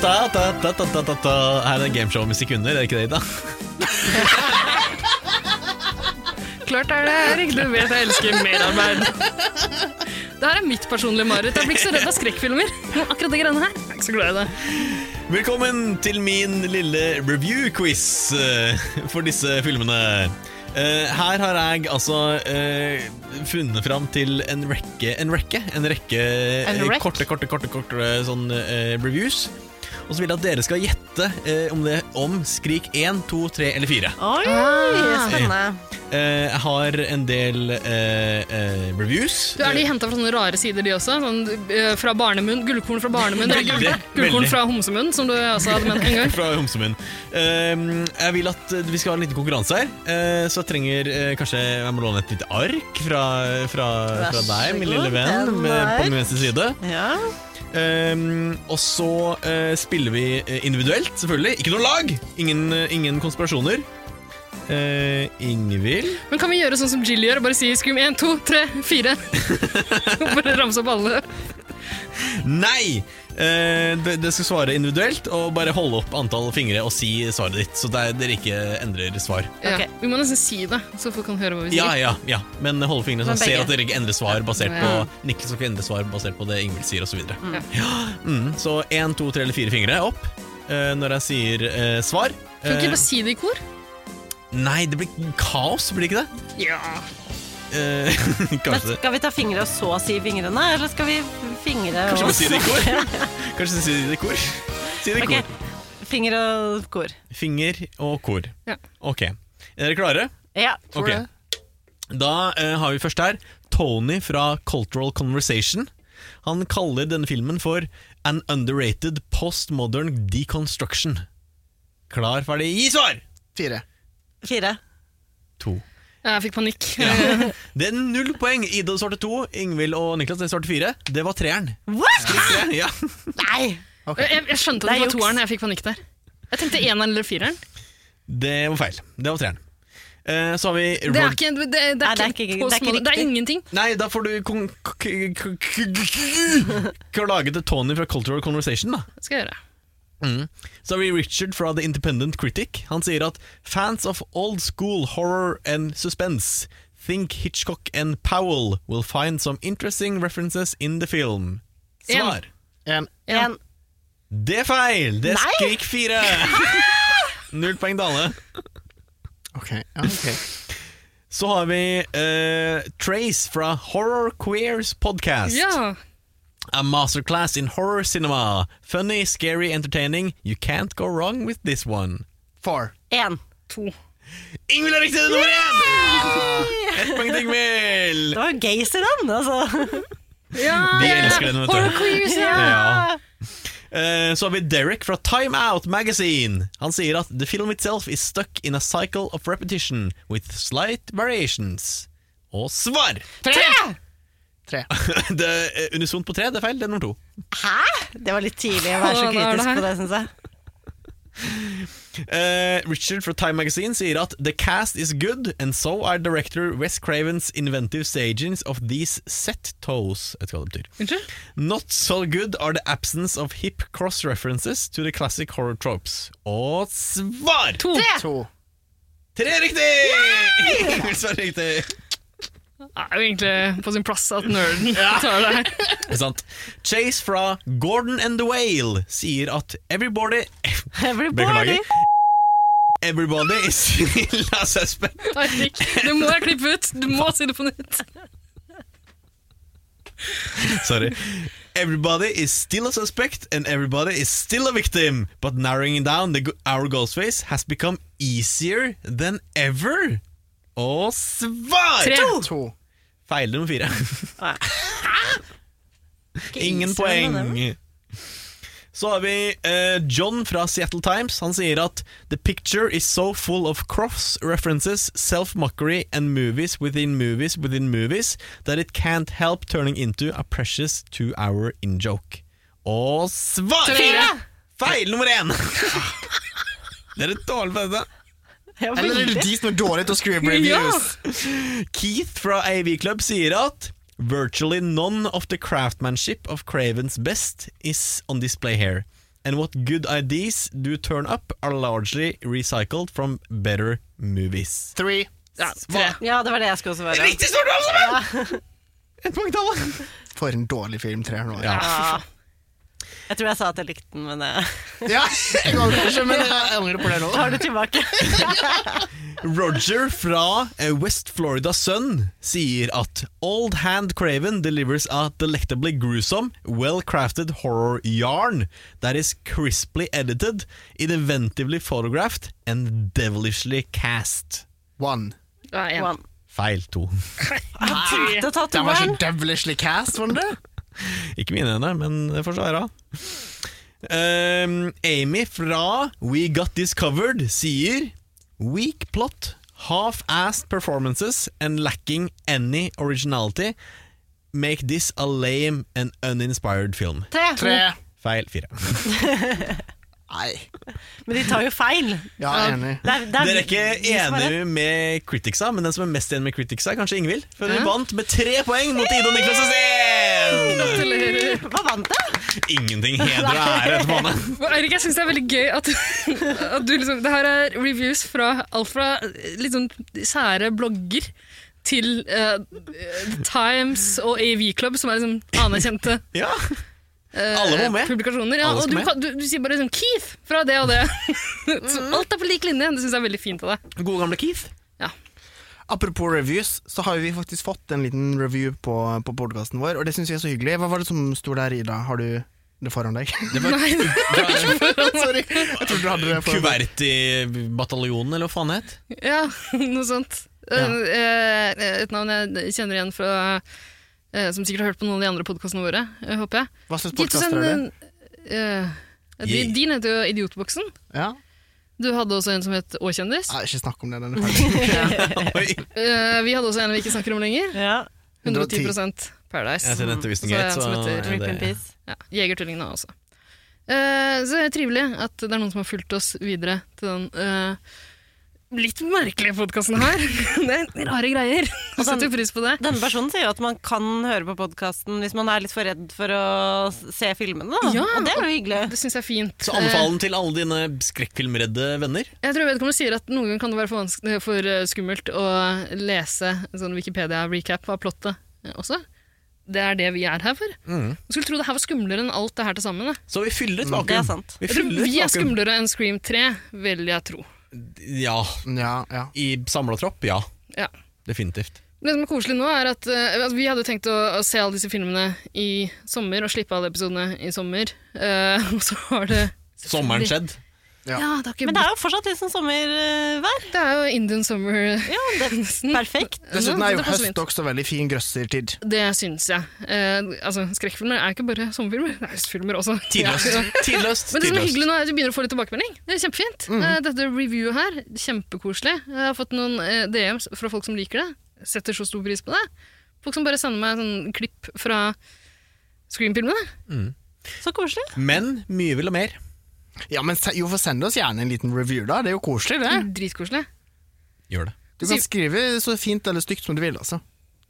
Ra-ta-ta-ta-ta-ta-ta-ta-ta-ta. Her er gameshow-musikk under, er det ikke det, Ida?
Klart er det Erik, du vet jeg elsker merarbeid. Det her er mitt personlige mareritt. Jeg blir ikke så redd av skrekkfilmer. Akkurat det greiene her. Jeg er ikke så glad i det.
Velkommen til min lille review-quiz eh, for disse filmene. Eh, her har jeg altså eh, funnet fram til en rekke En rekke, en rekke
En
eh,
rekk?
korte, korte, korte, korte sånn, eh, reviews. Og så vil jeg at dere skal gjette eh, om det om Skrik 1, 2, 3 eller 4.
Oi, spennende.
Eh, jeg har en del eh, eh, reviews.
Du, er de henta fra sånne rare sider, de også? Sånn, eh, fra barnemunn, Gullkorn fra barnemunn? eller gull-
Veldig,
Gullkorn
veldig.
fra homsemunn, som du også hadde ment en gang?
*laughs* Fra Homsemunn. Ehm, jeg vil at eh, vi skal ha en liten konkurranse her, eh, så jeg trenger eh, kanskje Jeg må låne et lite ark fra, fra,
Vær
fra
så
deg, min
god,
lille venn,
den
med, på
der.
min venstre side.
Ja.
Ehm, og så eh, spiller vi eh, individuelt, selvfølgelig. Ikke noe lag! Ingen, eh, ingen konspirasjoner. Eh, Ingvild
Men kan vi gjøre sånn som Jill gjør, og bare si Scream 1, 2, 3, 4? Bare ramse opp alle.
Nei! Eh, det, det skal svare individuelt, og bare holde opp antall fingre og si svaret ditt. Så der, dere ikke endrer svar.
Ja, Vi må nesten si det, så folk kan høre hva vi sier.
Ja, ja, ja. Men hold fingrene så
Men
jeg ser
begge.
at dere ikke endrer svar basert
Ja.
på Nikkel skal ikke endre svar basert på det Ingvild sier, osv.
Mm.
Mm, så én, to, tre eller fire fingre opp eh, når jeg sier eh, svar.
Kan vi ikke
Eh,
bare si det i kor?
nei, det blir kaos, blir det ikke det?
Ja.
Eh, *laughs* kanskje
Skal vi ta fingre og så si fingrene, eller skal vi fingre
Kanskje
og
vi sier det
*laughs*
i kor? Kanskje si det i kor? Si det i
Ok.
kor.
Finger og kor.
Finger og kor.
Ja.
Ok. Er dere klare?
Ja.
Ok. Da eh, har vi først her Tony fra Cultural Conversation. Han kaller denne filmen for An underrated postmodern deconstruction. Klar, ferdig, gi svar!
Fire.
Fire.
To.
Jeg fikk panikk.
Det er null poeng. Ida svarte to, Ingvild og Niklas det svarte fire. Det var treeren.
What?!
Tre, Ja.
Nei!
Jeg, jeg skjønte
Det
at det,
er
var
juks.
toeren, jeg fikk panikk der. Jeg tenkte eneren eller fireren.
Det var feil. Det var treeren. Eh, så har vi
Det er ikke, det, det er
Nei, det er
ikke,
ikke-
på
det er ikke
små- det er
riktig.
ingenting.
Nei, da får du kon k k k klage til Tony fra Cultural Conversation, da.
Det skal jeg gjøre.
Mm. Så har vi Richard fra The Independent Critic. Han sier at fans of old school horror and suspense think Hitchcock and Powell will find some interesting references in the film. Svar.
En.
En.
Det er feil! Det er
Nei!
Skrik 4! Null poeng Dale.
Ok, ja,
*laughs*
ok.
Så har vi eh, Trace fra Horror Queers Podcast.
Ja.
A masterclass in horror cinema. Funny, scary, entertaining. You can't go wrong with this one.
Four.
En.
To.
Ingvild er riktig nummer én! Ett poeng til Ingvild.
Det var gays i den, altså.
Vi elsker den, vet du.
Horror queers, ja.
Ja. Eh, Så har vi Derek fra Time Out Magazine. Han sier at the film itself is stuck in a cycle of repetition with slight variations. Og svar!
Tre!
Tre.
*laughs* det er unisont på tre, det er feil. Det er nummer to.
Hæ? Det var litt tidlig å være så
Å, da er det
kritisk
her.
på det, syns jeg.
Eh, Richard fra Time Magazine sier at The cast is good, and so are director Wes Cravens inventive stagings of these set toes. Jeg vet ikke hva det betyr.
Unnskyld?
Not so good are the absence of hip cross references to the classic horror tropes. Og svar!
To. Tre.
Tre riktig! *laughs* Svar riktig.
Det er jo egentlig på sin plass at nerden *laughs* tar det her.
Det er sant. Chase fra Gordon and the Whale sier at everybody Beklager. Everybody is *laughs* La suspect.
Eirik, Det må jeg klippe ut! Du må si det på nytt.
Sorry. Everybody is still a suspect, and everybody is still a victim. But narrowing down the, our Ghostface has become easier than ever. Og svar!
Tre. To.
Feil nummer fire. *laughs* Ingen
easier enn
poeng. Så har vi eh, John fra Seattle Times. Han sier at The picture is so full of cross references, self-mockery and movies within movies within movies that it can't help turning into a precious two-hour in-joke. Og svar!
Fire.
Feil nummer én! *laughs* Dere er dårlige på dette.
Eller er det de som er dårlige til å skrive reviews?
Keith fra AV Club sier at Virtually none of the craftsmanship of Cravens best is on display here. and what good ideas do turn up are largely recycled from better movies.
Three.
Ja,
ja, det var det jeg skulle svare.
Riktig svar, du Ett poeng til alle!
For en dårlig film, treer nå.
Ja. Jeg tror jeg sa at jeg likte den, men
*laughs*
Ja, jeg går kanskje, men jeg angrer på det nå.
Tar det tilbake.
Roger fra eh, West Florida Sun sier at Old Hand Craven delivers a delectably gruesome, well-crafted horror yarn that is crisply edited, inventively photographed and devilishly cast.
One.
Ja, en.
Feil to.
Nei,
Den
var ikke devilishly cast, var den det?
Ikke mine hender, men det får så være. Ehm, Amy fra We Got This Covered sier Weak plot, half-assed performances and lacking any originality make this a lame and uninspired film.
Tre. Tre.
Feil
*laughs*
fire.
Nei.
Men de tar jo feil. Det er, det er,
Dere er ikke enige med Criticsa, men den som er mest enig med Criticsa, er kanskje Ingvild. For hun vant med tre poeng mot Ida Niklas Asen!
Hva vant jeg? *laughs*
Ingenting heder og ære etterpå henne.
Eirik, jeg syns det er veldig gøy at, *laughs* at du liksom Det her er reviews fra alt fra litt sånn sære blogger til eh, The Times og AV Club, som er liksom anerkjente
*laughs* ja.
Alle må med.
publikasjoner. Ja,
Alle
og
skal
du,
med.
kan- du, du sier bare sånn Keith fra det og det.
*laughs*
Så alt er på lik linje. Det syns jeg er veldig fint av deg.
God gamle Keith.
Ja.
Apropos reviews, så har vi faktisk fått en liten review på, på podkasten vår, og det syns vi er så hyggelig. Hva var det som sto der, Ida? Har du det foran deg? *laughs*
Nei, det var ikke foran meg.
Sorry. Jeg trodde du hadde det foran deg.
Kuvert i bataljonen, eller hva faen det het?
Ja, noe sånt.
Ja.
Eh, eh, Et navn jeg kjenner igjen fra eh, Som sikkert har hørt på noen av de andre podkastene våre, eh, håper jeg.
Hva slags
Gitt oss
podcaster er
en, eh, eh, de-
Yay.
Din heter jo Idiotboksen.
Ja.
Du hadde også en som het Å-kjendis.
Nei, ikke snakk om det. Den er
*laughs*
ferdig.
Eh, Vi hadde også en vi ikke snakker om lenger. 110 Paradise.
Jeg ser den til Winston
Og eh,
Gates,
så er en som
så
heter-
Rip in peace.
Ja, Jegertvillingene også. Eh, Så det er trivelig at det er noen som har fulgt oss videre til den eh, litt merkelige podkasten her. *laughs* Det er rare
*laughs*
greier.
Og den-
Setter pris på det.
Denne personen sier jo at man kan høre på podkasten hvis man er litt for redd for å se filmene. Da.
Ja,
og det er jo hyggelig.
Det syns jeg er fint.
Så anbefal den til alle dine skrekkfilmredde venner.
Eh, Jeg tror vedkommende sier at noen ganger kan det være for, vanske- for eh, skummelt å lese en sånn Wikipedia-recap av plottet eh, også. Det er det vi er her for. Jeg skulle tro det her var skumlere enn alt det her til sammen. da.
Mm. Så vi fyller et vakuum.
Mm. Det er sant.
Vi
Jeg tror
fyller et
vi er
vakuum.
skumlere enn Scream 3, vil jeg tro.
Ja. I samla tropp, ja.
Ja.
Definitivt.
Det som er koselig nå, er at eh, altså, vi hadde jo tenkt å, å se alle disse filmene i sommer, og slippe alle episodene i sommer. Eh, og så har det
Sommeren skjedd.
Ja, det har ikke
Men det er jo fortsatt litt sånn sommervær.
Det er jo Indian summer.
Ja, det er perfekt.
Dessuten er jo
Det passer
høst
fint.
også veldig fin grøssertid.
Det syns jeg. Eh, altså, Skrekkfilmer er ikke bare sommerfilmer, det er høstfilmer også.
Tidløst. Tidløst.
Men det som er
Tidløst.
hyggelig nå er at vi begynner å få litt tilbakemelding. Det er kjempefint.
Mhm.
Eh, dette reviewet her, kjempekoselig. Jeg har fått noen eh, DMs fra folk som liker det. Setter så stor pris på det. Folk som bare sender meg sånn klipp fra Scream-filmene.
Så koselig.
Men mye vil ha mer.
Ja, men se- jo, for send oss gjerne en liten review, da. Det er jo koselig, det.
Dritkoselig.
Gjør det.
Du kan skrive så fint eller stygt som du vil, altså.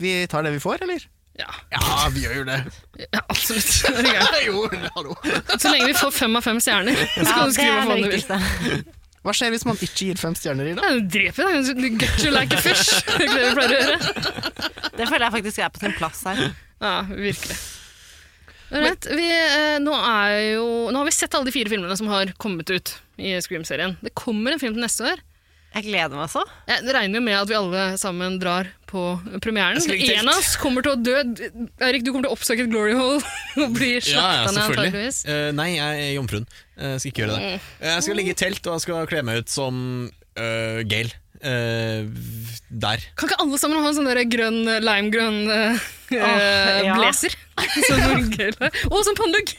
Vi tar det vi får, eller?
Ja.
Ja, vi gjør jo det.
Ja, absolutt. Det er greit.
*laughs* jo, hallo.
Så lenge vi får fem av fem stjerner, *laughs* så
Ja,
kan du
det
skrive
er
hva faen du
det
vil.
Hva skjer hvis man ikke gir fem stjerner i dag?
Nei, Du dreper deg. Du get you like a
*laughs*
fish. Det er det vi pleier å gjøre.
Det føler jeg faktisk er på sin plass her.
Ja, virkelig. Alright, vi, eh, nå, er jo, nå har vi sett alle de fire filmene som har kommet ut i Scream-serien. Det kommer en film til neste år.
Jeg gleder meg så.
Jeg regner jo med at vi alle sammen drar på premieren.
Jeg skal ikke
En av oss kommer til å dø. Eirik, du kommer til å oppsøke et glory hole og bli
Ja, ja,
slakta ned
selvfølgelig.
antakeligvis.
Eh, nei, jeg er jomfruen. Eh, skal ikke gjøre det.
Mm.
Eh, jeg skal ligge i telt, og jeg skal kle meg ut som eh, Gail. Eh, der.
Kan ikke alle sammen ha en sånn der grønn, eh, limegrønn uh,
Åh, ja.
blazer? *laughs* Sånn gøy. Og som pannelugg!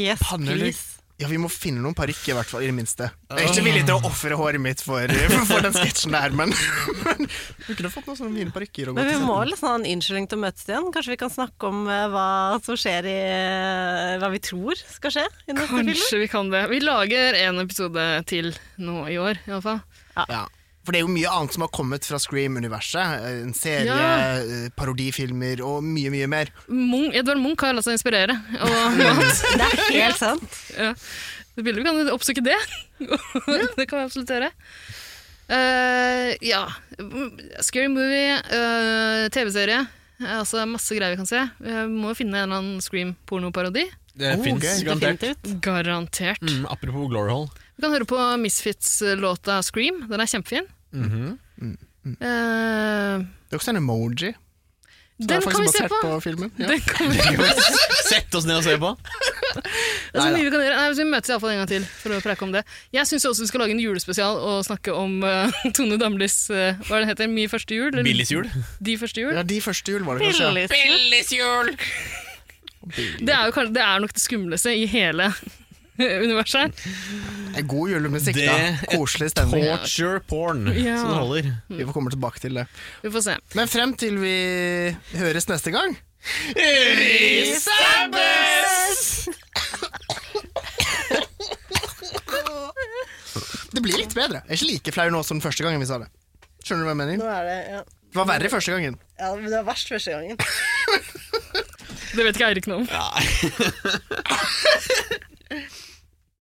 Yes,
Pannelugg. Ja, vi må finne noen parykker, i hvert fall. I det minste. Jeg er ikke villig til å ofre håret mitt for, *laughs* for den sketsjen der, men, *laughs* men Vi kunne fått noen sånne fine parykker. og
Men
gått
vi
i
må
seten.
liksom ha en unnskyldning til å møtes igjen. Kanskje vi kan snakke om eh, hva som skjer i eh, Hva vi tror skal skje i neste film?
Kanskje vi kan det. Vi lager en episode til nå i år, iallfall.
Ja.
Ja.
For det er jo mye annet som har kommet fra Scream-universet. eh, En serie,
Ja.
eh, parodifilmer og mye, mye mer.
Munch, Edvard Munch har latt seg inspirere.
*laughs*
Og mye annet.
Det er helt sant.
Ja. Det bildet vi kan oppsøke det. *laughs* det kan vi absolutt gjøre. Eh, ja. Scary movie, eh, TV-serie. eh, Altså Masse greier vi kan se. Vi må jo finne en eller annen Scream-pornoparodi.
Det Oh, finnes gøy. garantert. Definitivt.
Garantert.
Mm, apropos Glory Hall.
Vi kan høre på Misfits-låta 'Scream'. Den er kjempefin.
Mhm.
Mm-hmm.
Mm.
Eh,
Det er også en emoji. som
den
er faktisk
kan vi se
basert
på!
filmen. Ja.
Den
*laughs*
kan vi se på.
Sett oss ned og se på!
Det er så mye vi kan gjøre. Nei, vi møtes iallfall en gang til for å preke om det. Jeg syns også vi skal lage en julespesial og snakke om eh, *laughs* Tone Damlis eh, Hva er det heter Mi første jul? eller-
Billys jul.
De første jul.
Ja, de første jul var det kanskje. ja.
Billys jul! Det er, jo, kanskje- det er nok det skumleste i hele *laughs* universet.
En God julemusikk,
Det
da. Koselig stemning.
Torture porn,
Ja.
som det holder.
Vi får komme tilbake til det.
Vi får se.
Men frem til vi høres neste gang
Vi
sabbes! Det blir litt bedre. Jeg er ikke like flau nå som første gangen vi sa det. Skjønner du hva jeg mener?
er det, ja.
Det var verre første gangen.
Ja, men det var verst første gangen.
Det vet ikke Eirik noe om.